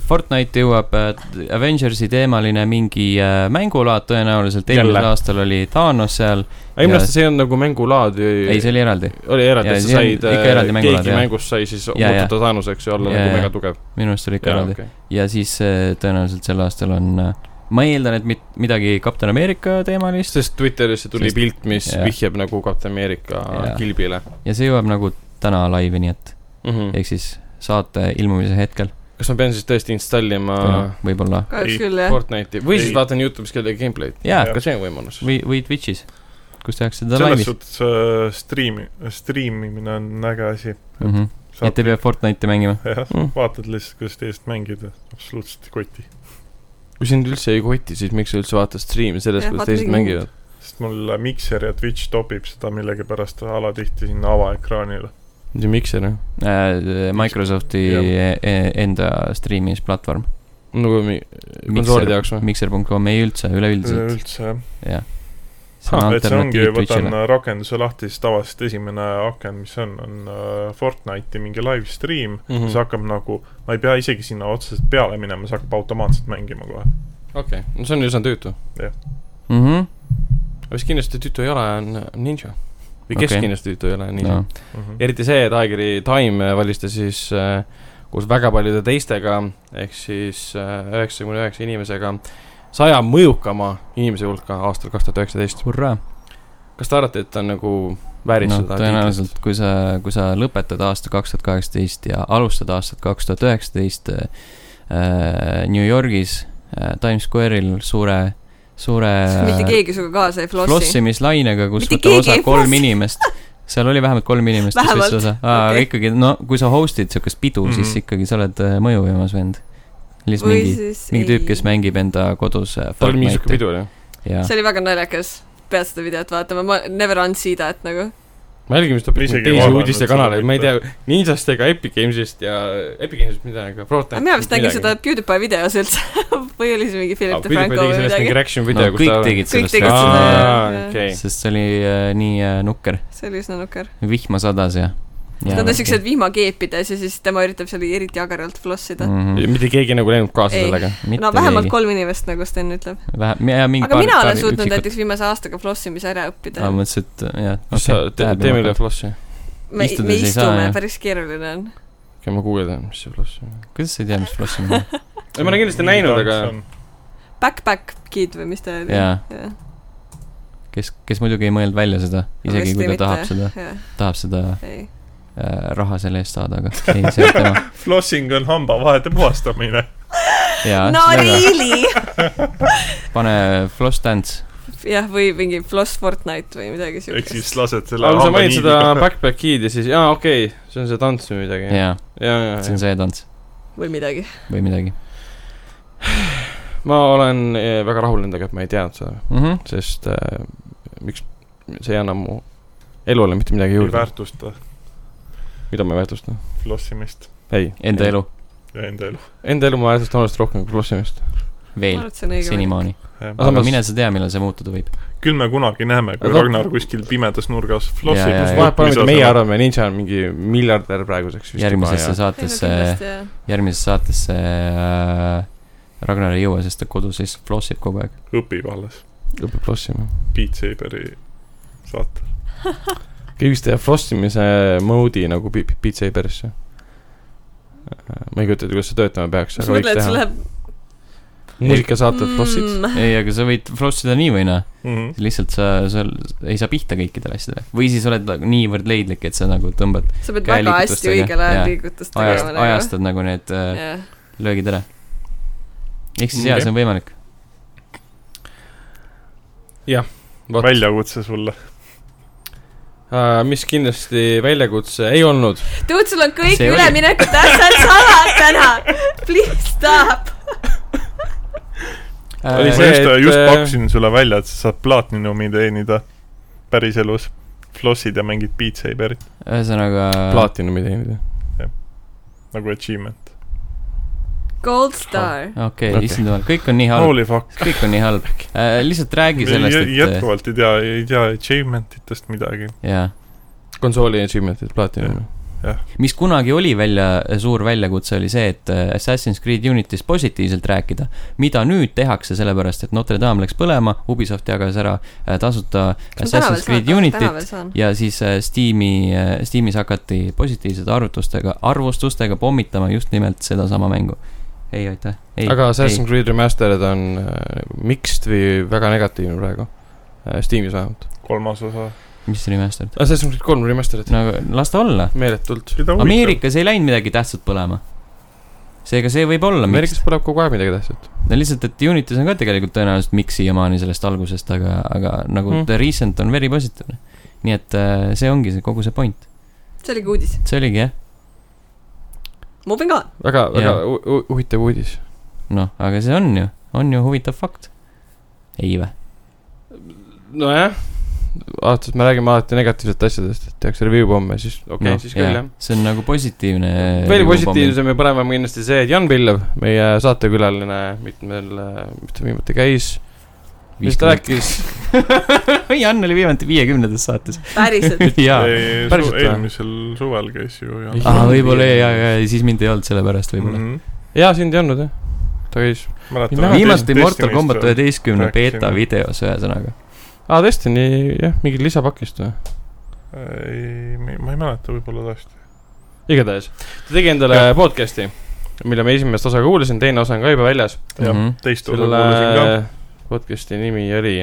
Fortnite jõuab äh, Avengersi teemaline mingi äh, mängulaad tõenäoliselt , eelmisel
Jälle.
aastal oli Thanos seal ,
aga minu
Ja-
arust see ei olnud nagu mängulaad ju .
ei see oli eraldi ,
oli eraldi ,
Jaa,
et
see
sa
on
said ,
ikka eraldi mängulaad,
keegi
jah.
mängus sai siis
Jaa, jaa.
muutuda Thanoseks ja olla
Jaa, jaa.
nagu megatugev .
minu arust oli ikka
jaa ,
eraldi
okei .
ja siis äh, tõenäoliselt sel aastal on , ma eeldan , et mit- , midagi Kapten Ameerika teemalist
sest Twitterisse tuli
Sest-
Sest... pilt , mis
jaa.
yeah. vihjab nagu Captain America
Jaa.
yeah. kilbile
ja see jõuab nagu täna laivi , nii et
mm . -hmm.
ehk siis saate ilmumise hetkel
kas ma pean siis tõesti installima
võib-olla
kahjuks
Ei.
küll , jah .
Fortnite'i või siis
Ei.
vaatan Youtube'is kellegi gameplay'd ?
jaa ,
ka see on võimalus .
või , või Twitch'is , kus tehakse seda
selles
laivis .
suhtes äh, striimi , striimimine äh, on äge asi .
Mm -hmm. et ei pea Fortnite'i mängima .
jah
Mm.
mm. , vaatad lihtsalt , kuidas teised mängivad ja absoluutselt ei koti .
kui sind üldse ei koti , siis miks sa üldse vaatad striimi sellest ,
Jah,
kuidas
vaata
teised
midagi
mängivad ?
sest mul äh, Mikser ja Twitch topib seda millegipärast alatihti sinna avaekraanile .
see mikser , jah ?
Äh, Microsofti
Jah.
e- enda striimimisplatvorm ,
nagu mi- , konsoolide jaoks või ?
mikser.com , ei üldse , üleüldiselt ,
üldse jah .
jah .
Ah, et see ongi , võtan rakenduse lahti , siis tavaliselt esimene aken , mis on , on äh, Fortnite'i mingi live stream
Mhm.
mm. , see hakkab nagu , ma ei pea isegi sinna otseselt peale minema , see hakkab automaatselt mängima kohe .
okei , no see on üsna tüütu .
mhmh ,
mis kindlasti tüütu ei ole , on äh, Ninja . või
Okei.
kes okay. kindlasti tüütu ei ole , Ninja
no
no. ..
Mhm.
eriti see , et ajakiri Time valis ta siis äh, koos väga paljude teistega , ehk siis äh, üheksakümne üheksa inimesega , saja mõjukama inimese hulka aastal kaks tuhat üheksateist .
hurraa .
kas te arvate , et ta on nagu vääris
no
seda
tõenäoliselt , kui sa , kui sa lõpetad aasta kaks tuhat kaheksateist ja alustad aastat kaks tuhat üheksateist New Yorgis äh, Times Square'il suure , suure
mitte keegi sinuga kaasa ei flossi .
flossimislainega , kus
Mitte
võtab
keegi
osa
ei
kolm
flossi.
inimest . seal oli vähemalt kolm inimest , kes
Vähemalt,
võttis osa , aga
okei.
ikkagi , no kui sa host'id siukest pidu mm , -hmm. siis
Mhm.
ikkagi sa oled äh, mõjuvõimas vend . lihtsalt mingi ,
siis
mingi tüüp , kes mängib enda kodus äh,
tal oli mingi siuke
Fortnite'i
pidu , onju .
ja
see oli väga naljakas , pead seda videot vaatama , ma never unsee that nagu .
ma jälgin vist hoopis
Isegi
mingeid teisi
vaadanud
uudistekanaleid ,
seda
ma ei tea , Ninjast ega Epic Gamesist ja Epic Gamesist midagi , aga Fortnite .
aga mina vist nägin seda PewDiePie videos üldse või oli see mingi
Ah,
Philip DeFranco või midagi .
mingi reaction
no,
video , kus
kõik
ta .
tegid
Kõik
sellest
tegid
reaktsiooni.
seda, jah.
okei .
sest see oli äh, nii äh, nukker ,
see oli üsna nukker .
vihma sadas ja .
Nad on siuksed vihmakeepides ja siis tema üritab seal eriti jagaralt flossida .
-hmm.
mitte keegi nagu ei läinud kaasa
Ei.
sellega .
no vähemalt . kolm inimest , nagu Sten ütleb .
vähem , ja mingi
aga mina olen suutnud näiteks viimase aastaga flossimise ära õppida
aa ,. mõtlesin , et äh, jah .
kas sa , tee meile flash'i .
me ,
istudes
me
ei saa,
istume
jah. ,
päris keeruline on .
okei , ma guugeldan , mis see flash on .
kuidas sa ei tea , mis flossimine on ?
ei , ma olen kindlasti näinud , aga .
Backpack kid või mis ta oli ?
Jaa. kes , kes muidugi ei mõelnud välja seda , isegi kui ta tahab seda , tahab seda
ei ,
äh, raha selle eest saada , aga ei , see on tema .
Flossing on hambavahede puhastamine .
jaa
no . really ?
pane floss dance .
jah , või mingi Floss Fortnite või midagi
ehk siis
siukest .
lased selle
aga sa
hamba
mainid
nii
seda Backpack Kid'i siis , jaa , okei okay, , see on see tants või midagi . jaa ,
jaa ,
jaa ,
see on
jaa .
see tants
või midagi .
või midagi
ma olen eh, väga rahul nendega , et ma ei teadnud seda ,
mm . -hmm.
sest äh, miks , see ei anna mu elule mitte midagi
ei
juurde ,
väärtusta
mida ma ei väärtusta .
flossimist
ei .
Enda . elu
ja enda elu .
Enda elu ma väärtustan oluliselt rohkem kui flossimist .
ma
veel
arvan , et see on õige .
senimaani .
Aga
aga
samas-
mine sa tea , millal see muutuda võib .
küll me kunagi näeme , kui
Aga-
Ragnar kuskil pimedas nurgas
Jaa, jaa, jaa.
flossib .
vahet pole , mida meie . arvame , Ninja on mingi miljardär praeguseks vist
järgmisesse
juba
saatesse , järgmisesse saatesse äh, Ragnar ei jõua , sest ta kodus lihtsalt flossib kogu aeg .
õpib alles
ja õpib flossima .
Beat Saberi saate .
keegi vist teeb flossimise moodi nagu Beat Beat Saberisse . ma ei kujuta ette , kuidas see töötama peaks ,
sa
aga võiks
mõtled , et sul
teha .
läheb
muusikasaated flossid .
mm,
ei , aga sa võid flossida nii või naa .
Mm -hmm.
lihtsalt sa , sa ei saa pihta kõikidele asjadele või siis oled nagu niivõrd leidlik , et sa nagu tõmbad
sa pead
käe
väga hästi
liigutustega,
õigel ajal
jaa.
liigutust
ajast ,
tegema nagu .
ajastad nagu need äh,
jah ,
löögid ära . ehk siis jaa ,
Okei.
see on võimalik .
väljakutse sulle .
Äh, mis kindlasti väljakutse ei olnud .
dude , sul on kõik
See oli.
üleminekud täpselt samad täna . Please stop .
Oli
ma
see,
just ,
et,
just
äh,
pakkusin sulle välja , et sa saad platinumi teenida päriselus . flossid ja mängid Beat Saberit
ühesõnaga ,
plaatinumi teenida .
nagu achievement .
Gold star .
okei ,
Okei.
issand jumal , kõik on nii halb ,
Holy fuck .
kõik on nii halb . lihtsalt räägi sellest ,
jätkuvalt ei tea , ei tea achievement itest midagi .
et äh, jaa ,
konsooli achievement'id , plaatinumi .
mis kunagi oli välja , suur väljakutse oli see , et äh, Assassin's Creed Unity's positiivselt rääkida , mida nüüd tehakse , sellepärast et Notre Dame läks põlema , Ubisoft jagas ära äh, tasuta Assassin's Creed Unity't , ja siis äh, Steam'i , Steamis hakati positiivsete arvutustega , arvustustega pommitama just nimelt sedasama mängu . ei , aitäh , ei , ei
aga Assassin's , Creed Remastered on äh, mixed või väga negatiivne praegu . Steamis vähemalt .
kolmas osa .
mis remaster'd ?
Assassin's Creed kolm Remastered ,
no aga Nagu, las ta olla ,
meeletult .
keda huvitab ?
Ameerikas ei läinud midagi tähtsat põlema . seega see võib olla miks ,
Ameerikas põleb kogu aeg midagi tähtsat .
no lihtsalt , et Unity's on ka tegelikult tõenäoliselt miks siiamaani sellest algusest , aga , aga nagu
Mm.
mm. The Recent on very positiivne . nii et äh, see ongi see kogu see point ,
see oligi uudis .
see oligi jah ,
moving on .
väga , väga
Jaa.
hu- hu- huvitav uudis .
noh , aga see on ju , on ju huvitav fakt . ei vä ?
nojah , vaatasin , me räägime alati negatiivsetest asjadest , et tehakse review pomme , siis okei okay, no, , siis küll jah .
Noh, see on nagu positiivne .
veel . positiivsem ja parem on kindlasti see , et Jan Pillev , meie saatekülaline , mitmel , mis ta viimati käis , mis ta rääkis ,
Jan oli viimati viiekümnendas saates .
päriselt .
jaa .
päriselt või?
eelmisel suvel käis ju ja
Ei,
aa , võib-olla jaa , jaa , siis mind ei olnud sellepärast võib-olla .
Mhm.
jaa , sind ei olnud jah , ta käis ,
mäletan
Ei,
viimati Mortal Combat
oli
üheteistkümne beeta
rääkisime.
videos , ühesõnaga .
aa Destiny jah , mingi lisapakist või ?
Äh, ei , ma ei mäleta võib-olla tõesti
igatahes , ta tegi endale ja. podcast'i , mille ma esimest osa ka kuulasin , teine osa on ka juba väljas .
Jah.
Mhm.
teist osa
selle
kuulasin ka
podcast'i nimi oli ,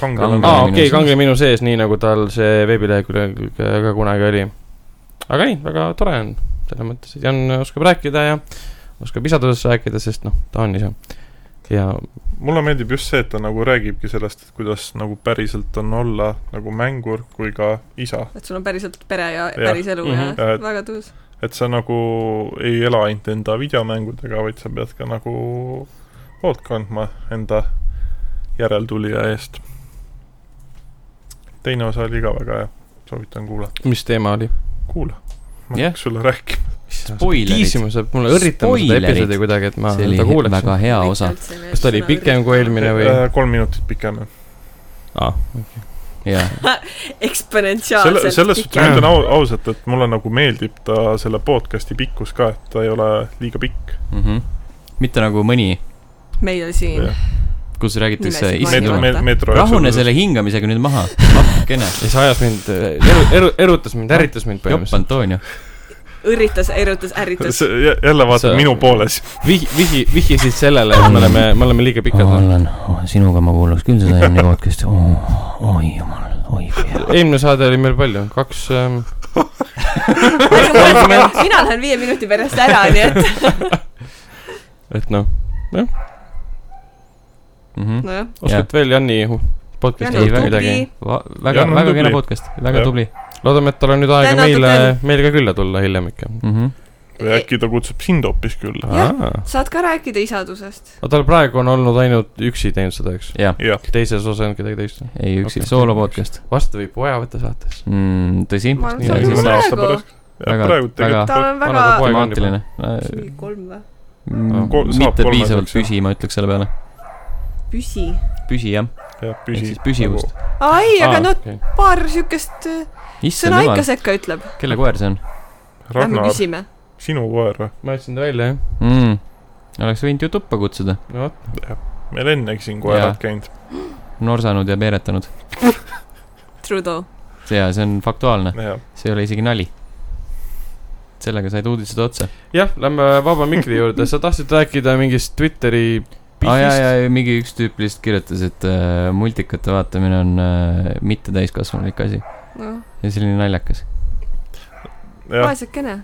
kangelane
aa
Kangelane.
okei okay, ,
minu
Kange minu sees , nii nagu tal see veebilehekülg ka kunagi oli . aga ei , väga tore on , selles mõttes , et Jan oskab rääkida ja oskab isadusest rääkida , sest noh , ta on isa . ja
mulle meeldib just see , et ta nagu räägibki sellest , et kuidas nagu päriselt on olla nagu mängur kui ka isa .
et sul on päriselt pere ja päris elu ja,
Mhm.
Ja et-
väga tõus .
et sa nagu ei ela ainult enda videomängudega , vaid sa pead ka nagu hoolt kandma enda järeltulija eest . teine osa oli ka väga hea , soovitan kuulata .
mis teema oli ?
kuula , ma ei
Jah.
hakka sulle rääkima .
Spoilerid.
tiisima saab mulle õrritama seda
Spoilerid.
episoodi kuidagi , et ma
see
seda
oli
kuuleksin .
väga hea osa .
kas ta oli pikem kui ? eelmine või ?
Äh, kolm minutit pikem .
aa ,
jaa ,
selle ,
eksponentsiaalselt .
selles suhtes ma ütlen au- ausalt , et mulle nagu meeldib ta selle podcast'i pikkus ka , et ta ei ole liiga pikk .
Mhm. mitte nagu mõni ,
meil siin
Jah.
kus räägitakse
Nimesid
Metro ,
issand .
mainimata.
me- , metro .
rahune selle hingamisega nüüd maha , appikene .
ja see ajas mind , eru- , eru- , erutas mind , ärritas mind
jopp
põhimõtteliselt .
Antonio .
õrritas , erutas , ärritas .
jälle vaatad
See-
minu poole , siis
vihi , vihi , vihjasid sellele , et me oleme , me oleme liiga pikad noh. olnud .
olen , oh, sinuga ma kuulaks küll seda Janni podcast'i , oi jumal , oi kui hea .
eelmine saade oli meil palju , kaks ähm, ,
mina lähen viie minuti pärast ära , nii et .
et noh ,
Mhm.
nojah ,
oskad veel Janni hu-
Jan
podcast'i
Ei,
on
väga-
öelda midagi ?
tubli .
väga ,
Jan on
väga kena
tubli.
podcast , väga
Jah.
tubli .
loodame , et tal on nüüd aega
Tänatud
meile
veel. ,
meile ka külla tulla hiljem ikka .
Mhm.
või äkki ta kutsub sind hoopis külla .
Jah.
aga
saad ka rääkida isadusest .
tal praegu on olnud ainult üksi teinud seda , eks ?
jah ,
jah ,
teises osa on kedagi teist .
ei üksi
Okei.
okay. , soolo podcast
vast võib poja võtta saates .
mm, . tõsi ,
ma arvan ,
nii
see on
oli
juba
mõne aasta
praegu .
pärast .
Väga- väga-
praegu tegelikult
tal on väga
Vanaga poeg.
temaatiline .
kolm või ?
Kol- saab
Äh, mm, mitte
kolmeseks,
piisavalt
jah.
püsi , ma ütleks selle peale .
püsi .
püsi jah ,
jah ,
ehk
püsi
siis . püsivust .
nagu
ai , aga no
okay.
paar siukest äh,
issand
sõna ikka
jumal ,
sekka ütleb .
kelle koer see on
Lähme
Ragnar ,
küsime .
sinu koer või ?
ma jätsin ta välja , jah .
mm. ? oleks võinud ju tuppa kutsuda ,
no vot ,
meil ennegi siin koerad
Jaa.
käinud .
norsanud ja peeretanud .
Trudeau .
ja see on faktuaalne ,
jah ,
see ei ole isegi nali . sellega said uudised otsa .
jah , lähme vaba mikri juurde , sa tahtsid rääkida mingist Twitteri
aa jaa ,
pihvist .
jaa , mingi üks tüüp lihtsalt kirjutas , et äh, multikate vaatamine on äh, mitte täiskasvanulik asi
noh ,
ja selline naljakas .
jah ,
vaesekene .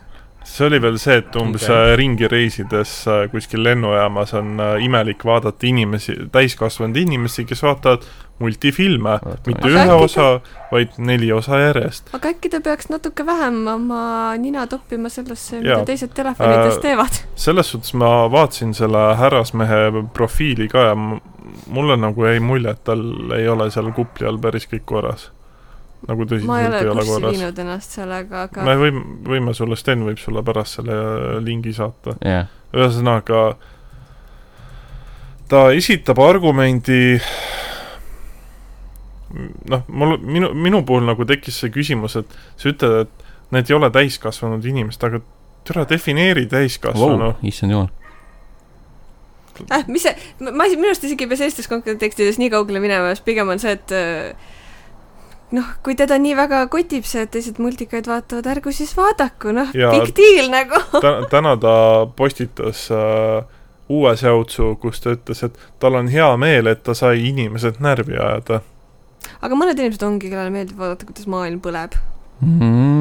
see oli veel see , et umbes
Okei.
äh, ringi reisides äh, kuskil lennujaamas on äh, imelik vaadata inimesi , täiskasvanud inimesi , kes vaatavad multifilme . Ah, mitte
Aga
ühe
äkki ta-
osa , vaid neli osa järjest .
aga äkki ta peaks natuke vähem oma nina toppima sellesse , mida
Jaa.
teised telefonides
Äh,
teevad .
selles suhtes ma vaatasin selle härrasmehe profiili ka ja m- mulle nagu jäi mulje , et tal ei ole seal kupli all päris kõik korras . nagu
ma ei
tõsiselt
ole
ei ole
kurssi
korras .
viinud ennast sellega ,
me
aga
võime , võime sulle , Sten võib sulle pärast selle äh, lingi saata .
jah ,
ühesõnaga , ta esitab argumendi noh , mul , minu , minu puhul nagu tekkis see küsimus , et sa ütled , et need ei ole täiskasvanud inimesed , aga türa defineeri täiskasvanu
vau , issand jumal .
äh, mis see , ma ei , minu arust isegi ei pea sellistes kontekstides nii kaugele minema , sest pigem on see , et äh, noh , kui teda nii väga kotib see , et teised multikaid vaatavad , ärgu siis vaadaku , noh ,
Jaa.
big deal nagu .
Ta- täna ta postitas äh, uue säutsu , kus ta ütles , et tal on hea meel , et ta sai inimesed närvi ajada .
aga mõned inimesed ongi , kellele meeldib vaadata , kuidas maailm põleb .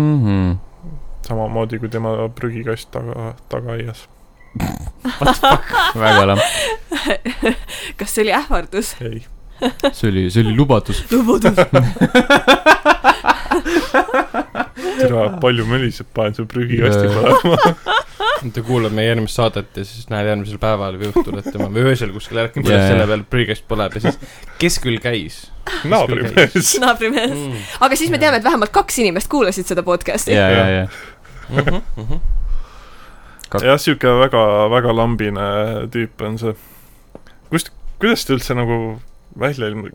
Mhm.
samamoodi kui tema prügikast taga , tagaaias .
väga lamp ,
kas see oli ähvardus ?
ei ,
see oli , see oli lubadus .
lubadus .
tere , palju möliseb , panen su prügikasti põlema .
ta kuulab meie järgmist saadet ja siis näeb järgmisel päeval või õhtul , et tema või öösel kuskil ärkab
Jaa,
üles
jaa.
selle peal , prügikast põleb ja siis , kes küll käis
naabrimees .
naabrimees .
mm. .
aga siis me teame , et vähemalt kaks inimest kuulasid seda podcast'i .
ja , ja , ja .
Mm -hmm, mm -hmm.
jah , sihuke väga , väga lambine tüüp on see . kust , kuidas ta üldse nagu välja ilmu- ,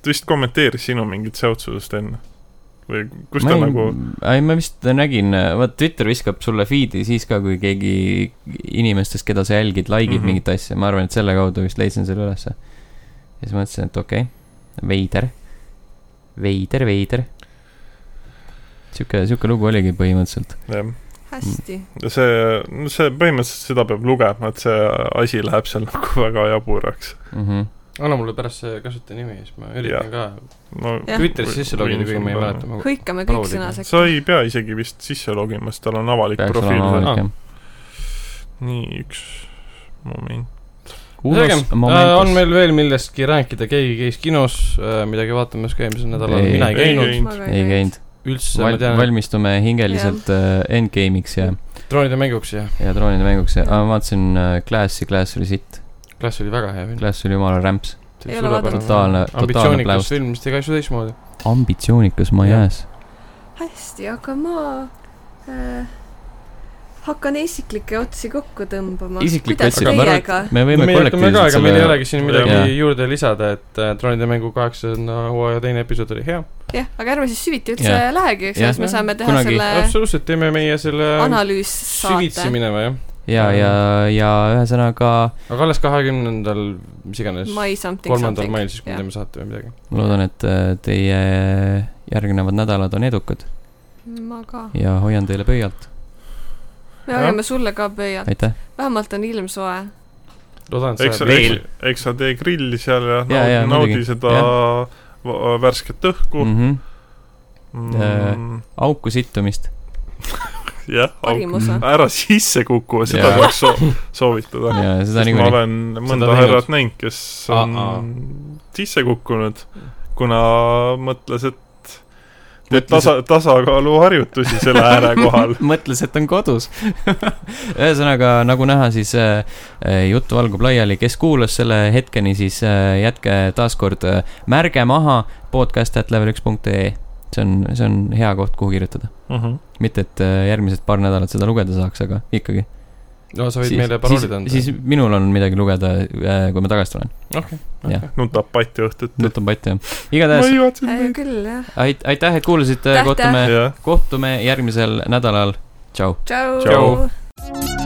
ta vist kommenteeris sinu mingit seotsust enne ? või kus
ma
ta
ei,
nagu ,
ei , ma vist nägin , vaat Twitter viskab sulle feed'i siis ka , kui keegi inimestest , keda sa jälgid , like'ib mm
Mhm.
-hmm. mingit asja , ma arvan , et selle kaudu vist leidsin selle ülesse . ja siis mõtlesin , et okei okay, , veider , veider , veider . sihuke , sihuke lugu oligi põhimõtteliselt .
jah ,
hästi .
see , see põhimõtteliselt seda peab lugema , et see asi läheb seal nagu väga jaburaks .
Mm -hmm.
anna mulle pärast see kasutajanimi , siis ma üritan ka
no
Jah.
Twitteris sisse logida , kuigi ma ei mäleta .
hõikame kõik
Proovime.
sõna
sa
sekka .
ei pea isegi vist sisse logima , sest tal on Ah. avalik
peaks
profiil
olema
veel.
avalik jah .
nii , üks moment .
Unos
Äh, on
Momentos .
meil veel millestki rääkida , keegi käis kinos , midagi vaatamas ka eelmisel nädalal ,
Ei.
mina ei
Ei
käinud
käinud.
ei käinud .
üldse , ma
Val- ,
tean ,
valmistume hingeliselt äh, endgame'iks ja ,
droonide mänguks ja
ja droonide mänguks ja ah, ma vaatasin äh, Classi , Class oli sitt .
klass oli väga hea film .
Class oli jumala rämps .
Ei ole vaadanud.
Totaalne- totaalne
ambitsioonikas
pläust.
film , mis tegi asju teistmoodi .
ambitsioonikas my
Jah.
ass .
hästi , aga ma äh, hakkan isiklikke otsi kokku tõmbama .
Isiklikke
kuidas
otsi- aga ma arvan,
teiega ?
me võime
me jätame ka ,
kollektiivselt
ega meil ei
selle ,
olegi siin midagi
Jaa.
juurde lisada , et äh, Droonide mängu kaheksanda hooaja teine episood oli hea .
jah , aga ärme siis süviti üldse
Jah.
lähegi , eks
Jah.
ole , siis me saame teha
Kunagi.
Äh.
selle
absoluutselt , teeme meie selle süvitsi
analüüssaate .
minema , jah .
ja , ja , ja ühesõnaga
aga alles kahekümnendal , mis iganes ,
mai something
kolmandal
something .
mail siis , kui me
jah.
teeme saate või midagi .
ma loodan , et äh, teie järgnevad nädalad on edukad
ma ka .
ja hoian teile pöialt ,
me
Jah.
hoiame sulle ka pöialt ,
aitäh .
vähemalt on ilm soe .
loodan , et
eks
sa
sa ,
veel
eks , eks sa tee grilli seal ja,
Jaa,
naudi-
jaa,
naudi
muidugi.
seda va- värsket õhku
Mm
mm. .
-hmm.
Mm,
auku sittumist ,
jah ,
parim osa .
Mm-hmm.
ära sisse kuku , seda
Jaa.
peaks soo soovitada .
ja seda
sest ma
niikuinii ,
olen mõnda
teinud.
härrat näinud , kes on
Ah, ah.
sisse kukkunud , kuna mõtles , et teeb
Mõtles,
tasa , tasakaaluharjutusi selle ääre kohal .
mõtles , et on kodus . ühesõnaga , nagu näha , siis äh, äh, jutt valgub laiali , kes kuulas selle hetkeni , siis äh, jätke taaskord äh, märge maha podcast.level1.ee , see on , see on hea koht , kuhu kirjutada . mitte , et äh, järgmised paar nädalat seda lugeda saaks , aga ikkagi .
no sa võid meile paroolid anda .
siis minul on midagi lugeda , kui ma tagasi tulen .
nutab patti õhtuti .
nutan patti , jah .
ma
igatahes
ei vaadanud
hea
neid .
küll , jah .
ait- , aitäh , et kuulasite ,
Aitäh!
kohtume ,
jah .
kohtume järgmisel nädalal , tšau .
tšau,
Tšau.
tšau. .